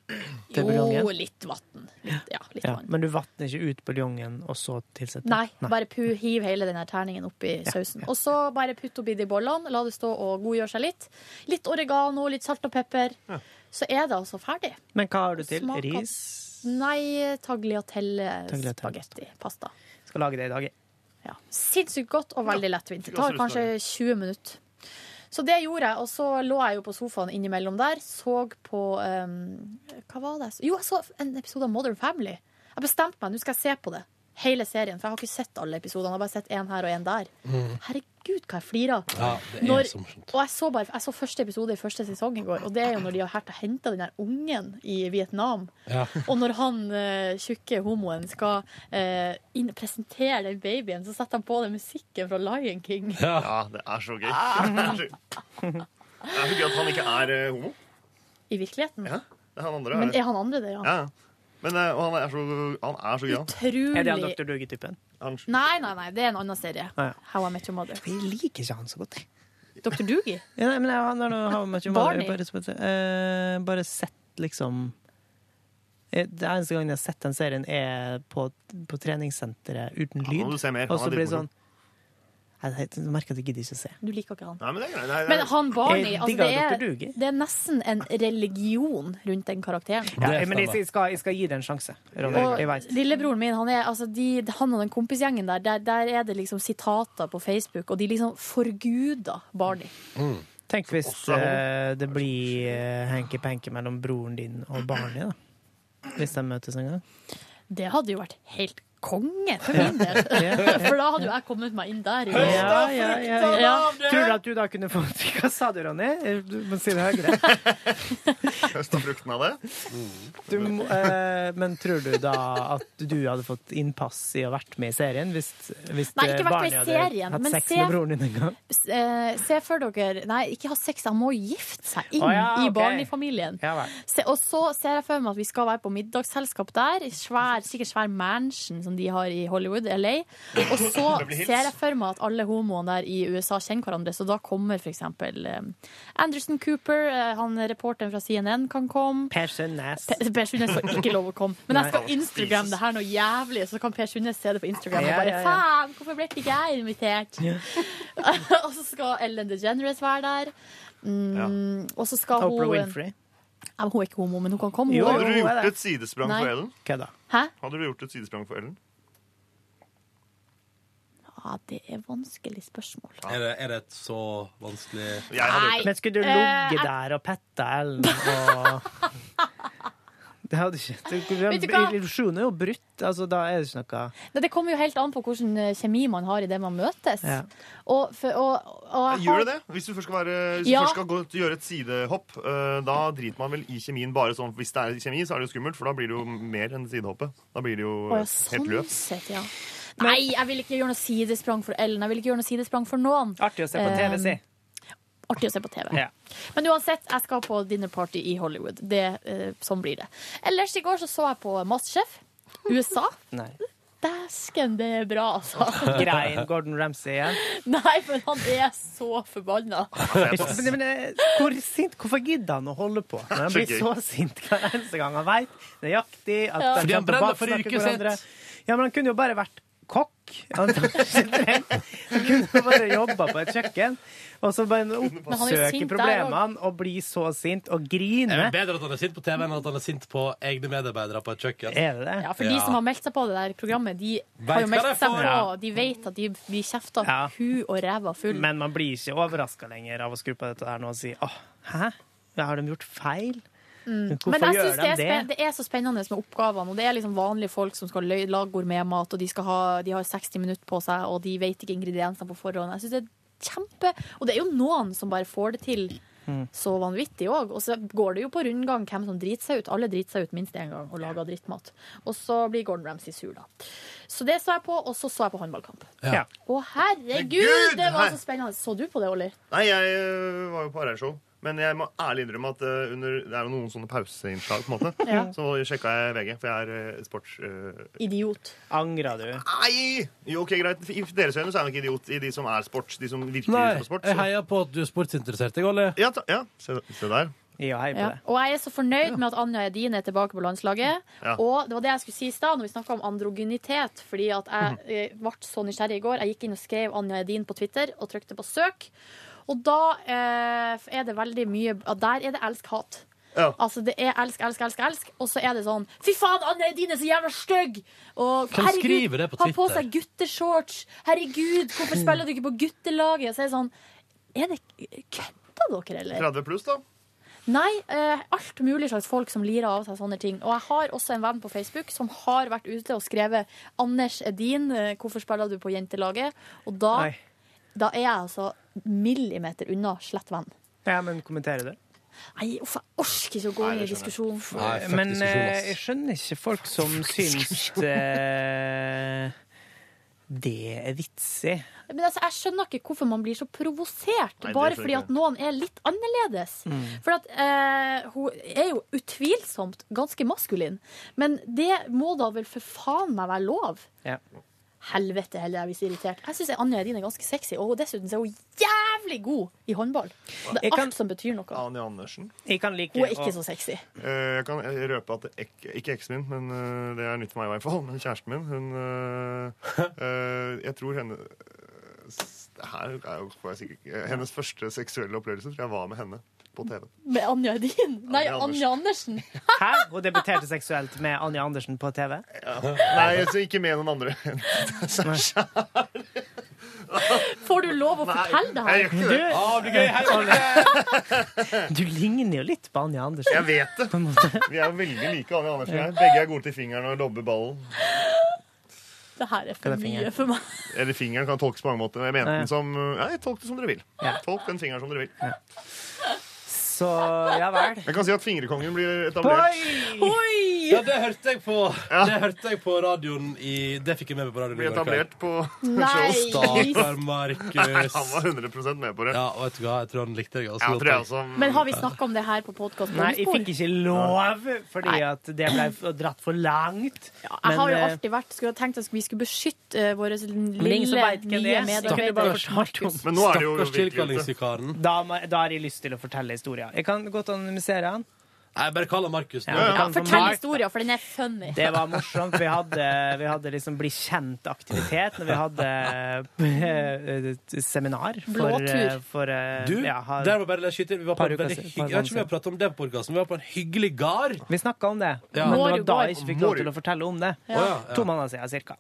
B: til
C: Jo,
B: buljongen?
C: litt vann. Litt, ja, litt
B: Ja,
C: vann.
B: men du vatner ikke ut buljongen, og så tilsetter
C: Nei, bare pu, hiv hele den her terningen oppi
B: Ja,
C: sausen. Og så bare putt oppi de bollene, la det stå og godgjøre seg litt. Litt oregano, litt salt og pepper. Så er det altså ferdig.
B: Men hva har du til?
C: Smaker-
B: Ris?
C: Nei, tagliatelle,
B: Tagliatelle.
C: spagetti, pasta.
B: Skal lage det i dag. jeg.
C: Sinnssykt godt og veldig lettvint. Det tar
B: Ja,
C: kanskje 20 minutter. Så det gjorde jeg, og så lå jeg jo på sofaen innimellom der, så på eh, Hva var det? jeg så- Jo, jeg så en episode av Modern Family. Jeg bestemte meg, nå skal jeg se på det. Hele serien, for jeg har ikke sett alle episodene. Jeg har bare sett én her og én der. Herregud, hva jeg flirer av.
A: Ja, det er
C: Når-
A: så
C: og jeg så, bare, jeg så første episode i første sesong i går, og det er jo når de har hært og henta den der ungen i Vietnam.
A: Ja.
C: Og når han eh, tjukke homoen skal eh, inn, presentere den babyen, så setter han på den musikken fra Lion King.
G: Ja. det er så gøy.
C: Ah.
G: Det er så gøy at han ikke er eh, homo.
C: I virkeligheten.
G: Det er han andre.
C: Men
G: det.
C: er han andre det, ja?
G: Ja. Men, eh, og han er så, han er så gøy, han.
C: Utrolig. Er det han Dr.
B: Duge-typen?
G: Han
C: Nei, nei, nei, det er en annen serie.
B: Ah, ja.
C: How I Met Your Mother.
B: Jeg liker ikke han så godt.
C: Dr. Doogie?
B: Ja, nei, men jeg, han er noe, How Much Your Mother
C: Barney?
B: bare, som heter- eh, bare sett, liksom Eh, Det eneste gangen jeg har sett den serien, er på, på treningssenteret uten
G: Ja, nå
B: lyd.
G: må du se mer,
B: Og
G: han er
B: så blir det
G: dritmoro.
B: sånn Jeg, jeg, jeg merker at jeg gidder ikke å se.
C: Du liker ikke han.
G: Nei, men det er greit. Nei,
C: Men
G: nei.
C: han Barney,
B: Jeg
C: altså,
B: digger
C: det,
B: Dr. Doogie.
C: er, det er nesten en religion rundt den karakteren.
B: Ja, men jeg, jeg, skal, jeg skal gi det en sjanse. Ronny, jeg vet.
C: Og lillebroren min, han, er, altså, de, han og den kompisgjengen der, der, der er det liksom sitater på Facebook, og de liksom forguder Barney.
B: Tenk hvis eh, det blir eh, hanky-panky mellom broren din og Barney, da. Hvis de møtes en gang.
C: Det hadde jo vært helt konge for min del.
B: Ja.
C: For da hadde jo jeg kommet meg inn der.
B: Ja, ja, ja, ja.
C: Ja.
B: Tror du at du da kunne fått Hva sa du, Ronny? Du må si det høyere.
G: Høsta frukten av det.
B: Du, må- eh, men tror du da at du hadde fått innpass i å vært med i serien hvis, hvis
C: Nei, ikke
B: eh,
C: vært med i
B: Barney
C: serien,
B: hadde hatt
C: men
B: sex
C: se-
B: med broren din en gang?
C: S- eh, Se for dere Nei, ikke ha sex, han må gifte seg inn
B: Å, ja,
C: i
B: ok.
C: Barney-familien.
B: Ja vel.
C: Se, og så ser jeg for meg at vi skal være på middagsselskap der. i Svær, sikkert svær mansion som de har i Hollywood, LA. Og så
L: Det blir hits.
C: ser jeg for meg at alle homoene der i USA kjenner hverandre, så da kommer f.eks. Anderson Cooper, eh, han reporteren fra CNN, kan komme.
B: Per Sundnes.
C: Per, per Sundnes får ikke lov å komme. Men jeg skal Instagram det her noe jævlig, så kan Per Sundnes se det på Instagram og
L: Ja,
C: bare
L: ja, ja.
C: faen, hvorfor ble ikke jeg invitert? og så skal Ellen DeGeneres være der. Mm, Og så skal hun
B: Oprah Winfrey.
C: Nei, men hun er ikke homo, men hun kan komme.
G: Hadde du gjort et sidesprang
C: Nei.
G: for Ellen?
B: Kødda.
C: Hæ?
G: Hadde du gjort et sidesprang for Ellen?
C: Ja, det er vanskelig spørsmål.
A: Er det, er det et så vanskelig
B: Men skulle du
C: eh,
B: ligge
C: jeg-
B: der og pette Ellen og Det hadde ikke
C: Vet du hva?
B: Illusjonen er jo brutt. Altså, da er det ikke noe
C: Nei, det kommer jo helt an på hvilken eh, kjemi man har i det man møtes.
B: Ja.
C: Og, for, og, og jeg
G: Gjør
C: har-
G: det det? Hvis du først skal, være, hvis
C: Ja.
G: du først skal gå, gjøre et sidehopp, eh, da driter man vel i kjemien bare sånn. Hvis det er kjemi, så er det jo skummelt, for da blir det jo mer enn sidehoppet. Da blir det jo
C: Å, ja,
G: helt
C: sånn
G: løst.
C: sett, ja. Nei, jeg vil ikke gjøre noe sidesprang for Ellen. Jeg vil ikke gjøre noe sidesprang for noen.
B: Artig å se
C: Eh,
B: på TV, si.
C: Artig å se på TV.
B: Ja.
C: Men uansett, jeg skal på dinner party i Hollywood. Det, eh, sånn blir det. Ellers i går så, så jeg på Masterchef USA.
B: Nei.
C: Dæsken, det er bra, altså.
B: Grein Gordon Ramsay igjen.
C: Nei, men han er så forbanna.
B: Men, men, eh, hvor sint, hvorfor gidder han å holde på? Når han blir
A: Skikkelig.
B: så sint hver eneste gang han veit nøyaktig at
A: Ja.
B: de
A: Fordi han
B: kommer
A: brenner
B: bak,
A: for
B: snakker
A: yrket
B: hverandre.
A: sitt.
B: Ja, men han kunne jo bare vært kokk. Han han kunne jo bare jobba på et kjøkken. Og så bare
A: Men han er jo
B: oppsøke
A: sint der
B: problemene og bli så sint og
A: Det er
B: grine.
A: vel bedre at han er sint på TV enn at han er sint på egne medarbeidere på et kjøkken.
B: Er det det?
C: Ja, for de som har meldt seg på det der programmet, de
A: Vet
C: har jo
A: hva
C: meldt
A: de
C: seg
A: får.
C: på.
A: Ja.
C: De vet at de blir kjefta
B: Ja.
C: hu og ræva full.
B: Men man blir ikke overraska lenger av å skru på dette her nå og si åh, hæ? Har de gjort feil?
C: Mm.
B: Hvorfor
C: Men jeg
B: gjør
C: synes det,
B: de
C: er
B: det?
C: spen- det er så spennende med oppgavene. Og det er liksom vanlige folk som skal lø- lage gourmetmat, og de, skal ha, de har 60 minutter på seg, og de vet ikke ingrediensene på forhånd. Jeg synes det er kjempe Og det er jo noen som bare får det til så vanvittig òg. Og så går det jo på rundgang hvem som driter seg ut. Alle driter seg ut minst én gang og lager drittmat. Og så blir Gordon Ramsay sur, da. Så det så jeg på, og så så jeg på håndballkamp.
B: Ja.
C: Å, herregud!
G: Gud,
C: Det var
G: her-
C: så spennende. Så du på det, Olli?
G: Nei, jeg øh, var jo på RR-show. Men jeg må ærlig innrømme at øh, under, det er jo noen sånne pauseinnslag. på en måte.
C: Ja.
G: Så sjekka jeg VG, for jeg er øh, sports... øh,
C: Idiot.
B: Angra du?
G: Nei! Jo, ok, greit. I deres øyne så er jeg nok idiot i de som er sports. De som virkelig
A: Nei,
G: er sports.
A: jeg heier på at du er sportsinteressert, jeg, Olli.
G: Ja, se, der.
B: Ja, hei
C: Ja. Og jeg er så fornøyd med at Anja Edin er tilbake på landslaget.
A: Ja.
C: Og det var det jeg skulle si i stad, når vi snakka om androgynitet. Fordi at
A: Mhm.
C: jeg eh, ble så nysgjerrig i går. Jeg gikk inn og skrev Anja Edin på Twitter og trykte på søk. Og da eh, er det veldig mye ja, Der er det elsk-hat.
G: Ja.
C: Altså Det er elsk, elsk, elsk, elsk. Og så er det sånn Fy faen, Anja Edin er så jævla stygg! Og
A: Hvem skriver det på
C: har på
A: Twitter?
C: seg gutteshorts! Herregud, hvorfor spiller du ikke på guttelaget? Så er det sånn Er det Kødder dere, eller?
G: 30 pluss, da.
C: Nei, eh, alt mulig slags folk som lirer av seg sånne ting. Og jeg har også en venn på Facebook som har vært ute og skrevet 'Anders Edin, eh, hvorfor spiller du på jentelaget?' Og da,
B: Nei.
C: da er jeg altså millimeter unna slett venn.
B: Ja, men kommenterer du?
C: Nei, uff, jeg orker ikke å gå inn i diskusjon.
B: Men eh, jeg skjønner ikke folk som syns eh, det er vitsig.
C: Men altså, jeg skjønner ikke hvorfor man blir så provosert,
B: Nei, det
C: bare
B: skjønner
C: fordi
B: jeg
C: at noen er litt annerledes.
B: Mm.
C: For at eh, hun er jo utvilsomt ganske maskulin, men det må da vel for faen meg være lov? Helvete heller, jeg blir så irritert. Jeg syns Anja Edin er ganske sexy, og dessuten så er hun
K: jævlig god i håndball. Det er alt som betyr
B: Ah,
K: noe.
G: Annie Andersen.
B: Jeg kan like
K: Hun er ikke så sexy.
G: Eh, Jeg kan røpe at ek, ikke eksen min, men eh, det er nytt for meg i hvert fall, men kjæresten min, hun eh, eh, Jeg tror henne s- det her er jo, får jeg sikkert ikke Hennes første seksuelle opplevelse tror jeg var med henne på TV.
K: Med Anja Edin.
B: Ah,
K: Nei, Anja Andersen.
B: Hæ? Hun debuterte seksuelt med Anja Andersen på TV?
G: Nei, altså, ikke med noen andre.
K: Får du lov å fortelle det her?
B: Men du- Du ligner jo litt på Anja Andersen.
G: Jeg vet det. Vi er veldig like Annie Andersen. og jeg. Begge er gode til fingeren og lobber ballen.
K: Det her er
G: Hva er
K: for mye
G: det fingeren?
K: for meg.
G: Eller fingeren kan tolkes på mange måter. men Jeg mente
B: Ja, ja.
G: den som eh, Nei, tolk det som dere vil. Tolk den fingeren som dere vil.
B: Så ja vel.
G: Jeg kan si at fingrekongen blir etablert.
A: Ja, det hørte jeg på Det hørte jeg på radioen i Det fikk jeg med meg på radioen
G: Blir etablert på
A: Nei. Stakkar
G: Nei,
A: Markus.
G: Han var 100 med på det.
A: Ja, og vet du hva, jeg tror han likte det ganske
G: Ja, tror jeg
A: godt.
G: også.
K: Men har vi snakka om det her på podkast?
B: Nei, jeg fikk ikke lov, fordi at det ble f- dratt for langt.
K: Jeg har jo
B: eh,
K: alltid vært, skulle ha tenkt at vi skulle beskytte eh, våre
B: men ingen
K: lille,
B: som vet hvem det
K: nye
B: er. så kunne du bare
K: medarbeider.
B: fortalt om-
A: Men nå er det jo Stakkars virkelig ute. tilkallingsvikaren.
B: Da, må- da har jeg lyst til å fortelle historien. Jeg kan godt anonymisere han.
A: Nei, bare kall han Markus nå.
B: Ja, Ja, ja. kan-
K: Fortell historien, for den er funny.
B: Det var morsomt. Vi hadde, vi hadde liksom bli kjent-aktivitet når vi hadde eh, seminar. For, eh,
A: Blåtur.
B: for, eh,
A: Du,
B: ja, ha-
A: der var bare det skytter. Vi var på
B: Par
A: en
B: uker
A: veldig
B: siden,
A: hygg- Jeg vet ikke
B: par
A: om vi
B: måneder
A: har pratet om det på podcasten, men vi var på en hyggelig gard.
B: Vi snakka om det,
A: Ja.
B: men det
A: Mår
B: var
A: i
B: da
A: går.
B: jeg ikke fikk lov
A: Mår i-
B: til å fortelle om det.
A: Ja. Å, ja, ja.
B: To måneder siden cirka.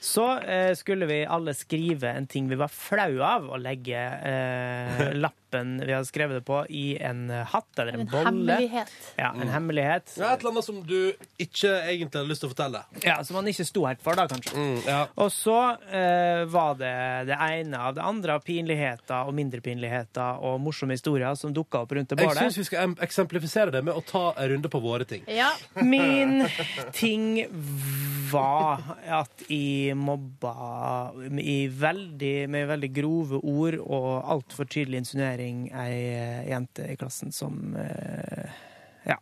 B: Så eh, skulle vi alle skrive en ting vi var flau av, og legge eh, lappen vi hadde skrevet det på, i en eh, hatt eller en, bolle.
A: hemmelighet.
B: Ja, en hemmelighet.
A: Ja, et eller annet som du ikke egentlig hadde lyst til å fortelle.
B: Ja, Som han ikke sto helt for, da, kanskje.
A: Mm.
B: Og så eh, var det det ene av det andre av pinligheter og mindre pinligheter og morsomme historier som dukka opp rundt det
A: Jeg
B: bålet.
A: syns vi skal em- eksemplifisere det med å ta en runde på våre ting.
B: Min ting var at jeg mobba i veldig, med veldig grove ord og altfor tydelig insinuering ei eh, jente i klassen som eh, Ja.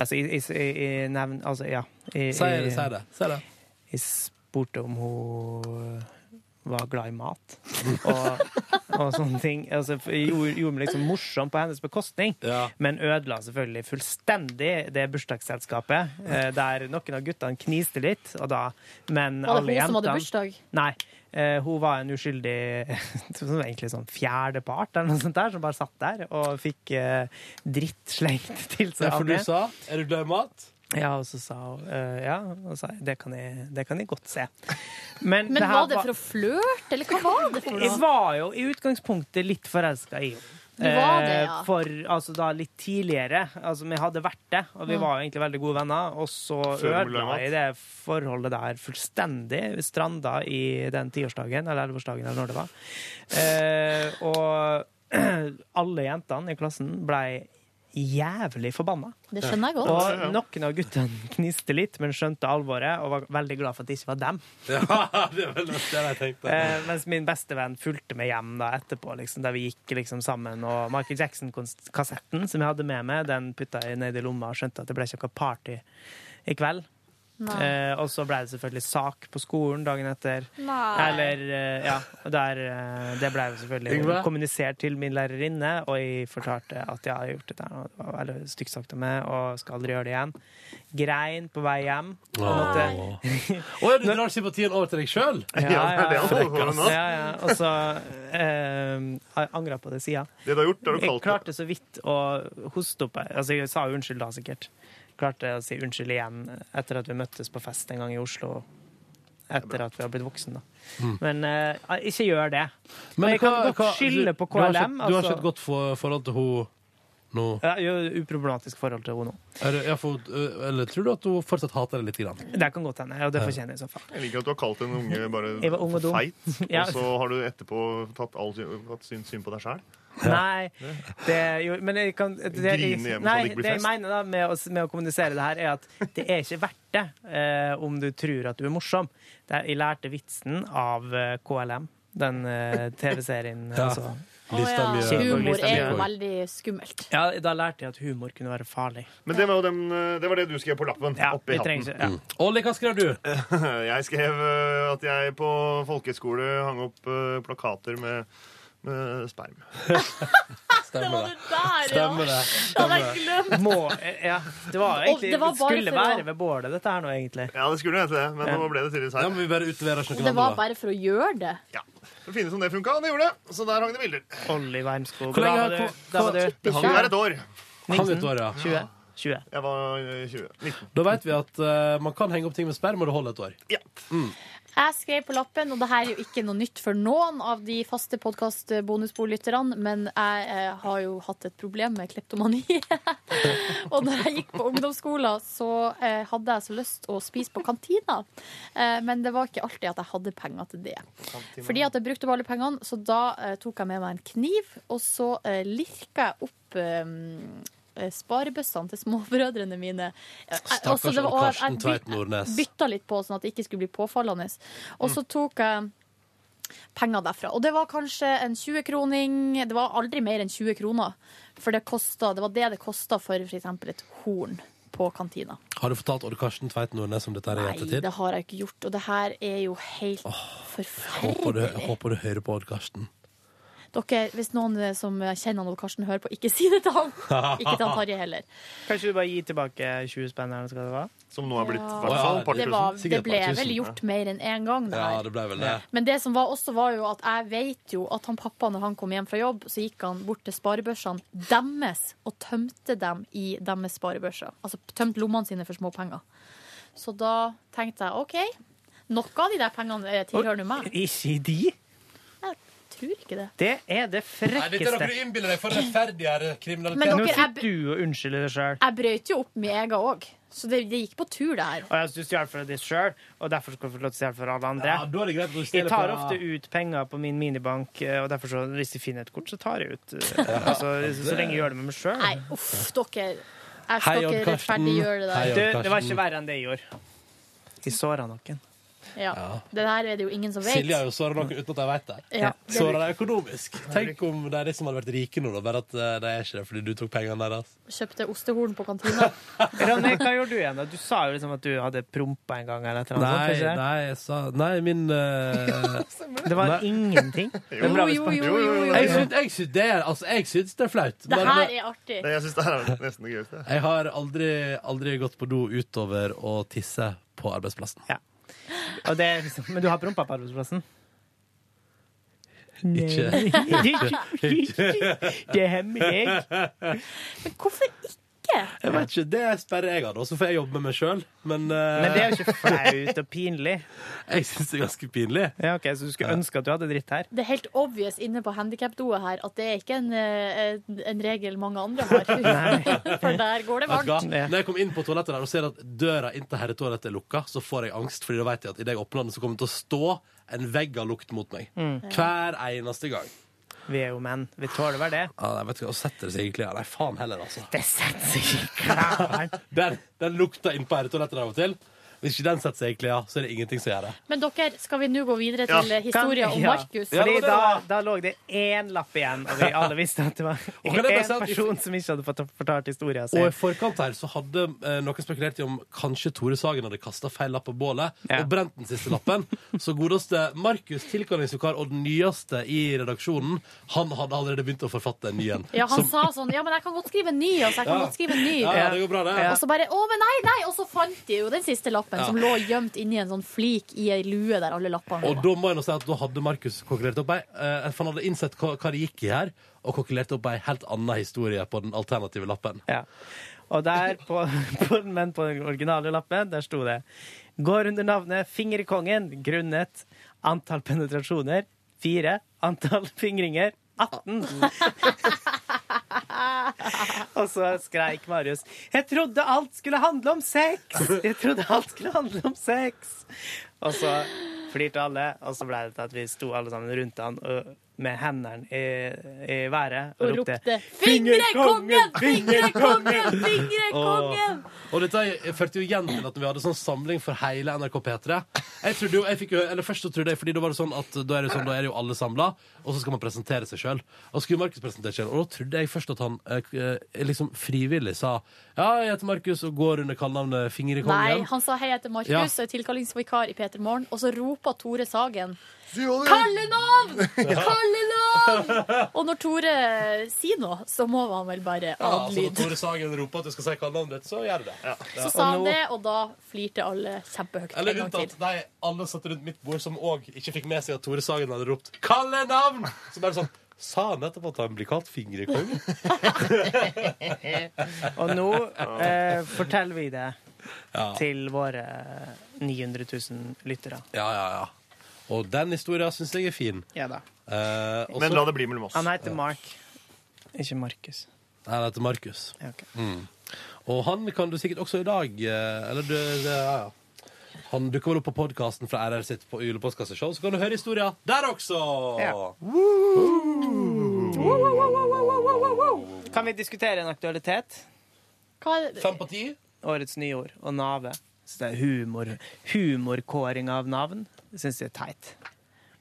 B: Altså, jeg, jeg, jeg, jeg nevn- Altså, ja. Jeg,
A: Si det, si det, si det.
B: Jeg spurte om hun eh, var glad i mat og, og sånne ting. Altså, jeg gjorde, gjorde meg liksom morsom på hennes bekostning, men ødela selvfølgelig fullstendig det bursdagsselskapet, eh, der noen av guttene kniste litt, og da, men
K: Var det
B: alle
K: hun som hadde
B: jentene
K: bursdag?
B: Nei. eh, hun var en uskyldig som var egentlig sånn fjerdepart eller noe sånt der, som bare satt der og fikk eh, dritt slengt til seg.
A: Ja, for
B: av
A: du
B: det.
A: sa 'er du glad i mat'?
B: Ja, og så sa hun eh, ja, og sa, jeg, det, kan jeg, det kan jeg godt se. Men,
K: Men var
B: her
K: det for å flørte, eller hva var det for
B: Jeg
K: noe?
B: var jo i utgangspunktet litt forelska i henne.
K: Du var det, ja.
B: Eh, For altså da litt tidligere. Altså vi hadde vært det, og vi
A: Mm.
B: var jo egentlig veldig gode venner. Og så
A: Før hun ble
B: ødela
A: mat.
B: jeg det forholdet der fullstendig. Vi stranda i den tiårsdagen, eller elleveårsdagen, eller når det var. Eh, og alle jentene i klassen blei jævlig forbanna.
K: Det skjønner jeg godt.
B: Og noen av guttene kniste litt, men skjønte alvoret og var veldig glad for at det ikke var dem.
A: Ja, det er vel det jeg tenkte.
B: Eh, mens min beste venn fulgte meg hjem da etterpå, liksom, der vi gikk liksom sammen. Og Michael Jackson-kassetten som jeg hadde med meg, den putta jeg ned i lomma og skjønte at det ble ikke noe party i kveld.
M: Nei.
B: Eh, og så ble det selvfølgelig sak på skolen dagen etter.
M: Nei.
B: Eller, eh, ja, og der, eh, Det ble jo selvfølgelig
M: Yngve?
B: kommunisert til min lærerinne, og jeg fortalte at jeg har gjort det der, og det var veldig stygt sagt av meg, og skal aldri gjøre det igjen. Grein på vei hjem. på en måte.
A: Å ja, du drar sympatien over til deg sjøl?
B: Ja, ja. Og så eh, har jeg angra på det sida.
G: Det du har gjort, det har du
B: Jeg
G: kalt
B: klarte så vidt å hoste opp Altså, jeg sa jo unnskyld da, sikkert. Klarte å si unnskyld igjen etter at vi møttes på fest en gang i Oslo. Etter at vi har blitt voksen, da.
G: Mm.
B: Men eh, ikke gjør det. Men jeg kan
A: hva-
B: godt
A: hva-
B: skylde på
A: du- Du har
B: KLM,
A: ikke, du har ikke et
B: altså.
A: godt for, forhold til henne nå?
B: Ja, jeg har uproblematisk forhold til henne nå.
A: Er det- ja, for, eh, eller tror du at hun fortsatt hater deg litt? Grann?
B: Det kan godt hende, og det
A: Ja.
B: fortjener jeg i så fall.
G: Jeg liker at du har kalt en unge bare
B: Jeg var ung og
G: for
B: dum.
G: feit,
B: Ja.
G: og så har du etterpå tatt, all, syn- tatt syn, syn på deg sjæl.
B: Nei, det er jo Men jeg kan det, jeg,
G: Grine
B: Nei,
G: hjemme sånn det
B: det
G: ikke blir
B: jeg
G: fest.
B: mener da med å, med å kommunisere det her, er at det er ikke verdt det eh, om du tror at du er morsom. Det er, jeg lærte vitsen av eh, KLM, den eh, TV-serien.
A: Ja.
B: Altså.
K: Å ja,
B: Kjell og
K: humor
B: Lista
K: er jo
B: Bjørk.
K: veldig skummelt.
B: Ja, da lærte jeg at humor kunne være farlig.
G: Men det var jo den, eh, det var det du skrev på lappen. oppi
B: vi
G: hatten.
B: trenger ikke- ja. Mm.
A: Olli, hva skrev du?
G: Jeg skrev eh, at jeg på folkehøyskole hang opp eh, plakater med med sperm.
A: Stemmer det.
C: Der,
A: Stemmer det.
C: ja. Det hadde jeg glemt.
B: Må, ja, det var egentlig
C: Og det var bare
B: skulle
C: for å-
B: være ved bålet, dette her nå, egentlig.
G: Ja, det skulle hete det, men nå ble det tydeligvis her.
A: Ja, men vi bare utleverer
C: Og det var bare for å gjøre det.
G: Det finnes om det funka, og det gjorde det. Så der hang det bilder.
B: Olli Wermskog.
G: Hvor lenge
B: Da var
G: har-
B: du-
G: hvor-
B: da var du-
G: Det hang der et år.
A: Han vet året, ja.
B: 20. 20.
G: Jeg var eh, 20. 19.
A: Da vet vi at eh, man kan henge opp ting med sperm, og det holder et år.
C: Jeg skrev på lappen, og det her er jo ikke noe nytt for noen av de faste podkast-bonusbordlytterne, men jeg eh, har jo hatt et problem med kleptomani. og når jeg gikk på ungdomsskolen, så eh, hadde jeg så lyst å spise på kantina, eh, men det var ikke alltid at jeg hadde penger til det. Fordi at jeg brukte opp alle pengene, så da eh, tok jeg med meg en kniv, og så eh, lirka jeg opp eh, sparebøssene til småbrødrene mine. Eh,
A: Stakkars
C: også det var-
A: Karsten
C: og jeg byt-
A: Tveit Nordnes. Mm.
C: bytta litt på, sånn at det ikke skulle bli påfallende. Og så tok jeg penger derfra. Og det var kanskje en 20-kroning. Det var aldri mer enn 20 kroner. For det, kostet, det var det det kosta for f.eks. et horn på kantina.
A: Har du fortalt Odd Karsten Tveit Nordnes om dette her i
C: Nei,
A: ettertid?
C: det har jeg ikke gjort. Og det her er jo helt
A: Håper du,
C: forferdelig.
A: håper du hører på Odd Karsten.
C: Dere, hvis noen eh, som kjenner Odd Karsten, hører på, ikke si det til han. Ikke til han Tarjei heller.
B: Kan ikke du bare gi tilbake 20 spenn her? Skal det være?
G: Som nå er blitt
C: Ja.
G: i hvert fall et par
C: Det,
G: tusen.
C: var, det
A: Sikkert
C: ble
A: et par
C: vel
A: tusen,
C: gjort mer enn én gang, det
A: Ja,
C: her.
A: det ble vel det.
C: Men det som var også var jo at jeg vet jo at han pappa, når han kom hjem fra jobb, så gikk han bort til sparebørsene deres og tømte dem i deres sparebørser. Altså tømte lommene sine for småpenger. Så da tenkte jeg OK, noe av de der pengene eh, tilhører nå meg.
B: Ikke de?
C: Tror ikke det.
B: Det er det frekkeste.
A: innbiller deg for rettferdigere
C: Men
B: Nå
C: dere, jeg,
B: sitter du og unnskylder deg sjøl.
C: jeg brøyt jo opp min egen òg, så det, det gikk på tur, det her.
B: Og jeg synes du stjal fra deg sjøl, og derfor skal du få lov til å stjele fra alle andre.
A: Ja, da er det greit at du
B: jeg
A: stjeler
B: tar
A: fra-
B: ofte ut penger på min minibank, eh, og derfor så, hvis jeg finner et kort, så tar jeg ut. eh, Altså, så, så lenge jeg gjør det med meg sjøl.
C: Nei, uff, dere. Jeg
B: Hei,
C: skal
B: Odd
C: ikke
B: Karsten.
C: rettferdiggjøre det der.
B: Du, det var ikke verre enn det jeg gjorde. Jeg såra noen.
C: Ja. Det her er det jo ingen som vet.
A: Silje har jo såra noen uten at de vet det.
C: Ja.
A: Såra deg økonomisk. Tenk om det er de som hadde vært rike nå, da. Bare at eh, de er ikke det fordi du tok pengene deres.
C: Kjøpte ostehorn på kantina.
B: Ronny, hva gjorde du igjen? da? Du sa jo liksom at du hadde prompa en gang. eller et eller annet, sånt,
A: Nei,
B: ikke det?
A: nei, jeg sa Nei, min eh,
B: Det var ingenting.
A: Jo,
B: Det er bra
A: jo,
B: respons.
A: jo, jo, jo, jo. Jeg syns- Jeg syns det er altså, jeg syns det er flaut. eh,
C: Det her er artig.
G: Det, jeg syns det her er nesten det gøyeste.
A: Jeg har aldri, aldri gått på do utover å tisse på arbeidsplassen.
B: Og det er liksom, men du har prompa på arbeidsplassen?
A: Ikke.
B: Det hemmer jeg.
C: Men hvorfor ikke?
A: Jeg vet ikke, Det sperrer jeg av, da. Så får jeg jobbe med meg sjøl. Men, eh,
B: Men det er jo ikke flaut og pinlig.
A: Jeg syns det er ganske pinlig.
B: Ja, ok, Så du skulle ønske at du hadde dritt her?
C: Det er helt obvious inne på handikapdoet her at det er ikke en, eh, en, en regel mange andre har. For der går det
A: Vet du hva?
C: varmt.
A: Når jeg kom inn på toalettet der og ser at døra inn til herretoalettet er lukka, så får jeg angst, Fordi da vet jeg at idet jeg åpner den, så kommer det til å stå en vegg av lukt mot meg.
B: Mm.
A: Hver eneste gang.
B: Vi er jo menn. Vi tåler vel det.
A: Ja, jeg vet ikke, Og setter det seg i klærne. Nei, faen heller, altså.
B: Det setter seg i klærne.
A: den, den lukta inn på herretoalettet av og til. Hvis ikke den setter seg i klærne, så er det ingenting som gjør det.
C: Men dere, skal vi nå gå videre til eh, historien om
B: Ja.
C: Markus?
B: Fordi da, da lå det én lapp igjen, og vi alle visste at det var
A: Og kan jeg bare si
B: én
A: at-
B: person som ikke hadde fått fortalt historien
A: Og i
B: sin.
A: forkant her så hadde eh, noen spekulert i om kanskje Tore Sagen hadde kasta feil lapp på bålet og brent den siste lappen. Så godeste Markus, tilkallingsvikar og den nyeste i redaksjonen, han hadde allerede begynt å forfatte en ny en.
C: Ja, han
A: Som-
C: sa sånn Ja, men jeg kan godt skrive en ny. Og så jeg kan
A: Ja.
C: godt skrive en ny.
A: Ja, ja, det går bra, det.
C: Og så bare Å, men nei, nei! Og så fant de jo den siste lappen,
A: Ja.
C: som lå gjemt inni en sånn flik i ei lue der alle lappene
A: Og da må jeg nå si at da hadde Markus kokkelert opp ei eh, For han hadde innsett hva, hva det gikk i her, og kokkelert opp ei helt annen historie på den alternative lappen.
B: Ja. Og der, på, på, men på den originale lappen, der sto det Går under navnet Fingerkongen grunnet antall penetrasjoner fire, antall fingringer 18. Og så skreik Marius Jeg trodde alt skulle handle om sex! Jeg trodde alt skulle handle om sex! Og så flirte alle, og så ble det til at vi sto alle sammen rundt han og med hendene i, i været og,
C: Og ropte,
B: Fingerkongen!
C: Fingerkongen! Fingerkongen!
A: Og, og dette førte jo igjen til at vi hadde sånn samling for hele NRK P3. Jeg trodde jo, jeg fikk jo, eller først så trodde jeg, fordi da var det sånn at da er det, jo sånn, da er det jo alle samla, og så skal man presentere seg sjøl. Og så skulle Markus presentere seg selv, og da trodde jeg først at han eh, eh, liksom frivillig sa ja, jeg heter Markus og går under kallenavnet Fingerkongen.
C: Nei, han sa hei, jeg heter Markus
A: Ja.
C: og er tilkallingsvikar i P3 Morgen. Og så roper Tore Sagen
K: Kalle navn! Kalle navn! Og når Tore sier noe, så må han vel bare
A: Ja, altså Når
K: adlyde.
A: Tore Sagen roper at du skal si hva navnet ditt, så gjør du det. Ja.
K: Så sa han det, og da flirte alle kjempehøyt en
A: Eller
K: gang til.
A: unntatt de alle satt rundt mitt bord som òg ikke fikk med seg at Tore Sagen hadde ropt 'Kalle navn!' Så bare sånn Sa han etterpå at han blir kalt fingrekonge?
B: Og nå eh, forteller vi det
A: Ja.
B: til våre 900 000 lyttere.
A: Ja, ja, ja. Og den historien syns jeg er fin.
B: Ja da.
A: Eh, og så-
B: Han heter Mark, ikke Markus.
A: Nei, Han heter Markus.
B: Ja, ok.
A: Mm. Og han kan du sikkert også i dag eh, Eller du, det, ja, ja. Han dukker vel opp på podkasten fra RR sitt på julepostkasseshow, så kan du høre historia der også!
B: Ja. Kan vi diskutere en aktualitet?
A: Fem på ti?
B: Årets nye ord. Og nave. Så det er humor, humorkåring av navn. Det syns jeg er teit.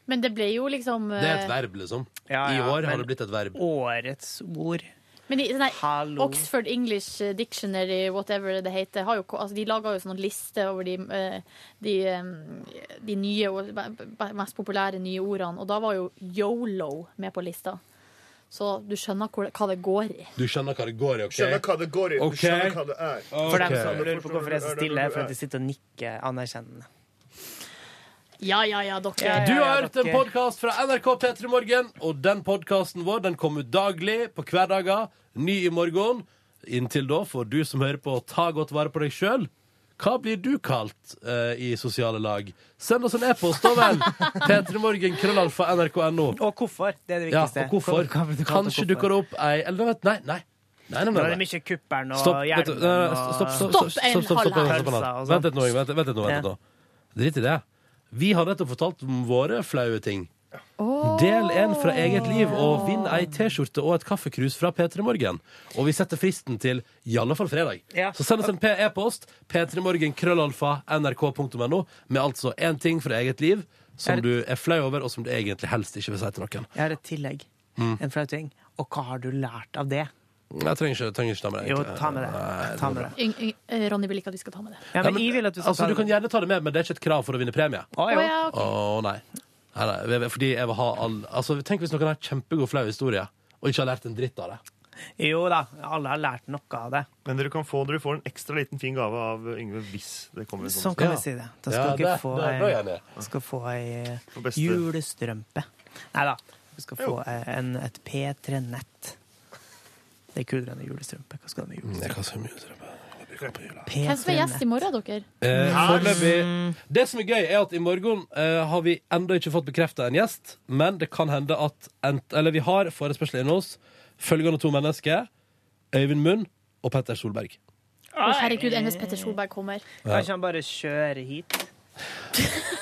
K: Men det ble jo liksom
A: Det
C: eh,
A: er et verb, liksom. I år har det blitt et verb.
B: Årets ord.
K: Men i, sånn her
B: Hallo.
K: Oxford English Dictionary, whatever det heter, har jo, ko- altså, de laga jo sånn liste over de, eh, de, eh, de nye, og- be- be- mest populære nye ordene, og da var jo YOLO med på lista. Så du skjønner hvor, hva det går i.
A: Du skjønner hva det går i, OK?
G: Skjønner hva det går i. Du
A: Ok.
G: skjønner hva det er.
A: Ok.
B: For dem som lurer på hvorfor jeg er så stille, er for at jeg sitter og nikker anerkjennende.
K: Ja, ja, ja, dere.
A: Du har hørt en podkast fra NRK P3 Morgen, og den podkasten vår den kommer daglig på hverdager. Ny i morgen. Inntil da får du som hører på, ta godt vare på deg sjøl. Hva blir du kalt eh, i sosiale lag? Send oss en e-post, da vel! P3morgen, krøllalfa, nrk.no.
B: Og hvorfor? Det er det
A: Ja,
B: viktigste.
A: og hvorfor? Kanskje dukker det opp ei Eller nei, nei. nei, nei,
B: Nå er
A: nei,
B: det
A: nei.
B: mye kuppern og
A: Stopp, vent,
B: hjelmen
A: nei, nei,
B: og-
A: stopp, stopp, stopp, stopp, stopp, stopp, stopp, stopp,
B: Pølser og
A: stopp.
B: sånn.
A: Vent litt nå, Inge, vent, vent litt nå, vent litt nå. Drit i det. Vi har nettopp fortalt om våre flaue ting. Del en fra eget liv og vinn ei T-skjorte og et kaffekrus fra P3 Morgen. Og vi setter fristen til i alle fall fredag.
B: Ja.
A: Så send oss en P- e-post p3morgen.krøllalfa.nrk.no med altså én ting fra eget liv som
B: Er-
A: du er flau over, og som du egentlig helst ikke vil si til noen.
B: Jeg har et tillegg. En flau ting. Og hva har du lært av det?
A: Jeg trenger ikke, trenger ikke ta med det.
B: Jo,
A: egentlig.
B: ta med det.
A: Nei,
B: Ta med det.
K: Yng, yng, eh, Ronny vil ikke at vi skal ta med det.
B: Ja, men jeg vil at du skal
A: altså,
B: ta
A: du
B: det.
A: kan gjerne ta det med, men det er ikke et krav for å vinne premie. Å
K: Å, ja, ok.
A: nei. nei, nei. Fordi jeg vil ha all... altså, tenk hvis noen har kjempegod flau historie, og ikke har lært en dritt av det.
B: Jo da, alle har lært noe av det.
G: Men dere kan få dere får en ekstra liten fin gave av Yngve hvis det kommer en
B: Sånn kan vi si det. Da skal dere få ei, skal få ei
G: beste.
B: julestrømpe. Nei da. Du skal få ei- en, et P3-nett. Det er kulere enn ei julestrømpe. Hva skal du med
A: julestrømpe?
K: Hvem som er gjest i morgen, dere?
A: Eh, foreløpig- det som er gøy, er at i morgen eh, har vi ennå ikke fått bekrefta en gjest, men det kan hende at ent, Eller vi har forespørsel inne hos følgende to mennesker. Øyvind Munn og Petter Solberg.
K: Å, herregud, Enes Petter Solberg kommer.
A: Ja.
B: Kanskje han bare kjører hit?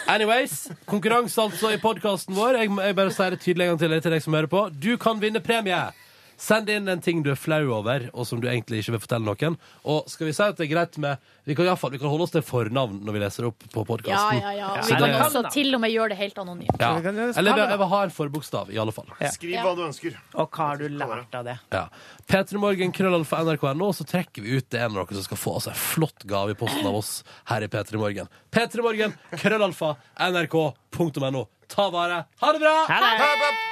A: Anyways, konkurranse altså i podkasten vår. Jeg, jeg bare sier det tydelig en gang til, til deg som hører på. Du kan vinne premie! Send inn en ting du er flau over, og som du egentlig ikke vil fortelle noen. Og skal vi si at det er greit med Vi kan, i alle fall, vi kan holde oss til fornavn når vi leser opp på podkasten.
K: Ja, ja, ja. Og
A: Så
K: vi
A: det-
K: kan også til og med gjøre det helt anonymt.
A: ja. Eller det- jeg vil ha en forbokstav, i alle fall.
G: Skriv hva du ønsker.
B: Og hva har du lært av det?
A: Ja. P3morgen, krøllalfa, nrk.no, så trekker vi ut det en av dere som skal få altså, en flott gave i posten av oss her i P3 Morgen. P3morgen, krøllalfa, nrk.no. Ta vare. Ha det bra!
B: Ha det!